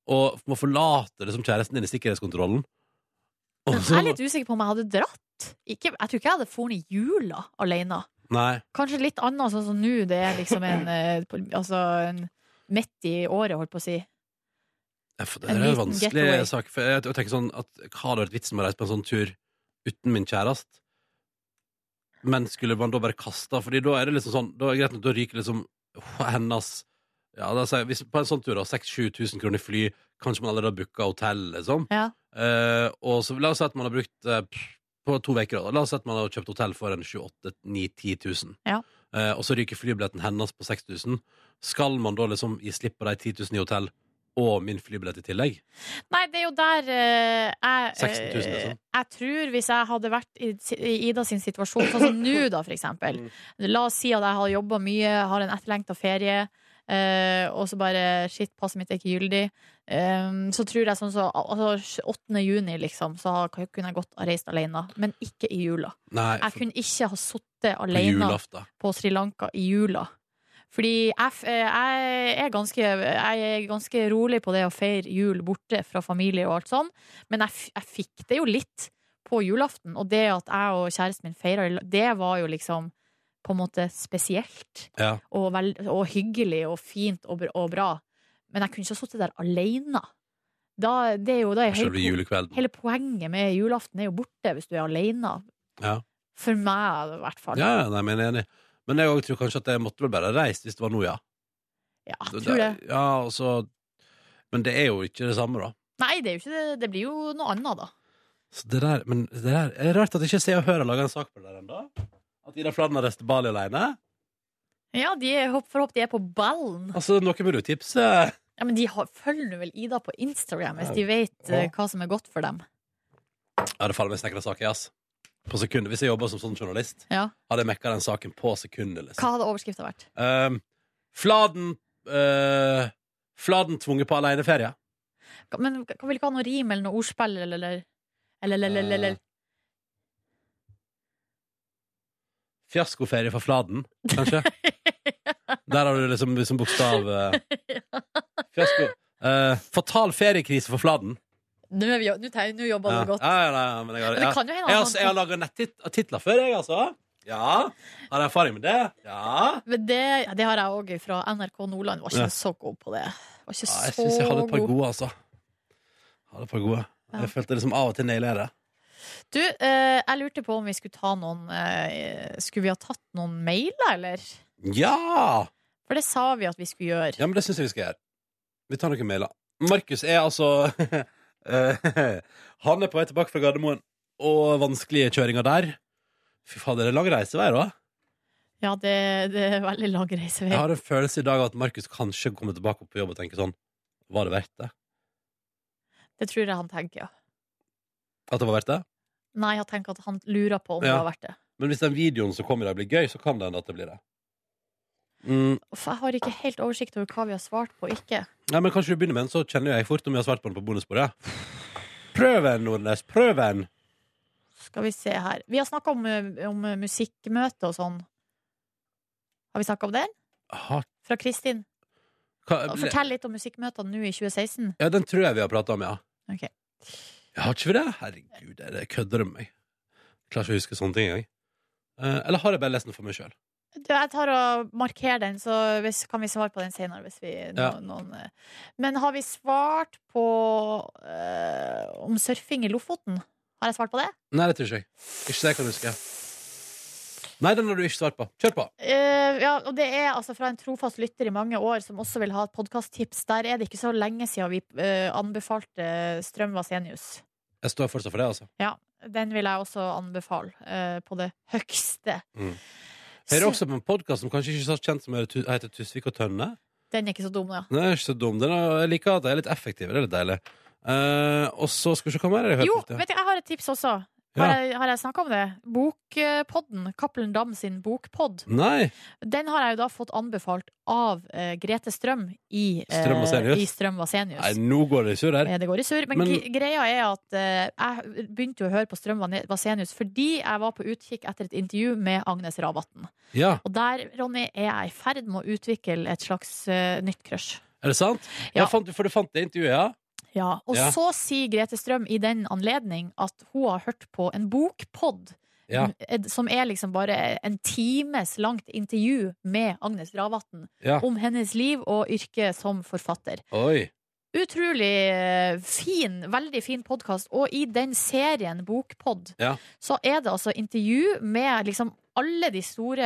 Speaker 2: og må forlate det som kjæresten din i sikkerhetskontrollen. Og
Speaker 3: Men jeg
Speaker 2: så,
Speaker 3: er litt usikker på om jeg hadde dratt. Ikke, jeg tror ikke jeg hadde dratt i jula alene.
Speaker 2: nei,
Speaker 3: Kanskje litt annet, sånn som nå. Det er liksom en, eh, på- altså en midt i året, holdt på å si.
Speaker 2: Ja, for Det
Speaker 3: En
Speaker 2: er jo en
Speaker 3: liten
Speaker 2: vanskelig
Speaker 3: getaway.
Speaker 2: sak. For jeg, jeg tenker sånn at Hva hadde vært vitsen med å reise på en sånn tur uten min kjæreste? Men skulle man da bare kaste Fordi da er det liksom sånn Da er det greit nok, da ryker liksom hennes ja, da sier jeg, hvis På en sånn tur, da, 6000-7000 kroner i fly, kanskje man allerede har booka hotell, liksom.
Speaker 3: Ja.
Speaker 2: Eh, og så la oss si at man har brukt eh, pff, På to uker, da. La oss si at man har kjøpt hotell for en 28 9 10 000.
Speaker 3: Ja.
Speaker 2: Eh, og så ryker flybilletten hennes på 6000. Skal man da liksom gi slipp på de 10 000 i hotell og min flybillett i tillegg?
Speaker 3: Nei, det er jo der eh, jeg
Speaker 2: 16 000,
Speaker 3: eh,
Speaker 2: liksom.
Speaker 3: Jeg tror hvis jeg hadde vært i, i Ida sin situasjon, sånn som nå, da, for
Speaker 2: Mm.
Speaker 3: eksempel. La oss si at jeg har jobba mye, har en etterlengta ferie. eh, og så bare Shit, passet mitt er ikke gyldig. Eh, så tror jeg sånn så altså, 8. juni, liksom, så har- kunne jeg godt ha reist alene. Men ikke i jula.
Speaker 2: Nei,
Speaker 3: Jeg
Speaker 2: for,
Speaker 3: kunne ikke ha sittet
Speaker 2: på
Speaker 3: alene
Speaker 2: julaften.
Speaker 3: på Sri Lanka i jula. Fordi jeg, f- eh, jeg, er ganske, jeg er ganske rolig på det å feire jul borte fra familie og alt sånn, men jeg, f- jeg fikk det jo litt på julaften. Og det at jeg og kjæresten min feira, det var jo liksom på en måte spesielt.
Speaker 2: Ja.
Speaker 3: Og, vel, og hyggelig og fint og, br- og bra. Men jeg kunne ikke ha sittet der aleine. Da, det er jo, da er
Speaker 2: Selve
Speaker 3: hele,
Speaker 2: julekvelden.
Speaker 3: hele poenget med julaften er jo borte hvis du er aleine.
Speaker 2: Ja.
Speaker 3: For meg, i hvert fall.
Speaker 2: Ja, ja, nei, men jeg er enig. Men jeg også tror kanskje at jeg måtte vel bare ha reist hvis det var nå, ja.
Speaker 3: Ja, jeg tror det.
Speaker 2: Ja, og så- Men det er jo ikke det samme, da.
Speaker 3: Nei, det, er jo ikke det. det blir jo noe annet, da.
Speaker 2: Så det der, men det der er rart at ikke Se og Hør har laga en sak på det der ennå. At Ida Fladen har reist til Bali alene.
Speaker 3: Ja, de er, håp- får håpe de er på ballen.
Speaker 2: Altså, noe må du tipse
Speaker 3: Ja, Men de har, følger nå vel Ida på Instagram hvis
Speaker 2: Ja.
Speaker 3: de vet eh,
Speaker 2: Ja.
Speaker 3: hva som er godt for dem.
Speaker 2: Ja, det faller meg snekra sak i, ass. På sekundet. Hvis jeg jobber som sånn journalist,
Speaker 3: Ja.
Speaker 2: hadde jeg mekka den saken på sekundet. Liksom.
Speaker 3: Hva hadde overskrifta vært?
Speaker 2: Um, fladen eh, Fladen tvunget på aleneferie.
Speaker 3: Men kan vil ikke ha noe rim eller noe ordspill eller eller, eller, eller, eller, eller.
Speaker 2: Fiaskoferie for Fladen, kanskje? Der har du liksom, liksom bokstav eh, Fiasko. Eh, fatal feriekrise for Fladen.
Speaker 3: Nå, er vi, jo- nå, tegner- nå jobber
Speaker 2: Ja.
Speaker 3: det godt.
Speaker 2: Ja, ja, ja, men jeg har,
Speaker 3: Men
Speaker 2: ja.
Speaker 3: det kan jo hende
Speaker 2: jeg
Speaker 3: at
Speaker 2: har, jeg har
Speaker 3: han
Speaker 2: laga nettitler før, jeg, altså. Ja. Har jeg erfaring med det? Ja.
Speaker 3: Men det, ja, det har jeg òg fra NRK Nordland. Var ikke
Speaker 2: Ja.
Speaker 3: så god på det. Var ikke
Speaker 2: ja jeg
Speaker 3: så
Speaker 2: syns jeg hadde et par
Speaker 3: god.
Speaker 2: gode, altså. Hadde et par gode.
Speaker 3: Ja.
Speaker 2: Jeg følte liksom av og til naila jeg det.
Speaker 3: Du, eh, jeg lurte på om vi skulle ta noen eh, Skulle vi ha tatt noen mailer, eller?
Speaker 2: Ja!
Speaker 3: For det sa vi at vi skulle gjøre.
Speaker 2: ja! Men det syns jeg vi skal gjøre. Vi tar noen mailer. Markus er altså eh, Han er på vei tilbake fra Gardermoen, og vanskelige kjøringer der. Fy fader, det er lang reisevei, da.
Speaker 3: Ja, det, det er veldig lang reisevei.
Speaker 2: Jeg har en følelse i dag av at Markus kanskje kommer tilbake opp på jobb og tenker sånn Var det verdt det?
Speaker 3: Det tror jeg han tenker, ja.
Speaker 2: At det var verdt det?
Speaker 3: Nei, jeg tenker at han lurer på om det
Speaker 2: Ja.
Speaker 3: har vært det.
Speaker 2: Men hvis den videoen som kommer i dag blir gøy, så kan det hende at det blir det. Mm.
Speaker 3: Uff, jeg har ikke helt oversikt over hva vi har svart på og ikke.
Speaker 2: Nei, men Kanskje du begynner med den, så kjenner jeg fort om jeg har svart på den på bonusbordet. Prøv en, Nordnes. Prøv en!
Speaker 3: Skal vi se her. Vi har snakka om, eh, om eh, musikkmøte og sånn. Har vi snakka om den?
Speaker 2: Ha,
Speaker 3: Fra Kristin.
Speaker 2: hva,
Speaker 3: Fortell litt om musikkmøtene nå i 2016.
Speaker 2: ja, den tror jeg vi har prata om, ja.
Speaker 3: Ok.
Speaker 2: Jeg har ikke vi det? Herregud, er det kødder du med meg? Jeg Klarer ikke å huske sånne ting engang. Eh, eller har jeg bare lest den for meg sjøl?
Speaker 3: Du, jeg tar og markerer den, så hvis, kan vi svare på den senere. Hvis vi, no,
Speaker 2: Ja.
Speaker 3: noen, eh. men har vi svart på eh, om surfing i Lofoten? Har jeg svart på det?
Speaker 2: Nei, det tror ikke jeg. Ikke det jeg kan huske. Nei, den har du ikke svart på. Kjør på!
Speaker 3: Eh, ja, og det er altså fra en trofast lytter i mange år som også vil ha et podkasttips. Der er det ikke så lenge siden vi eh, anbefalte Strøm Vasenius.
Speaker 2: Jeg står fortsatt for det, altså.
Speaker 3: Den vil jeg også anbefale eh, på det høgste.
Speaker 2: Mm. Hører også på en podkast som kanskje ikke er så kjent som heter Tusvik og Tønne.
Speaker 3: Den er ikke så dum, ja.
Speaker 2: Den er ikke så dum. Den er, jeg liker at de er litt effektive. Det er litt deilig. Eh, og så skal vi se hva mer jeg har hørt.
Speaker 3: Jo,
Speaker 2: på det.
Speaker 3: vet du, jeg har et tips også. Har
Speaker 2: ja.
Speaker 3: jeg, har jeg snakka om det? Bokpodden. Cappelen Dam sin bokpod.
Speaker 2: Nei!
Speaker 3: Den har jeg jo da fått anbefalt av eh, Grete Strøm i eh,
Speaker 2: Strøm Vasenius.
Speaker 3: i Strøm Vasenius.
Speaker 2: Nei, nå går det i surr her.
Speaker 3: Eh, Det går i surr. Men,
Speaker 2: Men-
Speaker 3: gre- greia er at eh, jeg begynte jo å høre på Strøm Vane- Vasenius fordi jeg var på utkikk etter et intervju med Agnes Ravatn.
Speaker 2: Ja,
Speaker 3: Og der, Ronny, er jeg i ferd med å utvikle et slags eh, nytt crush.
Speaker 2: er det sant?
Speaker 3: Ja.
Speaker 2: Jeg fant, for du fant det intervjuet, ja?
Speaker 3: Ja, og
Speaker 2: Ja.
Speaker 3: så sier Grete Strøm i den anledning at hun har hørt på en bokpod
Speaker 2: Ja.
Speaker 3: eh, som er liksom bare en times langt intervju med Agnes Ravatn
Speaker 2: Ja.
Speaker 3: om hennes liv og yrke som forfatter.
Speaker 2: Oi.
Speaker 3: Utrolig eh, fin, veldig fin podkast. Og i den serien Bokpod,
Speaker 2: Ja.
Speaker 3: så er det altså intervju med liksom alle de store,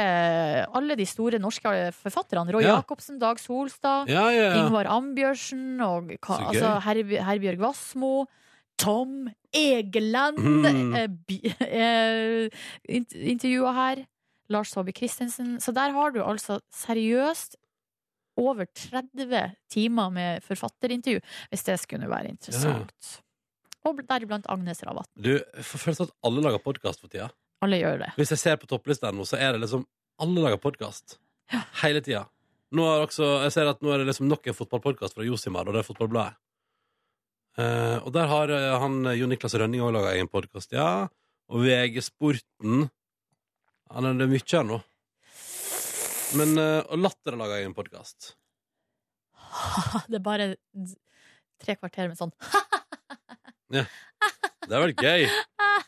Speaker 3: alle de store norske forfatterne. Roy
Speaker 2: Ja.
Speaker 3: Jacobsen, Dag Solstad,
Speaker 2: Ja, ja, ja.
Speaker 3: Ingvar Ambjørnsen, og ka,
Speaker 2: Så gøy.
Speaker 3: altså Herb Herbjørg Wassmo. Tom Egeland
Speaker 2: Mm.
Speaker 3: eh, bi- eh, int- intervjua her. Lars Saabye Christensen. Så der har du altså seriøst over 30 timer med forfatterintervju, hvis det skulle være interessant. Og bl- deriblant Agnes Ravatn.
Speaker 2: Du, jeg får følelsen av at alle lager podkast for tida.
Speaker 3: Alle gjør det.
Speaker 2: Hvis jeg ser på topplista nå, så er det liksom alle lager podkast. Hele tida. Nå er også, jeg ser at nå er det liksom nok en fotballpodkast fra Josimar, og det er Fotballbladet. Eh, og der har eh, han eh, Jon Niklas Rønning òg laga egen podkast, ja. Og VG Sporten. Ja, det er mye her nå. Men eh, og Latter har laga en podkast.
Speaker 3: Ah, Det er bare d- tre kvarter med sånn
Speaker 2: Det er vel gøy.
Speaker 3: "Ah,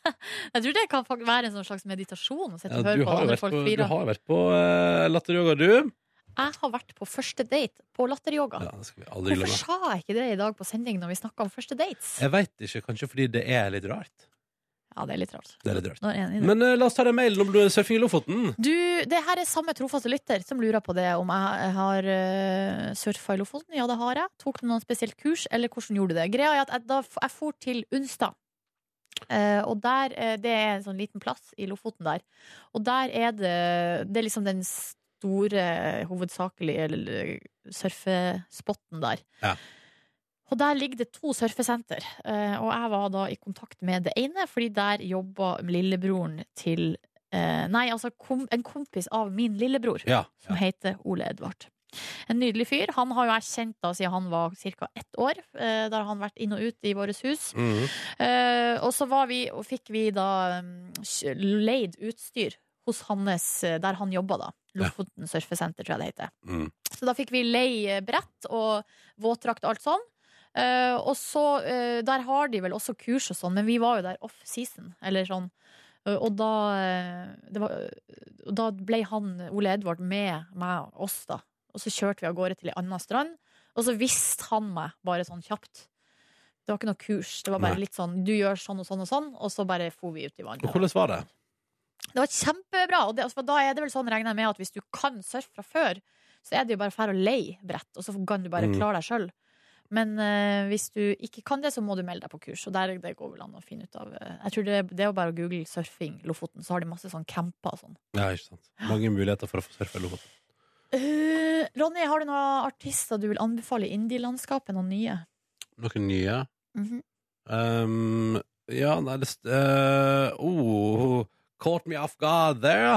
Speaker 3: Jeg tror det kan fak- være en sånn slags meditasjon å sitte
Speaker 2: Ja,
Speaker 3: og
Speaker 2: du,
Speaker 3: høre på
Speaker 2: har jo
Speaker 3: andre
Speaker 2: vært
Speaker 3: folk
Speaker 2: på du
Speaker 3: flire.
Speaker 2: har jo vært på eh, latteryoga, du.
Speaker 3: Jeg har vært på første date på latteryoga.
Speaker 2: Ja, det skal vi aldri
Speaker 3: Hvorfor
Speaker 2: glemme.
Speaker 3: sa jeg ikke det i dag på sending når vi snakka om første dates?
Speaker 2: Jeg veit ikke, kanskje fordi det er litt rart.
Speaker 3: Ja, det er litt rart.
Speaker 2: Det er litt rart.
Speaker 3: Nå er jeg enig i det.
Speaker 2: Men eh, la oss ta den mailen om du er surfing i Lofoten.
Speaker 3: Du, det her er samme trofaste lytter som lurer på det om jeg har uh, surfa i Lofoten. Ja, det har jeg. Tok du noen spesielt kurs, eller hvordan gjorde du det? Greia er at jeg, da, f- jeg for til Unstad. Eh, og der, eh, Det er en sånn liten plass i Lofoten der. Og der er det Det er liksom den store, hovedsakelige l- surfespotten der.
Speaker 2: Ja.
Speaker 3: Og der ligger det to surfesenter. Eh, og jeg var da i kontakt med det ene, fordi der jobba lillebroren til Eh, nei, altså kom, en kompis av min lillebror,
Speaker 2: Ja.
Speaker 3: som heter Ole Edvard. En nydelig fyr. Han har jo jeg kjent da siden han var ca. ett år. Eh, der har han vært inn og ut i vårt hus.
Speaker 2: Mhm.
Speaker 3: Eh, og så var vi, og fikk vi da mm, kj- leid utstyr hos hans, eh, der han jobba da. Lofoten surfesenter, tror jeg det heter.
Speaker 2: Mm.
Speaker 3: Så da fikk vi leie brett og våtdrakt og alt sånn. Eh, og så, eh, der har de vel også kurs og sånn, men vi var jo der off season, eller sånn. Eh, og da, eh, det var, eh, og da ble han, Ole Edvard, med meg og oss, da. Og så kjørte vi av gårde til ei anna strand, og så visste han meg bare sånn kjapt. Det var ikke noe kurs, det var bare
Speaker 2: Nei.
Speaker 3: litt sånn du gjør sånn og sånn og sånn, og så bare for vi ut i vannet.
Speaker 2: Og hvordan var det?
Speaker 3: Det var kjempebra. Og det, altså, da er det vel sånn, regner jeg med, at hvis du kan surfe fra før, så er det jo bare færre å leie brett, og så kan du bare
Speaker 2: Mm.
Speaker 3: klare deg sjøl. Men eh, hvis du ikke kan det, så må du melde deg på kurs. Og der, det går vel an å finne ut av eh, Jeg tror det, det er jo bare å google 'surfing Lofoten', så har de masse sånn camper og sånn.
Speaker 2: Ja, ikke sant. Mange muligheter for å få surfe i Lofoten.
Speaker 3: Eh, Ronny, har du noen artister du vil anbefale i indie-landskapet? Noen nye?
Speaker 2: Noen nye?
Speaker 3: Mhm.
Speaker 2: Um, ja, nei, det st- eh, oh, Caught me off guard there.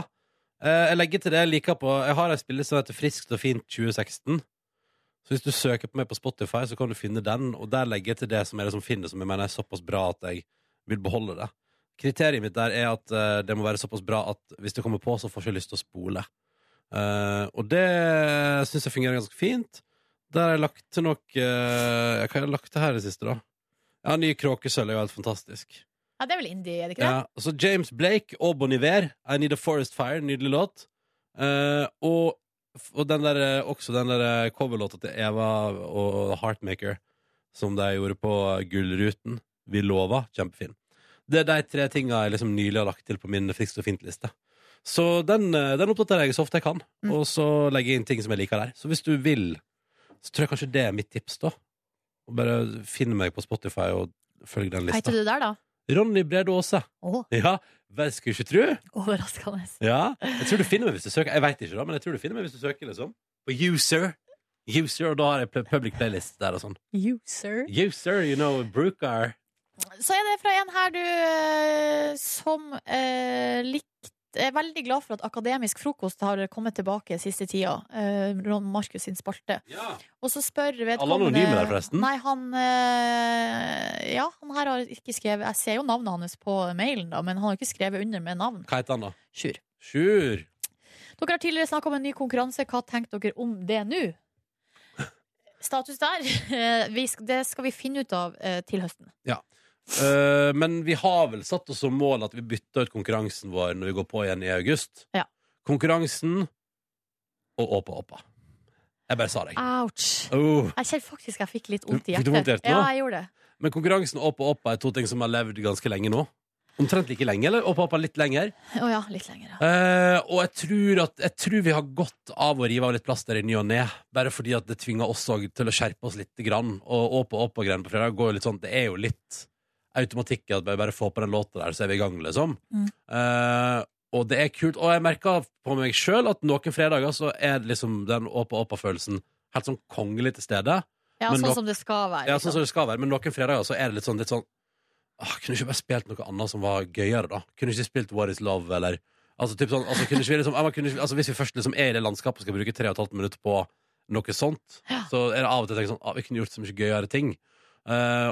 Speaker 2: Eh, jeg legger til det jeg liker på Jeg har en spiller som heter Friskt og fint 2016. Så hvis du søker på meg på Spotify, så kan du finne den. Og der legger jeg til det som jeg liksom finner som jeg mener er såpass bra at jeg vil beholde det. Kriteriet mitt der er at eh, det må være såpass bra at hvis det kommer på, så får jeg ikke lyst til å spole. Eh, og det syns jeg fungerer ganske fint. Der har jeg lagt til nok eh, Hva har jeg lagt til her i det siste, da? Ja, nye kråkesølv er jo helt fantastisk.
Speaker 3: Ja, det er vel indie, er det ikke det?
Speaker 2: Ja, og så James Blake og Bon Iver, I Need a Forest Fire, nydelig låt. Eh, og, og den der, eh, også den der eh, coverlåta til Eva og Heartmaker, som de gjorde på eh, Gullruten. Vi lova. Kjempefin. Det er de tre tinga jeg liksom nylig har lagt til på min Friskt og fint-liste. Så den, eh, den oppdaterer jeg så ofte jeg kan,
Speaker 3: Mm.
Speaker 2: og så legger jeg inn ting som jeg liker der. Så hvis du vil, så tror jeg kanskje det er mitt tips, da. Og Bare finn meg på Spotify og følg den
Speaker 3: Hva heter
Speaker 2: lista.
Speaker 3: du der, da?
Speaker 2: Ronny Brede Aase.
Speaker 3: Å,
Speaker 2: Ja, hva skulle ikke tro?
Speaker 3: overraskende.
Speaker 2: Ja. Jeg tror du finner meg hvis du søker. Jeg vet ikke, da, men jeg tror du finner meg hvis du søker, liksom. På user. User, og da har jeg pl- public playlist der og sånn.
Speaker 3: User.
Speaker 2: User, you know, Brooker.
Speaker 3: Så er det fra en her du eh, som eh, likt er veldig glad for at Akademisk frokost har kommet tilbake siste tida. Eh, Ron Markus sin spalte.
Speaker 2: Ja.
Speaker 3: Og så spør
Speaker 2: Alle
Speaker 3: vedkommende
Speaker 2: anonyme der, forresten?
Speaker 3: Nei, han eh, Ja, han her har ikke skrevet Jeg ser jo navnet hans på mailen, da, men han har ikke skrevet under med navn.
Speaker 2: Hva heter han, da?
Speaker 3: Sjur.
Speaker 2: Sjur.
Speaker 3: Dere har tidligere snakka om en ny konkurranse. Hva tenker dere om det nå? Status der. Eh, Vi, sk- det skal vi finne ut av eh, til høsten.
Speaker 2: Eh, men vi har vel satt oss som mål at vi bytter ut konkurransen vår når vi går på igjen i august.
Speaker 3: Ja.
Speaker 2: Konkurransen og Åpa Åpa. Jeg bare sa det.
Speaker 3: Ah.
Speaker 2: jeg.
Speaker 3: Ouch.
Speaker 2: Oh.
Speaker 3: Jeg kjenner faktisk jeg fikk litt vondt i
Speaker 2: Fikk
Speaker 3: hjertet.
Speaker 2: du vondt i hjertet nå?
Speaker 3: Ja, jeg gjorde det.
Speaker 2: Men konkurransen og Åpa Åpa er to ting som har levd ganske lenge nå. Omtrent like lenge, eller? Åpa Åpa litt lenger.
Speaker 3: Å ja, litt lenger. ja.
Speaker 2: Eh, og jeg tror, at, jeg tror vi har godt av å rive av litt plaster i ny og ne. Bare fordi at det tvinger oss også til å skjerpe oss litt. Grann. Og åpe opp og greier på fredag går jo litt sånn Det er jo litt automatikk i at vi bare får på den låta der, så er vi i gang, liksom.
Speaker 3: Mm.
Speaker 2: Eh, og det er kult. Og jeg merker på meg sjøl at noen fredager så er det liksom den åpe opp-følelsen helt sånn kongelig til stede.
Speaker 3: Ja,
Speaker 2: men
Speaker 3: sånn
Speaker 2: nå-
Speaker 3: som det skal være.
Speaker 2: Ja,
Speaker 3: liksom.
Speaker 2: sånn som det skal være, men noen fredager så er det litt sånn, litt sånn «Åh, Kunne ikke bare spilt noe annet som var gøyere, da? Kunne ikke spilt What Is Love, eller Altså, typ sånn, altså, kunne ikke vi liksom, ja, man kunne ikke, altså Hvis vi først liksom er i det landskapet og skal bruke tre og et halvt minutt på noe sånt,
Speaker 3: Ja.
Speaker 2: så er det av og til jeg tenker sånn ah, Vi kunne gjort så mye gøyere ting. Eh,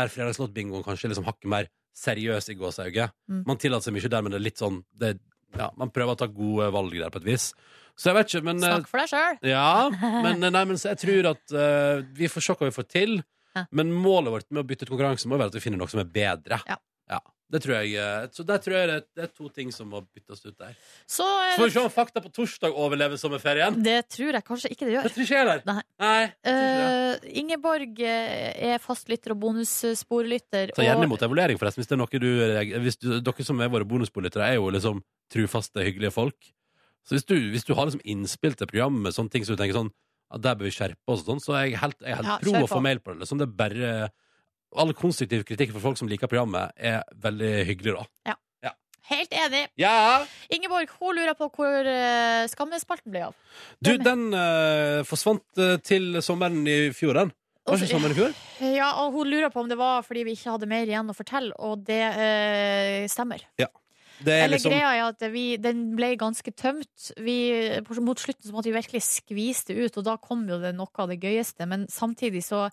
Speaker 2: der fredagslåtbingoen kanskje er liksom hakket mer seriøs i gåseauget.
Speaker 3: Mm.
Speaker 2: Man tillater seg mye der, men det er litt sånn Det, Ja, man prøver å ta gode valg der på et vis. Så jeg vet ikke, men eh,
Speaker 3: Snakk for deg sjøl.
Speaker 2: Ja, men, eh, nei, men så jeg tror at eh, vi får se hva vi får til.
Speaker 3: Ja.
Speaker 2: Men målet vårt med å bytte ut konkurranse må være at vi finner noe som er bedre.
Speaker 3: Ja.
Speaker 2: det tror jeg, eh, så der tror jeg det, det er to ting som må byttes ut der.
Speaker 3: Så
Speaker 2: Så
Speaker 3: er
Speaker 2: får vi se om Fakta på torsdag overlever sommerferien.
Speaker 3: det tror jeg kanskje ikke det
Speaker 2: Det
Speaker 3: gjør.
Speaker 2: tror ikke jeg heller.
Speaker 3: Nei.
Speaker 2: Nei, jeg tror ikke det.
Speaker 3: Eh, Ingeborg eh, er fastlytter og bonussporlytter.
Speaker 2: Ta gjerne
Speaker 3: og-
Speaker 2: imot evaluering, forresten. Hvis, det er noe du, reager- hvis du, dere som er våre bonuspolitikere, er jo liksom trufaste, hyggelige folk. Så hvis du, hvis du har liksom innspill til programmet med sånne ting som du tenker sånn at der bør vi skjerpe oss og sånn, så er jeg helt, jeg er helt
Speaker 3: Ja,
Speaker 2: pro
Speaker 3: kjør
Speaker 2: å få
Speaker 3: på.
Speaker 2: mail på det. Liksom. Det er bare All konstruktiv kritikk fra folk som liker programmet, er veldig hyggelig, da.
Speaker 3: Helt enig.
Speaker 2: Ja!
Speaker 3: Ingeborg hun lurer på hvor eh, Skammespalten ble av.
Speaker 2: Du, den eh, forsvant eh, til sommeren i fjor, den. Var
Speaker 3: Og-
Speaker 2: ikke sommeren i fjor?
Speaker 3: Ja, og hun lurer på om det var fordi vi ikke hadde mer igjen å fortelle, og det eh, stemmer.
Speaker 2: Det er
Speaker 3: Eller
Speaker 2: liksom
Speaker 3: greia er at vi, den ble ganske tømt. Vi, på- mot slutten så måtte vi virkelig skvise det ut, og da kom jo det noe av det gøyeste. Men samtidig så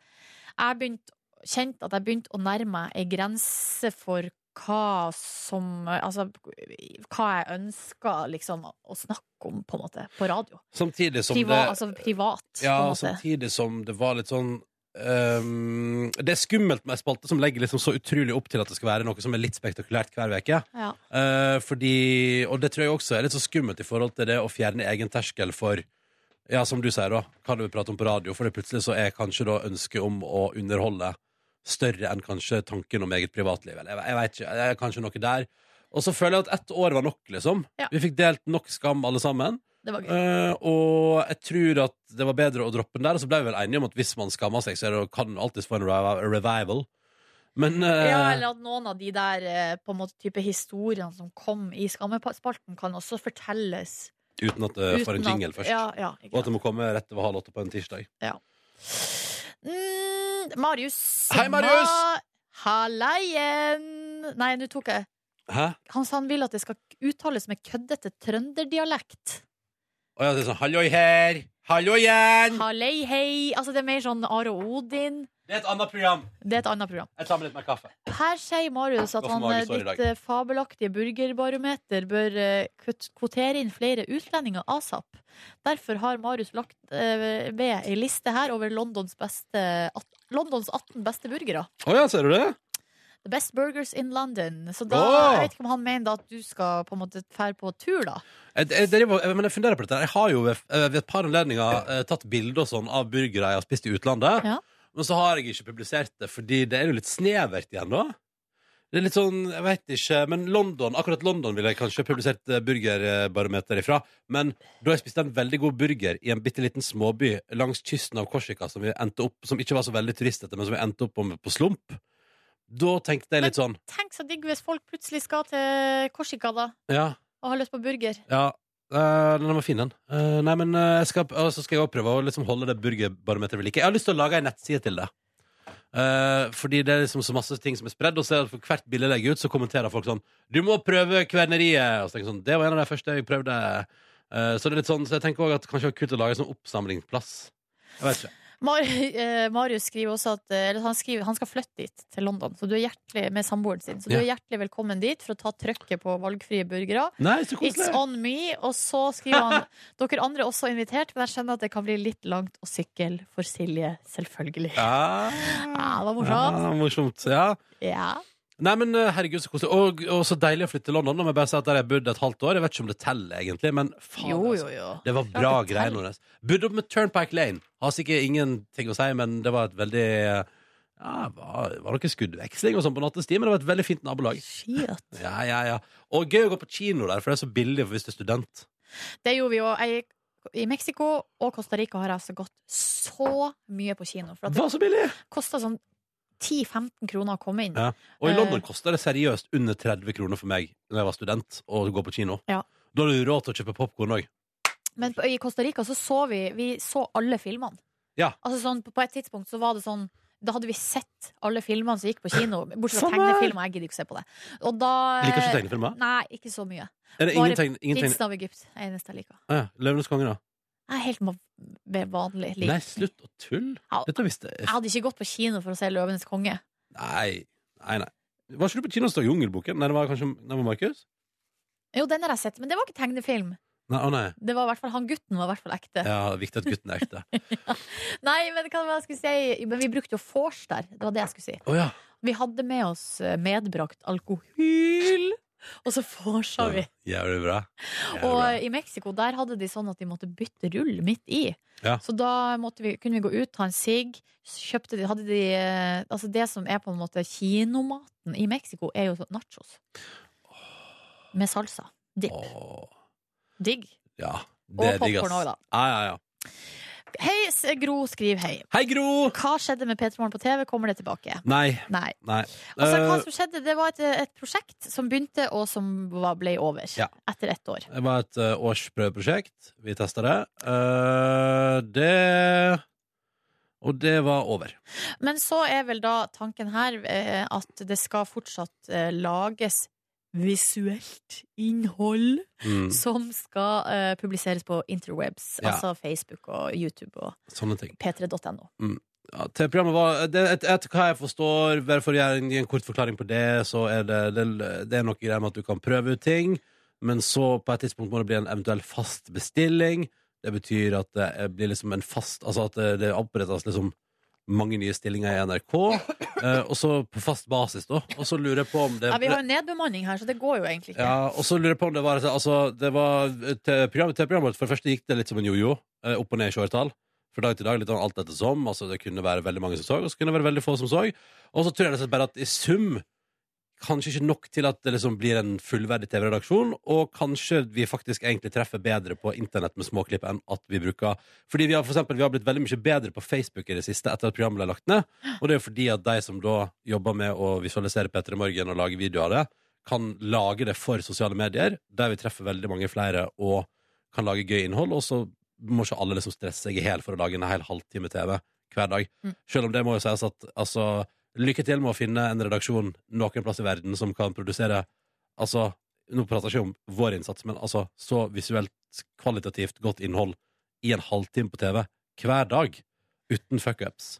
Speaker 3: jeg begynt, kjente at jeg begynte å nærme meg ei grense for hva som Altså hva jeg ønska liksom, å snakke om, på en måte, på radio.
Speaker 2: samtidig som
Speaker 3: Priva,
Speaker 2: det
Speaker 3: altså privat, på en
Speaker 2: Ja, altså-
Speaker 3: måte.
Speaker 2: samtidig som det var litt sånn ehm, Det er skummelt med ei spalte som legger liksom så utrolig opp til at det skal være noe som er litt spektakulært hver uke.
Speaker 3: Ja.
Speaker 2: Eh, fordi, og det tror jeg også er litt så skummelt i forhold til det å fjerne egen terskel for Ja, som du sier, da. Hva du vil prate om på radio. For det plutselig så er kanskje da ønsket om å underholde større enn kanskje tanken om eget privatliv. Eller jeg, jeg vet ikke. Det er kanskje noe der. Og så føler jeg at ett år var nok, liksom.
Speaker 3: Ja.
Speaker 2: Vi fikk delt nok skam, alle sammen.
Speaker 3: Det var gøy.
Speaker 2: Eh, og jeg tror at det var bedre å droppe den der. Og så ble vi vel enige om at hvis man skammer seg, så er det, kan man alltid få en revi- revival. Men eh,
Speaker 3: Ja, eller at noen av de der eh, på en måte type historiene som kom i Skammespalten, kan også fortelles.
Speaker 2: uten at det får
Speaker 3: uten
Speaker 2: eh, en jingle
Speaker 3: at,
Speaker 2: først.
Speaker 3: Ja, ja, ikke
Speaker 2: Og at
Speaker 3: sant.
Speaker 2: det må komme rett over halv åtte på en tirsdag.
Speaker 3: Mm, Marius.
Speaker 2: Hei, Marius!
Speaker 3: Ma- Halleien! Nei, nå tok jeg
Speaker 2: Hæ?
Speaker 3: Han sa han vil at det skal uttales med køddete trønderdialekt.
Speaker 2: Og jeg sier sånn Halloi her! Hallo igjen!
Speaker 3: Hallei, hei. Altså, det er mer sånn Are og Odin.
Speaker 2: Det er et annet program.
Speaker 3: Det er et annet program.
Speaker 2: Jeg tar med litt mer kaffe.
Speaker 3: Her sier Marius at
Speaker 2: Hvorfor
Speaker 3: han, eh,
Speaker 2: Marius var i dag?
Speaker 3: ditt eh, fabelaktige burgerbarometer bør eh, kvot- kvotere inn flere utlendinger asap. Derfor har Marius lagt eh, ved ei liste her over Londons, beste, at, Londons 18 beste burgere.
Speaker 2: Å ja, ser du det?
Speaker 3: The best burgers in London. Så da,
Speaker 2: Åh!
Speaker 3: jeg vet ikke om han mener da at du skal på en måte fære på tur, da.
Speaker 2: Jeg, jeg, det er jo- men jeg funderer på dette. Jeg har jo ved, ved et par anledninger eh, tatt bilder og sånn av burgere jeg har spist i utlandet.
Speaker 3: Ja.
Speaker 2: Men så har jeg ikke publisert det, fordi det er jo litt snevert igjen, da. Det er litt sånn, jeg vet ikke Men London, akkurat London ville jeg kanskje publisert eh, burgerbarometer ifra. Men da jeg spiste en veldig god burger i en bitte liten småby langs kysten av Korsika, som, vi endte opp, som ikke var så veldig turistete, men som vi endte opp om på slump, da tenkte jeg litt sånn
Speaker 3: Tenk så digg hvis folk plutselig skal til Korsika da
Speaker 2: Ja,
Speaker 3: og har lyst på burger.
Speaker 2: Ja, øh, den var fin, den. Øh, nei, men øh, jeg skal, og så skal jeg også prøve å liksom holde det burgerbarometeret ved like. Jeg har lyst til å lage ei nettside til det. Øh, fordi det er liksom så masse ting som er spredd, og så er det for hvert bilde jeg legger ut, så kommenterer folk sånn 'Du må prøve Kverneriet'. Og så tenker jeg sånn, det var en av de første jeg prøvde. Øh, så det er litt sånn, så jeg tenker også at kanskje det var kult å lage en sånn oppsamlingsplass. Jeg vet ikke.
Speaker 3: Mar eh, Marius skriver også at eh, eller han, skriver, han skal flytte dit, til London, så du er hjertelig med samboeren sin. Så du
Speaker 2: Ja.
Speaker 3: er hjertelig velkommen dit for å ta trøkket på valgfrie burgere.
Speaker 2: Nei, så
Speaker 3: It's
Speaker 2: koselig.
Speaker 3: on me. Og så skriver han dere andre er også invitert, men jeg skjønner at det kan bli litt langt å sykle for Silje, selvfølgelig. Ja,
Speaker 2: Ja,
Speaker 3: det var morsomt.
Speaker 2: ja, morsomt. Ja.
Speaker 3: Ja.
Speaker 2: Nei, men eh, herregud, så koselig. Og, og så deilig å flytte til London. Nå må jeg bare si at der har jeg bodd et halvt år. Jeg vet ikke om det teller, egentlig, men faen.
Speaker 3: Jo,
Speaker 2: altså.
Speaker 3: jo, jo.
Speaker 2: Det var bra
Speaker 3: det
Speaker 2: greier,
Speaker 3: teller.
Speaker 2: Nordnes. Budde opp med Turnpike Lane. Har sikkert ingenting å si, men det var et veldig eh, Ja, det var, var noe skuddveksling og sånn på nattestid, men det var et veldig fint nabolag.
Speaker 3: Shit.
Speaker 2: Ja, ja, ja. Og gøy å gå på kino der, for det er så billig hvis du er student.
Speaker 3: Det gjorde vi jo. Jeg, gikk- I Mexico og Costa Rica har jeg altså gått så mye på kino. For at det
Speaker 2: var så billig!
Speaker 3: kosta sånn 10-15 kroner å komme inn.
Speaker 2: Ja. Og i
Speaker 3: Eh.
Speaker 2: London kosta det seriøst under 30 kroner for meg Når jeg var student, å gå på kino.
Speaker 3: Ja.
Speaker 2: Da hadde du råd til å kjøpe popkorn òg.
Speaker 3: Men på, i Costa Rica så så vi Vi så alle filmene.
Speaker 2: Ja.
Speaker 3: Altså sånn, på- på et tidspunkt så var det sånn da hadde vi sett alle filmene som gikk på kino. Bortsett fra
Speaker 2: Samme
Speaker 3: tegnefilmer. Jeg gidder ikke å se på det. Og da
Speaker 2: Sånn, Liker ikke tegnefilmer?
Speaker 3: Nei, ikke så mye.
Speaker 2: Er det
Speaker 3: Eh, Bare
Speaker 2: ingen tegn... Ingen tegn...
Speaker 3: Prinsen av Egypt er eneste jeg liker.
Speaker 2: Ah, ja. Løvenes konge, da?
Speaker 3: Jeg er helt ma- ve- vanlig. lik.
Speaker 2: Nei, slutt å tulle!
Speaker 3: Au.
Speaker 2: Dette visste
Speaker 3: Jeg hadde ikke gått på kino for å se 'Løvenes konge'.
Speaker 2: Nei, nei, nei. Var ikke du på kino og så Jungelboken? Nei, det var kanskje Nei, det var Markus?
Speaker 3: Jo, den har jeg sett, men det var ikke tegnefilm.
Speaker 2: Nei, å nei.
Speaker 3: Det var i hvert fall, Han gutten var i hvert fall ekte.
Speaker 2: Ja, det er viktig at gutten er ekte.
Speaker 3: Nei, men hva var det jeg skulle si? Men vi brukte jo vors der. Det var det jeg skulle si.
Speaker 2: Å ja.
Speaker 3: Vi hadde med oss eh, medbrakt alkohol, og så vorsa vi.
Speaker 2: Jævlig bra. Jævlig
Speaker 3: Og
Speaker 2: bra.
Speaker 3: i Mexico der hadde de sånn at de måtte bytte rull midt i.
Speaker 2: Ja.
Speaker 3: Så da måtte vi, kunne vi gå ut, ta en sigg. Kjøpte de, hadde de eh, Altså det som er på en måte kinomaten i Mexico, er jo sånn nachos. Med salsa. Dip.
Speaker 2: Åh,
Speaker 3: Digg.
Speaker 2: ja. Det
Speaker 3: Og
Speaker 2: er digg,
Speaker 3: popcorn
Speaker 2: ass.
Speaker 3: òg, da.
Speaker 2: Ja, ja, ja.
Speaker 3: Hei, s- Gro skriver hei.
Speaker 2: Hei, Gro!
Speaker 3: Hva skjedde med P3 Morgen på TV? Kommer det tilbake?
Speaker 2: Nei.
Speaker 3: Nei.
Speaker 2: Nei.
Speaker 3: Altså, hva
Speaker 2: Eh,
Speaker 3: som skjedde, det var et, et prosjekt som begynte, og som var, ble over
Speaker 2: Ja.
Speaker 3: etter ett år.
Speaker 2: Det var et eh, årsprøveprosjekt. Vi testa det. Eh, det Og det var over.
Speaker 3: Men så er vel da tanken her eh, at det skal fortsatt eh, lages visuelt innhold
Speaker 2: Mm,
Speaker 3: som skal eh, publiseres på interwebs,
Speaker 2: Ja.
Speaker 3: altså Facebook og YouTube og
Speaker 2: sånne ting.
Speaker 3: p3.no.
Speaker 2: Ja, TV-programmet var det, et, Etter hva jeg forstår, bare for å gjøre en, gi en kort forklaring på det, så er det, det, det er noe greier med at du kan prøve ut ting, men så på et tidspunkt må det bli en eventuell fast bestilling. Det betyr at det er- blir liksom en fast Altså at det, det opprettes liksom mange nye stillinger i NRK, eh, og så på fast basis, da. Og så lurer jeg på om det
Speaker 3: Ja, vi har jo nedbemanning her, så det går jo egentlig ikke.
Speaker 2: Ja, og så lurer jeg på om det var Altså, det var eh, til programmet, til programmet vårt, For det første gikk det litt som en jojo eh, Opp og ned i kjøretall Fra dag til dag, litt sånn alt etter som Altså, det kunne være veldig mange som så Og så kunne det være veldig få som så Og så tror jeg det bare at i sum Kanskje ikke nok til at det liksom blir en fullverdig TV-redaksjon Og kanskje vi faktisk egentlig treffer bedre på internett med småklipp Enn at vi bruker Fordi vi har for eksempel, vi har blitt veldig mye bedre på Facebook i det siste Etter at programmet ble lagt ned Og det er jo fordi at de som da jobber med å visualisere Petter i morgen Og lage videoer av det kan lage det for sosiale medier, der vi treffer veldig mange flere og kan lage gøy innhold, og så må ikke alle liksom stresse seg i hjel for å lage en hel halvtime TV hver dag.
Speaker 3: Mm.
Speaker 2: Selv om det må jo sies at altså, lykke til med å finne en redaksjon noen plass i verden som kan produsere altså, Nå prater jeg ikke om vår innsats, men altså så visuelt, kvalitativt godt innhold i en halvtime på TV hver dag, uten fuckups.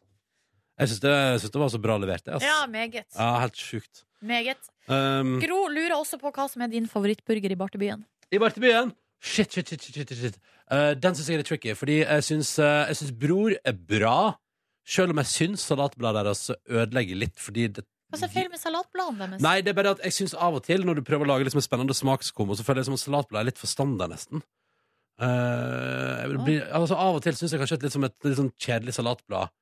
Speaker 2: Jeg syns det, jeg synes det var så bra levert, det. ass.
Speaker 3: Ja, meget.
Speaker 2: ja, helt sjukt.
Speaker 3: meget.
Speaker 2: Um,
Speaker 3: Gro lurer også på hva som er din favorittburger i Bartebyen.
Speaker 2: I Bartebyen Shit, shit, shit, shit, shit, shit. Eh, Den synes jeg er litt tricky Fordi jeg synes, eh, jeg synes Bror er bra Selv om jeg synes salatbladet deres ødelegger litt Fordi det
Speaker 3: Hva som er feil med salatbladene deres?
Speaker 2: Nei, det er bare at jeg synes av og til Når du prøver å lage liksom en spennende smakskombo Så føler jeg som om salatbladet er litt for standard nesten Eh, jeg blir, altså, Av og til synes jeg kanskje at litt som et litt sånn kjedelig salatblad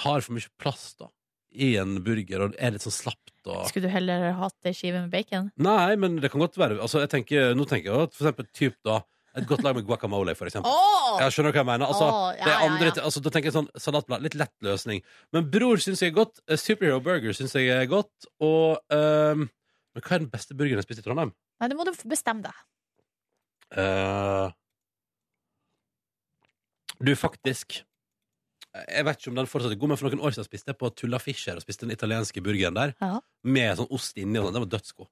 Speaker 2: Tar for mye plass da I en burger Og er litt sånn slappt og...
Speaker 3: Skulle du heller hatt ei skive med bacon?
Speaker 2: Nei, men det kan godt være altså, jeg tenker, Nå tenker jeg jo at for eksempel typ, da, Et godt lag med guacamole for eksempel
Speaker 3: Åh!
Speaker 2: Jeg skjønner hva jeg mener altså,
Speaker 3: Åh, ja,
Speaker 2: det
Speaker 3: ja,
Speaker 2: er andre,
Speaker 3: ja.
Speaker 2: ti- altså, Da tenker jeg sånn salatblad, litt lett løsning Men bror synes jeg er godt eh, Superhero burger synes jeg er godt Og ehm, men hva er den beste burgeren jeg spiste i Trondheim?
Speaker 3: Nei, det må du bestemme deg.
Speaker 2: Eh, du, faktisk Jeg vet ikke om den fortsatt er god Men for noen år siden spiste jeg på Tulla Fischer Og spiste den italienske burgeren der
Speaker 3: Ja.
Speaker 2: Med sånn ost inni og sånn, den var dødsgod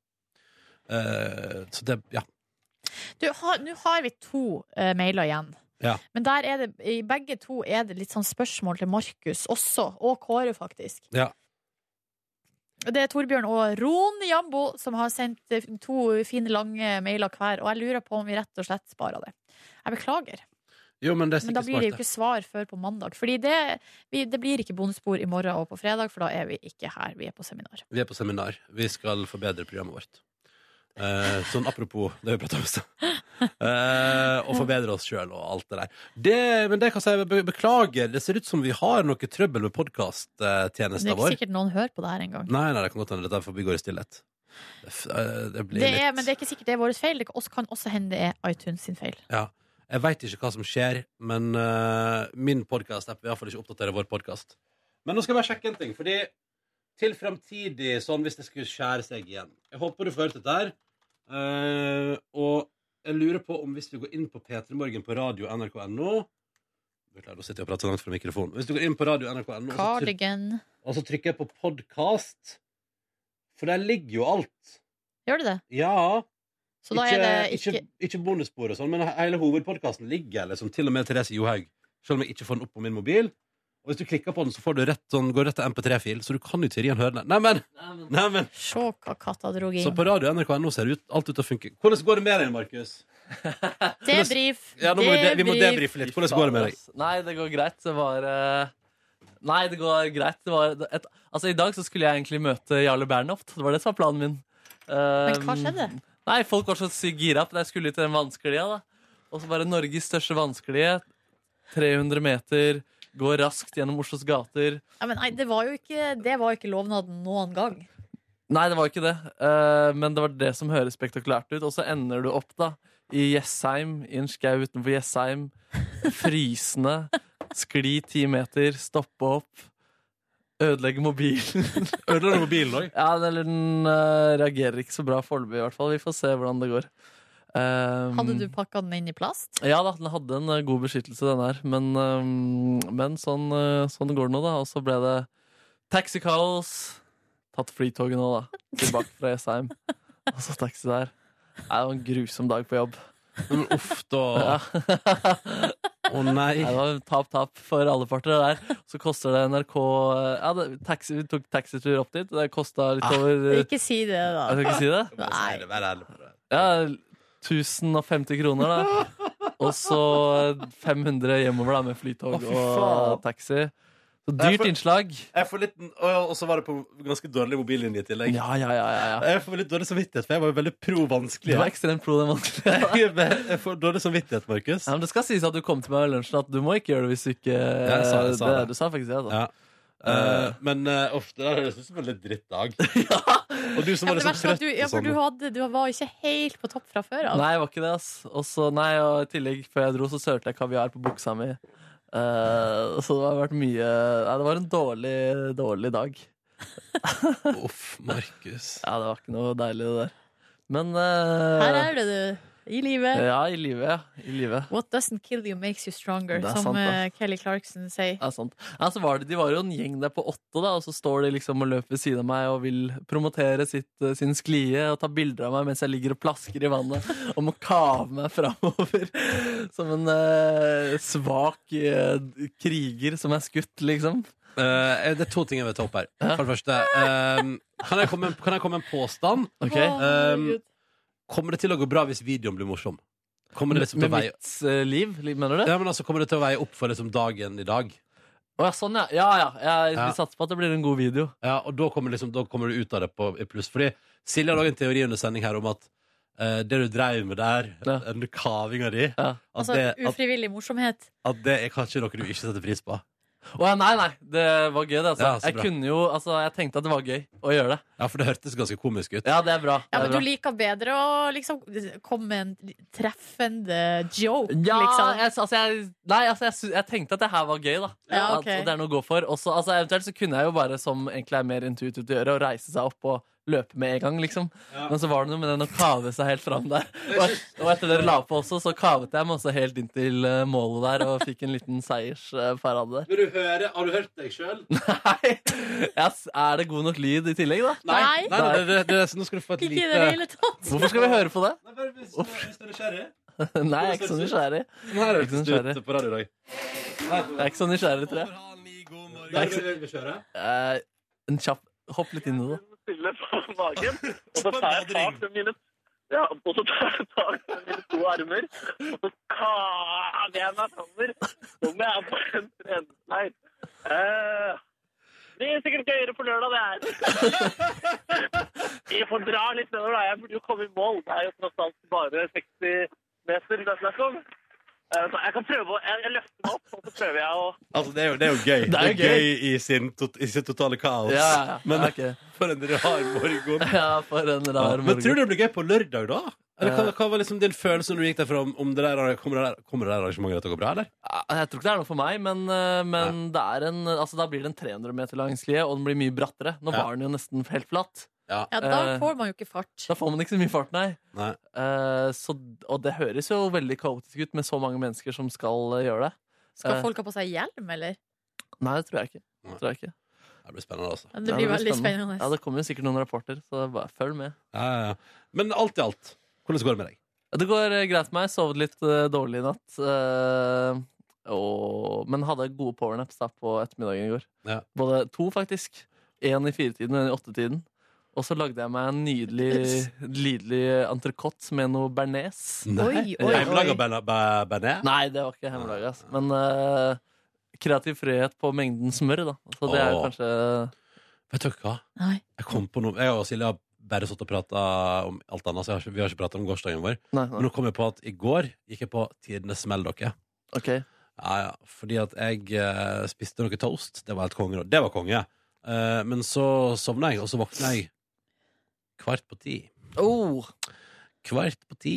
Speaker 2: Eh, Så det, ja
Speaker 3: Du, ha- Nå har vi to eh, mailer igjen.
Speaker 2: Ja.
Speaker 3: Men der er det, i begge to er det litt sånn spørsmål til Markus også, og Kåre, faktisk.
Speaker 2: Ja.
Speaker 3: Det er Torbjørn og Ron Jambo som har sendt eh, to fine, lange mailer hver. Og jeg lurer på om vi rett og slett sparer det. Jeg beklager,
Speaker 2: Jo, men det er
Speaker 3: men da
Speaker 2: sikkert
Speaker 3: blir det jo
Speaker 2: smart.
Speaker 3: ikke svar før på mandag. Fordi det, vi, det blir ikke bondespor i morgen og på fredag, for da er vi ikke her. Vi er på seminar.
Speaker 2: Vi er på seminar. Vi skal forbedre programmet vårt. Eh, sånn apropos det vi prata om i stad. Eh, og forbedre oss sjøl og alt det der. Det, men det kan jeg si, be- beklager. Det ser ut som vi har noe trøbbel med
Speaker 3: Det er
Speaker 2: podkasttjenesten
Speaker 3: ikke
Speaker 2: vår.
Speaker 3: sikkert noen hører på det her engang.
Speaker 2: Nei, nei, det kan godt hende dette forbigår i stillhet. Det, f- eh, det blir
Speaker 3: Det er,
Speaker 2: litt
Speaker 3: men det er ikke sikkert det er vår feil. Det kan også- kan også hende det er iTunes sin feil.
Speaker 2: Jeg veit ikke hva som skjer, men eh, min podkast-app vil iallfall ikke oppdatere vår podkast. Men nå skal jeg bare sjekke en ting, fordi til framtidig, sånn hvis det skulle skjære seg igjen Jeg håper du får hørt dette her. Eh, og jeg lurer på om hvis du går inn på P3 Morgen på radio nrk.no Beklager, nå sitter jeg og prater langt fra mikrofonen. Hvis du går inn på radio nrk.no
Speaker 3: altså,
Speaker 2: og så tryk-
Speaker 3: Cardigan.
Speaker 2: og så trykker jeg på podkast For der ligger jo alt.
Speaker 3: Gjør det det?
Speaker 2: Ja.
Speaker 3: Så da er det ikke,
Speaker 2: ikke, ikke bonusspor og sånn, men hele hovedpodkasten ligger liksom, til og med Therese Johaug. Selv om jeg ikke får den opp på min mobil. Og hvis du klikker på den, så får du rett, sånn, går rett til MP3-fil, så du kan jo i teorien høre den. Neimen! Neimen!
Speaker 3: Se hva katta drog
Speaker 2: Så
Speaker 3: inn.
Speaker 2: på radio NRK.no ser ut, alt ut til å funke. Hvordan går det med deg, Markus?
Speaker 3: Debrif.
Speaker 2: Ja, nå må vi, de, vi må
Speaker 3: debrief.
Speaker 2: debrife litt. Hvordan går det med deg?
Speaker 5: Nei, det går greit. Det var eh, Nei, det går greit. Det var et, altså, I dag så skulle jeg egentlig møte Jarle Bernhoft. Det var det som var planen min.
Speaker 3: Men hva skjedde?
Speaker 2: Um,
Speaker 5: Nei, Folk var så sykt gira på at jeg skulle til den vanskelige. da. Og så bare Norges største vanskelige. 300 meter, gå raskt gjennom Oslos gater.
Speaker 3: Ja, men nei, det var jo ikke, det var jo ikke lovnaden noen gang.
Speaker 5: Nei, det var ikke det. Eh, men det var det som høres spektakulært ut. Og så ender du opp da i Jessheim, i en skau utenfor Jessheim. Frysende. Skli ti meter, stoppe opp. Ødelegge mobilen.
Speaker 2: Ødela du mobilen òg?
Speaker 5: ja, eller den eh, reagerer ikke så bra foreløpig, i hvert fall. Vi får se hvordan det går. Um,
Speaker 3: Hadde du pakka den inn i plast?
Speaker 5: Ja da, den hadde en eh, god beskyttelse, den her. Men, eh, men sånn, eh, sånn går det nå, da. Og så ble det taxikaos. Tatt flytoget nå, da. Tilbake fra Jessheim. Og så taxi der. Nei, det var en grusom dag på jobb.
Speaker 2: Men uff, da.
Speaker 5: Ja.
Speaker 2: Å nei.
Speaker 5: Nei, det var tap-tap for alle parter. det der Så koster det NRK eh, ja, det, taxi, Vi tok taxitur opp dit. Det kosta litt over eh,
Speaker 3: Ikke si det,
Speaker 2: altså,
Speaker 5: Jeg
Speaker 3: da.
Speaker 5: skal ikke si det.
Speaker 3: Nei.
Speaker 2: Vær ærlig på det.
Speaker 5: Ja, 1050 kroner, da. Og så 500 hjemover da med
Speaker 2: Å,
Speaker 5: flytog
Speaker 2: fy faen.
Speaker 5: og taxi. Så
Speaker 2: Jeg
Speaker 5: dyrt
Speaker 2: får-
Speaker 5: innslag.
Speaker 2: Jeg får litt, og og så var det på ganske dårlig mobillinje i tillegg.
Speaker 5: Ja, ja, ja, ja, ja.
Speaker 2: Jeg får litt dårlig samvittighet, for jeg var jo veldig pro vanskelig.
Speaker 5: Du var ekstremt pro den vanskelige.
Speaker 2: Jeg jeg får dårlig samvittighet, Markus.
Speaker 5: Ja, men det skal sies at du kom til meg ved lunsjen at du må ikke gjøre det hvis du ikke
Speaker 2: jeg sa det, jeg sa det.
Speaker 5: Du sa faktisk det, altså. da.
Speaker 2: Ja. Eh, men eh, ofte der høres det ut som en litt drittdag. Og du som var
Speaker 3: Ja, men det
Speaker 2: litt sånn
Speaker 3: verste er at
Speaker 2: trøtt
Speaker 3: du, ja,
Speaker 2: og
Speaker 3: for
Speaker 2: sånn.
Speaker 3: du, hadde, du var ikke helt på topp fra før av.
Speaker 5: Nei, jeg var ikke det, ass. Og så, nei, og i tillegg, før jeg dro, så sølte jeg kaviar på buksa mi. Eh, så det har vært mye Nei, det var en dårlig, dårlig dag.
Speaker 2: Uff, Markus.
Speaker 5: Ja, det var ikke noe deilig, det der. Men eh,
Speaker 3: Her er det, du. I
Speaker 2: Eh.
Speaker 3: livet.
Speaker 5: Ja, i livet, ja. I livet.
Speaker 3: What doesn't kill you makes you stronger,
Speaker 5: Det er
Speaker 3: som
Speaker 5: sant, da.
Speaker 3: eh, Kelly Clarkson sier.
Speaker 5: Ja, sant. Ja, så var det, de var jo en gjeng der på åtte, da, og så står de liksom og løper ved siden av meg og vil promotere sitt, eh, sin sklie og ta bilder av meg mens jeg ligger og plasker i vannet og må kave meg framover som en eh, svak eh, kriger som er skutt, liksom.
Speaker 2: Eh, det er to ting jeg vil ta opp her. For det første, eh, kan, jeg komme, med- kan jeg komme med en påstand?
Speaker 5: Ok?
Speaker 3: Å, herregud.
Speaker 2: Kommer det til å gå bra hvis videoen blir morsom? Kommer det, liksom til
Speaker 5: Med
Speaker 2: å veie,
Speaker 5: mitt eh, liv, li- mener du? Å ja.
Speaker 2: ja, men altså, kommer det til å veie opp for liksom dagen i dag?
Speaker 5: sånn, ja. Ja, ja. Jeg,
Speaker 2: Ja.
Speaker 5: Vi satser på at det blir en god video.
Speaker 2: Ja, og da kommer, liksom, da kommer du ut av det på, i pluss. Fordi Silje har laget en teori under sending her om at eh, det du dreiv med der,
Speaker 5: Ja.
Speaker 2: den kavinga di,
Speaker 5: Ja.
Speaker 2: at,
Speaker 3: Altså,
Speaker 2: det, at,
Speaker 3: ufrivillig morsomhet.
Speaker 2: at det er kanskje noe du ikke setter pris på.
Speaker 5: Å ja, nei, nei. Det var gøy, det. Altså.
Speaker 2: Ja, så
Speaker 5: jeg
Speaker 2: bra.
Speaker 5: kunne jo Altså, jeg tenkte at det var gøy å gjøre det.
Speaker 2: Ja, for det hørtes ganske komisk ut.
Speaker 5: Ja, det er bra.
Speaker 3: Ja,
Speaker 5: det
Speaker 3: men
Speaker 5: er
Speaker 3: du
Speaker 5: bra.
Speaker 3: liker bedre å liksom komme med en treffende joke,
Speaker 5: Ja,
Speaker 3: liksom.
Speaker 5: jeg, altså, jeg, nei, altså, jeg, sy- jeg tenkte at det her var gøy, da.
Speaker 3: Ja,
Speaker 5: At-
Speaker 3: ok.
Speaker 5: at det er noe å gå for. Også, altså, eventuelt så kunne jeg jo bare, som egentlig er mer intuitivt å gjøre, å reise seg opp og løpe med en gang, liksom. Men så var det noe med den å kave seg helt fram der. Og, og etter dere la på også, så kavet jeg meg også helt inn til eh, målet der og fikk en liten seiersparade der.
Speaker 2: Vil du høre, har du hørt deg sjøl? Nei,
Speaker 5: Nei, jeg s- er det god nok lyd i tillegg, da?
Speaker 3: Nei.
Speaker 2: nei, nei, det, det, så nå skal du få et
Speaker 3: Ikke i
Speaker 2: lite
Speaker 3: det hele tatt.
Speaker 5: Hvorfor skal vi høre på det?
Speaker 2: Nei, bare hvis, hvis du er nysgjerrig.
Speaker 5: Nei, jeg er ikke så nysgjerrig.
Speaker 2: Nå er det
Speaker 5: Ikke sånn
Speaker 2: ikke
Speaker 5: nysgjerrig.
Speaker 2: ut på radio i dag.
Speaker 5: Jeg er ikke så nysgjerrig, tror jeg.
Speaker 2: Der vil vi kjøre.
Speaker 5: Eh, en kjapp Hopp litt inn i det.
Speaker 6: stille på magen, og så
Speaker 2: På
Speaker 6: tar jeg
Speaker 2: badering.
Speaker 6: tak med mine ja, og så tar jeg tak med mine to armer, og så kaver jeg meg framover som jeg er på en treningsleir. Eh, det er sikkert gøyere på lørdag, det her. Vi får dra litt nedover, da. Jeg burde jo komme i mål. Det er jo tross alt bare 60 meter det er snakk om. Eh, Så jeg kan prøve å Jeg jeg løfter meg opp, og så prøver jeg å
Speaker 2: Altså, det er jo, det er jo gøy.
Speaker 5: Det er jo
Speaker 2: i, sin, tot- i sitt totale kaos.
Speaker 5: Ja, ja, ja.
Speaker 2: Men
Speaker 5: ok.
Speaker 2: for en rar morgen.
Speaker 5: Ja, for en rar morgen.
Speaker 2: Men tror du det blir gøy på lørdag, da? Eller hva,
Speaker 5: Ja.
Speaker 2: hva var liksom din følelse når du gikk derfra? Om, om det der, kommer, det der, kommer det der arrangementet til å gå bra, eller?
Speaker 5: Ja, Jeg tror ikke det er noe for meg, men, eh, men det er en, altså, da blir det en 300 meter lang sklie, og den blir mye brattere. Nå
Speaker 2: Ja.
Speaker 5: var den jo nesten helt flatt.
Speaker 3: Ja, da
Speaker 5: Eh.
Speaker 3: får man jo ikke fart.
Speaker 5: Da får man ikke så mye fart, nei.
Speaker 2: Nei.
Speaker 5: Eh, så, og det høres jo veldig kaotisk ut med så mange mennesker som skal eh, gjøre det.
Speaker 3: Skal
Speaker 5: Eh.
Speaker 3: folk ha på seg hjelm, eller?
Speaker 5: Nei, det tror jeg ikke.
Speaker 2: Nei.
Speaker 5: Tror jeg ikke.
Speaker 2: Det blir spennende, altså.
Speaker 3: Ja, Det blir veldig spennende.
Speaker 5: Ja, det kommer jo sikkert noen rapporter, så bare følg med.
Speaker 2: Ja, ja, ja. Men alt i alt, hvordan går det med deg?
Speaker 5: Det går eh, greit med meg. Sovet litt eh, dårlig i natt. Eh, og, men hadde gode powernaps da på ettermiddagen i går.
Speaker 2: Ja.
Speaker 5: Både to, faktisk. Én i firetiden og én i åttetiden. Og så lagde jeg meg en nydelig, lidelig entrecôte med noe bearnés.
Speaker 3: Oi, oi,
Speaker 2: Hjemmelaga
Speaker 3: oi.
Speaker 2: bearnés?
Speaker 5: Nei, det var ikke hemmelig, ass. Men eh, kreativ frihet på mengden smør, da. Så det er jo
Speaker 2: Åh.
Speaker 5: kanskje
Speaker 2: Vet dere hva?
Speaker 3: Nei.
Speaker 2: Jeg kom på noe Jeg og Silje har bare stått og prata om alt annet. Så jeg har ikke, vi har ikke prata om gårsdagen vår.
Speaker 5: Nei,
Speaker 2: Men
Speaker 5: nei.
Speaker 2: nå kom jeg på at i går gikk jeg på tidenes smell, dere.
Speaker 5: OK.
Speaker 2: Ja, ja. Fordi at jeg eh, spiste noe toast. Det var helt konge. da. Det var konge. Eh, men så sovna jeg, og så våkna jeg kvart på ti.
Speaker 5: Oh,
Speaker 2: Kvart på ti.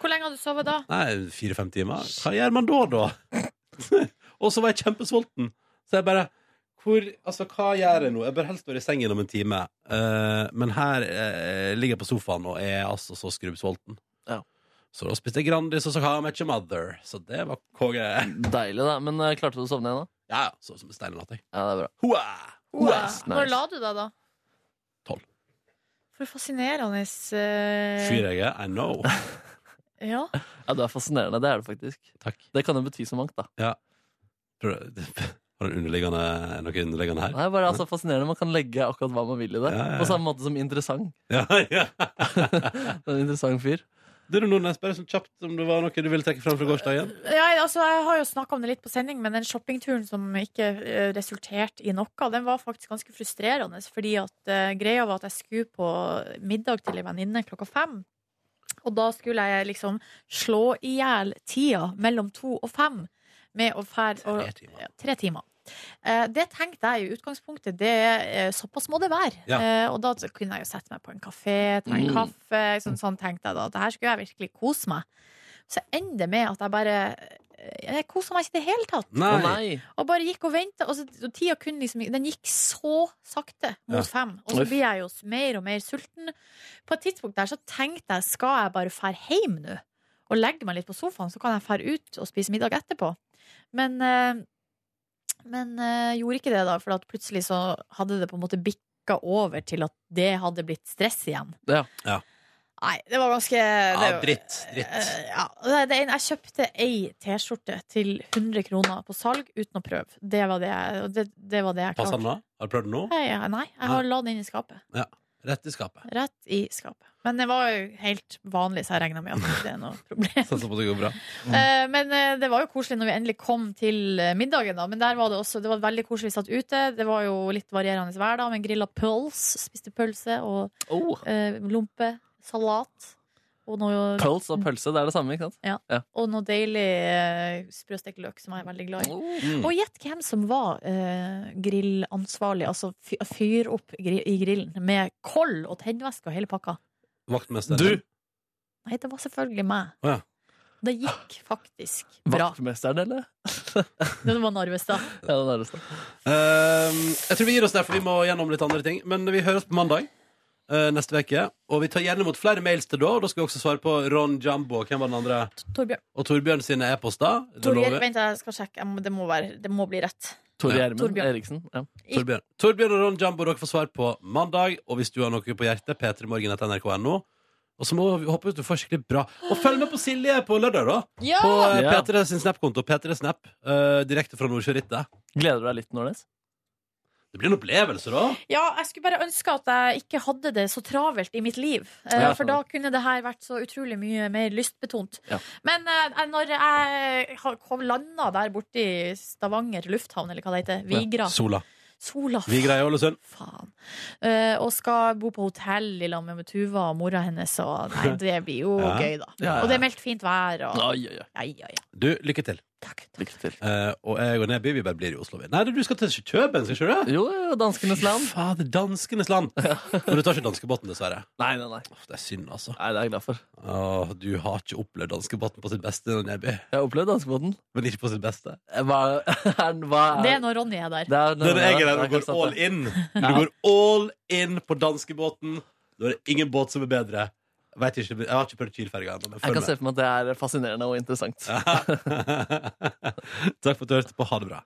Speaker 3: Hvor lenge har du sovet da?
Speaker 2: Nei, fire-fem timer. Hva gjør man da, da? og så var jeg kjempesulten. Så jeg bare hvor, altså, Hva gjør jeg nå? Jeg bør helst være i sengen om en time. Eh, men her eh, ligger jeg på sofaen og er altså så skrubbsulten.
Speaker 5: Ja.
Speaker 2: Så da spiste jeg Grandis og så How I Met Your Mother. Så det var konge.
Speaker 5: deilig, da. Men eh, klarte du å sovne igjen, da?
Speaker 2: Ja, ja. Sov som en stein i natt, jeg.
Speaker 5: Ja, det er bra.
Speaker 2: Hoa! Hoa!
Speaker 5: Nice,
Speaker 3: Når
Speaker 5: nice.
Speaker 3: la du deg da?
Speaker 2: Tolv.
Speaker 3: For fascinerende. eh,
Speaker 2: Fyr jeg er, I know.
Speaker 3: Ja.
Speaker 5: Ja, du er fascinerende. Det er du faktisk.
Speaker 2: Takk.
Speaker 5: Det kan jo bety så mangt, da.
Speaker 2: Tror du- Har du underliggende, noe underliggende her?
Speaker 5: Nei, bare altså fascinerende Man kan legge akkurat hva man vil i det.
Speaker 2: Ja, ja, ja.
Speaker 5: På samme måte som interessant.
Speaker 2: Ja, ja.
Speaker 5: Det er en interessant fyr.
Speaker 2: Du, Nordnes, bare sånn kjapt om det var noe du ville trekke fram fra gårsdagen?
Speaker 3: Ja, altså, jeg har jo snakka om det litt på sending, men den shoppingturen som ikke eh, resulterte i noe, den var faktisk ganske frustrerende. Fordi at eh, greia var at jeg skulle på middag til ei venninne klokka fem. Og da skulle jeg liksom slå i hjel tida mellom to og fem med å fære og-
Speaker 2: Tre timer.
Speaker 3: ja, tre timer. Eh, det tenkte jeg i utgangspunktet. Det er eh, Såpass må det være.
Speaker 2: Ja.
Speaker 3: Eh, og da kunne jeg jo sette meg på en kafé, ta en
Speaker 5: Mm.
Speaker 3: kaffe. Sånn, sånn tenkte jeg da. At her skulle jeg virkelig kose meg. Så ender det med at jeg bare eh, Jeg kosa meg ikke i det hele tatt.
Speaker 5: Å
Speaker 2: Nei.
Speaker 5: nei!
Speaker 3: Og bare gikk og venta. Og, så- og tida kunne liksom Den gikk så sakte mot
Speaker 2: Ja.
Speaker 3: fem. Og så
Speaker 5: Uff.
Speaker 3: blir jeg jo mer og mer sulten. På et tidspunkt der så tenkte jeg skal jeg bare fære hjem nå? Og legge meg litt på sofaen, så kan jeg fære ut og spise middag etterpå. Men eh, men eh, gjorde ikke det, da. For at plutselig så hadde det på en måte bikka over til at det hadde blitt stress igjen.
Speaker 5: Ja.
Speaker 2: Ja.
Speaker 3: Nei, det var ganske
Speaker 2: Ja,
Speaker 3: det-
Speaker 2: dritt. Dritt.
Speaker 3: Eh, Ja, det- det er en, jeg kjøpte ei T-skjorte til 100 kroner på salg uten å prøve. Det var det jeg, og det, det, var det jeg
Speaker 2: Passer den
Speaker 3: klarte.
Speaker 2: nå? Har du prøvd den nå?
Speaker 3: Nei, ja, nei, jeg har la den inn i skapet.
Speaker 2: Rett i skapet.
Speaker 3: Rett i skapet. Men det var jo helt vanlig, så jeg regna med at det ikke er noe problem.
Speaker 2: Satser på Sånn at det går bra.
Speaker 3: Eh, Men eh, det var jo koselig når vi endelig kom til eh, middagen, da. Men der var det også Det var veldig koselig satt ute. Det var jo litt varierende hver dag, men grilla pøls. Spiste pølse og
Speaker 5: Oh.
Speaker 3: eh, lompe. Salat. Og noe,
Speaker 5: Pøls og pølse, det er det samme, ikke sant?
Speaker 3: og noe deilig eh, sprøstekt løk, som jeg er veldig glad i.
Speaker 2: Mm.
Speaker 3: Og gjett hvem som var eh, grillansvarlig, altså fy- fyr opp gri i grillen med koll og tennvæske og hele pakka.
Speaker 2: Vaktmesteren.
Speaker 5: Du,
Speaker 3: Nei, det var selvfølgelig meg.
Speaker 2: Å ja.
Speaker 3: Det gikk faktisk bra.
Speaker 5: vaktmesteren, eller?
Speaker 3: Det var Narvestad.
Speaker 5: Ja, det er det sånn.
Speaker 2: Ehm, jeg tror vi gir oss der, for vi må gjennom litt andre ting. Men vi høres på mandag eh, neste uke. Og vi tar gjerne imot flere mails til da, og da skal vi også svare på Ron Jambo. Hvem var den andre?
Speaker 3: Torbjørn.
Speaker 2: Og Torbjørn sine e-poster. Det
Speaker 3: Torbjørn
Speaker 2: lover vi.
Speaker 3: vent, jeg skal sjekke. Jeg må- Det må, være, det må bli rett.
Speaker 5: Tor
Speaker 2: Ja.
Speaker 5: Gjermund
Speaker 3: Torbjørn.
Speaker 5: Eriksen. Ja.
Speaker 2: Torbjørn. Torbjørn og Ron Jambo dere får svar på mandag. Og hvis du har noe på hjertet, p3morgen.nrk.no. Og så må vi håpe at du får skikkelig bra. Og følg med på Silje på lørdag, da.
Speaker 3: Ja!
Speaker 2: På eh,
Speaker 5: Ja.
Speaker 2: P3 sin Snap-konto. P3 Snap. eh, direkte fra Nordsjørittet.
Speaker 5: Gleder du deg litt, Nordnes?
Speaker 2: Det blir en opplevelse, da.
Speaker 3: Ja, jeg skulle bare ønske at jeg ikke hadde det så travelt i mitt liv. Eh,
Speaker 5: Ja,
Speaker 3: for da kunne det her vært så utrolig mye mer lystbetont.
Speaker 5: Ja.
Speaker 3: Men eh, når jeg har- kom landa der borte i Stavanger lufthavn, eller hva det heter, Vigra,
Speaker 2: Sola.
Speaker 3: Sola,
Speaker 2: Vigra i Ålesund.
Speaker 3: faen, eh, og skal bo på hotell i lag med Tuva og mora hennes, og nei, det blir jo
Speaker 2: Ja.
Speaker 3: gøy, da.
Speaker 5: Ja, ja.
Speaker 3: Og det er meldt fint vær, og
Speaker 5: Oi, oi, oi.
Speaker 3: ja, ja, ja.
Speaker 2: Du, lykke til.
Speaker 3: Takk. takk.
Speaker 5: Lykke til.
Speaker 2: Eh, og jeg og Neby vi bare blir i Oslo. vi. Nei, du skal til Kjøben, skal ikke du?
Speaker 5: Jo, jo, danskenes land.
Speaker 2: Fader, danskenes land! Men du tar ikke danskebåten, dessverre.
Speaker 5: Nei, nei, nei.
Speaker 2: Åh, det er synd, altså.
Speaker 5: Nei, Det er jeg glad for.
Speaker 2: Åh, du har ikke opplevd danskebåten på sitt beste, Neby.
Speaker 5: Jeg har opplevd danskebåten.
Speaker 2: Men ikke på sitt beste.
Speaker 5: Hva er hva er-
Speaker 3: Det er når Ronny er der.
Speaker 5: Det er
Speaker 2: Når jeg er
Speaker 5: det
Speaker 2: der og
Speaker 5: kan
Speaker 2: går
Speaker 5: stemme.
Speaker 2: all in, når du går all in på danskebåten, da er det ingen båt som er bedre. Jeg, vet ikke, jeg har ikke prøvd Kiel-ferga ennå, men
Speaker 5: Jeg
Speaker 2: følg
Speaker 5: kan se for meg at det er fascinerende og interessant.
Speaker 2: med. Takk for at du hørte på. Ha det bra.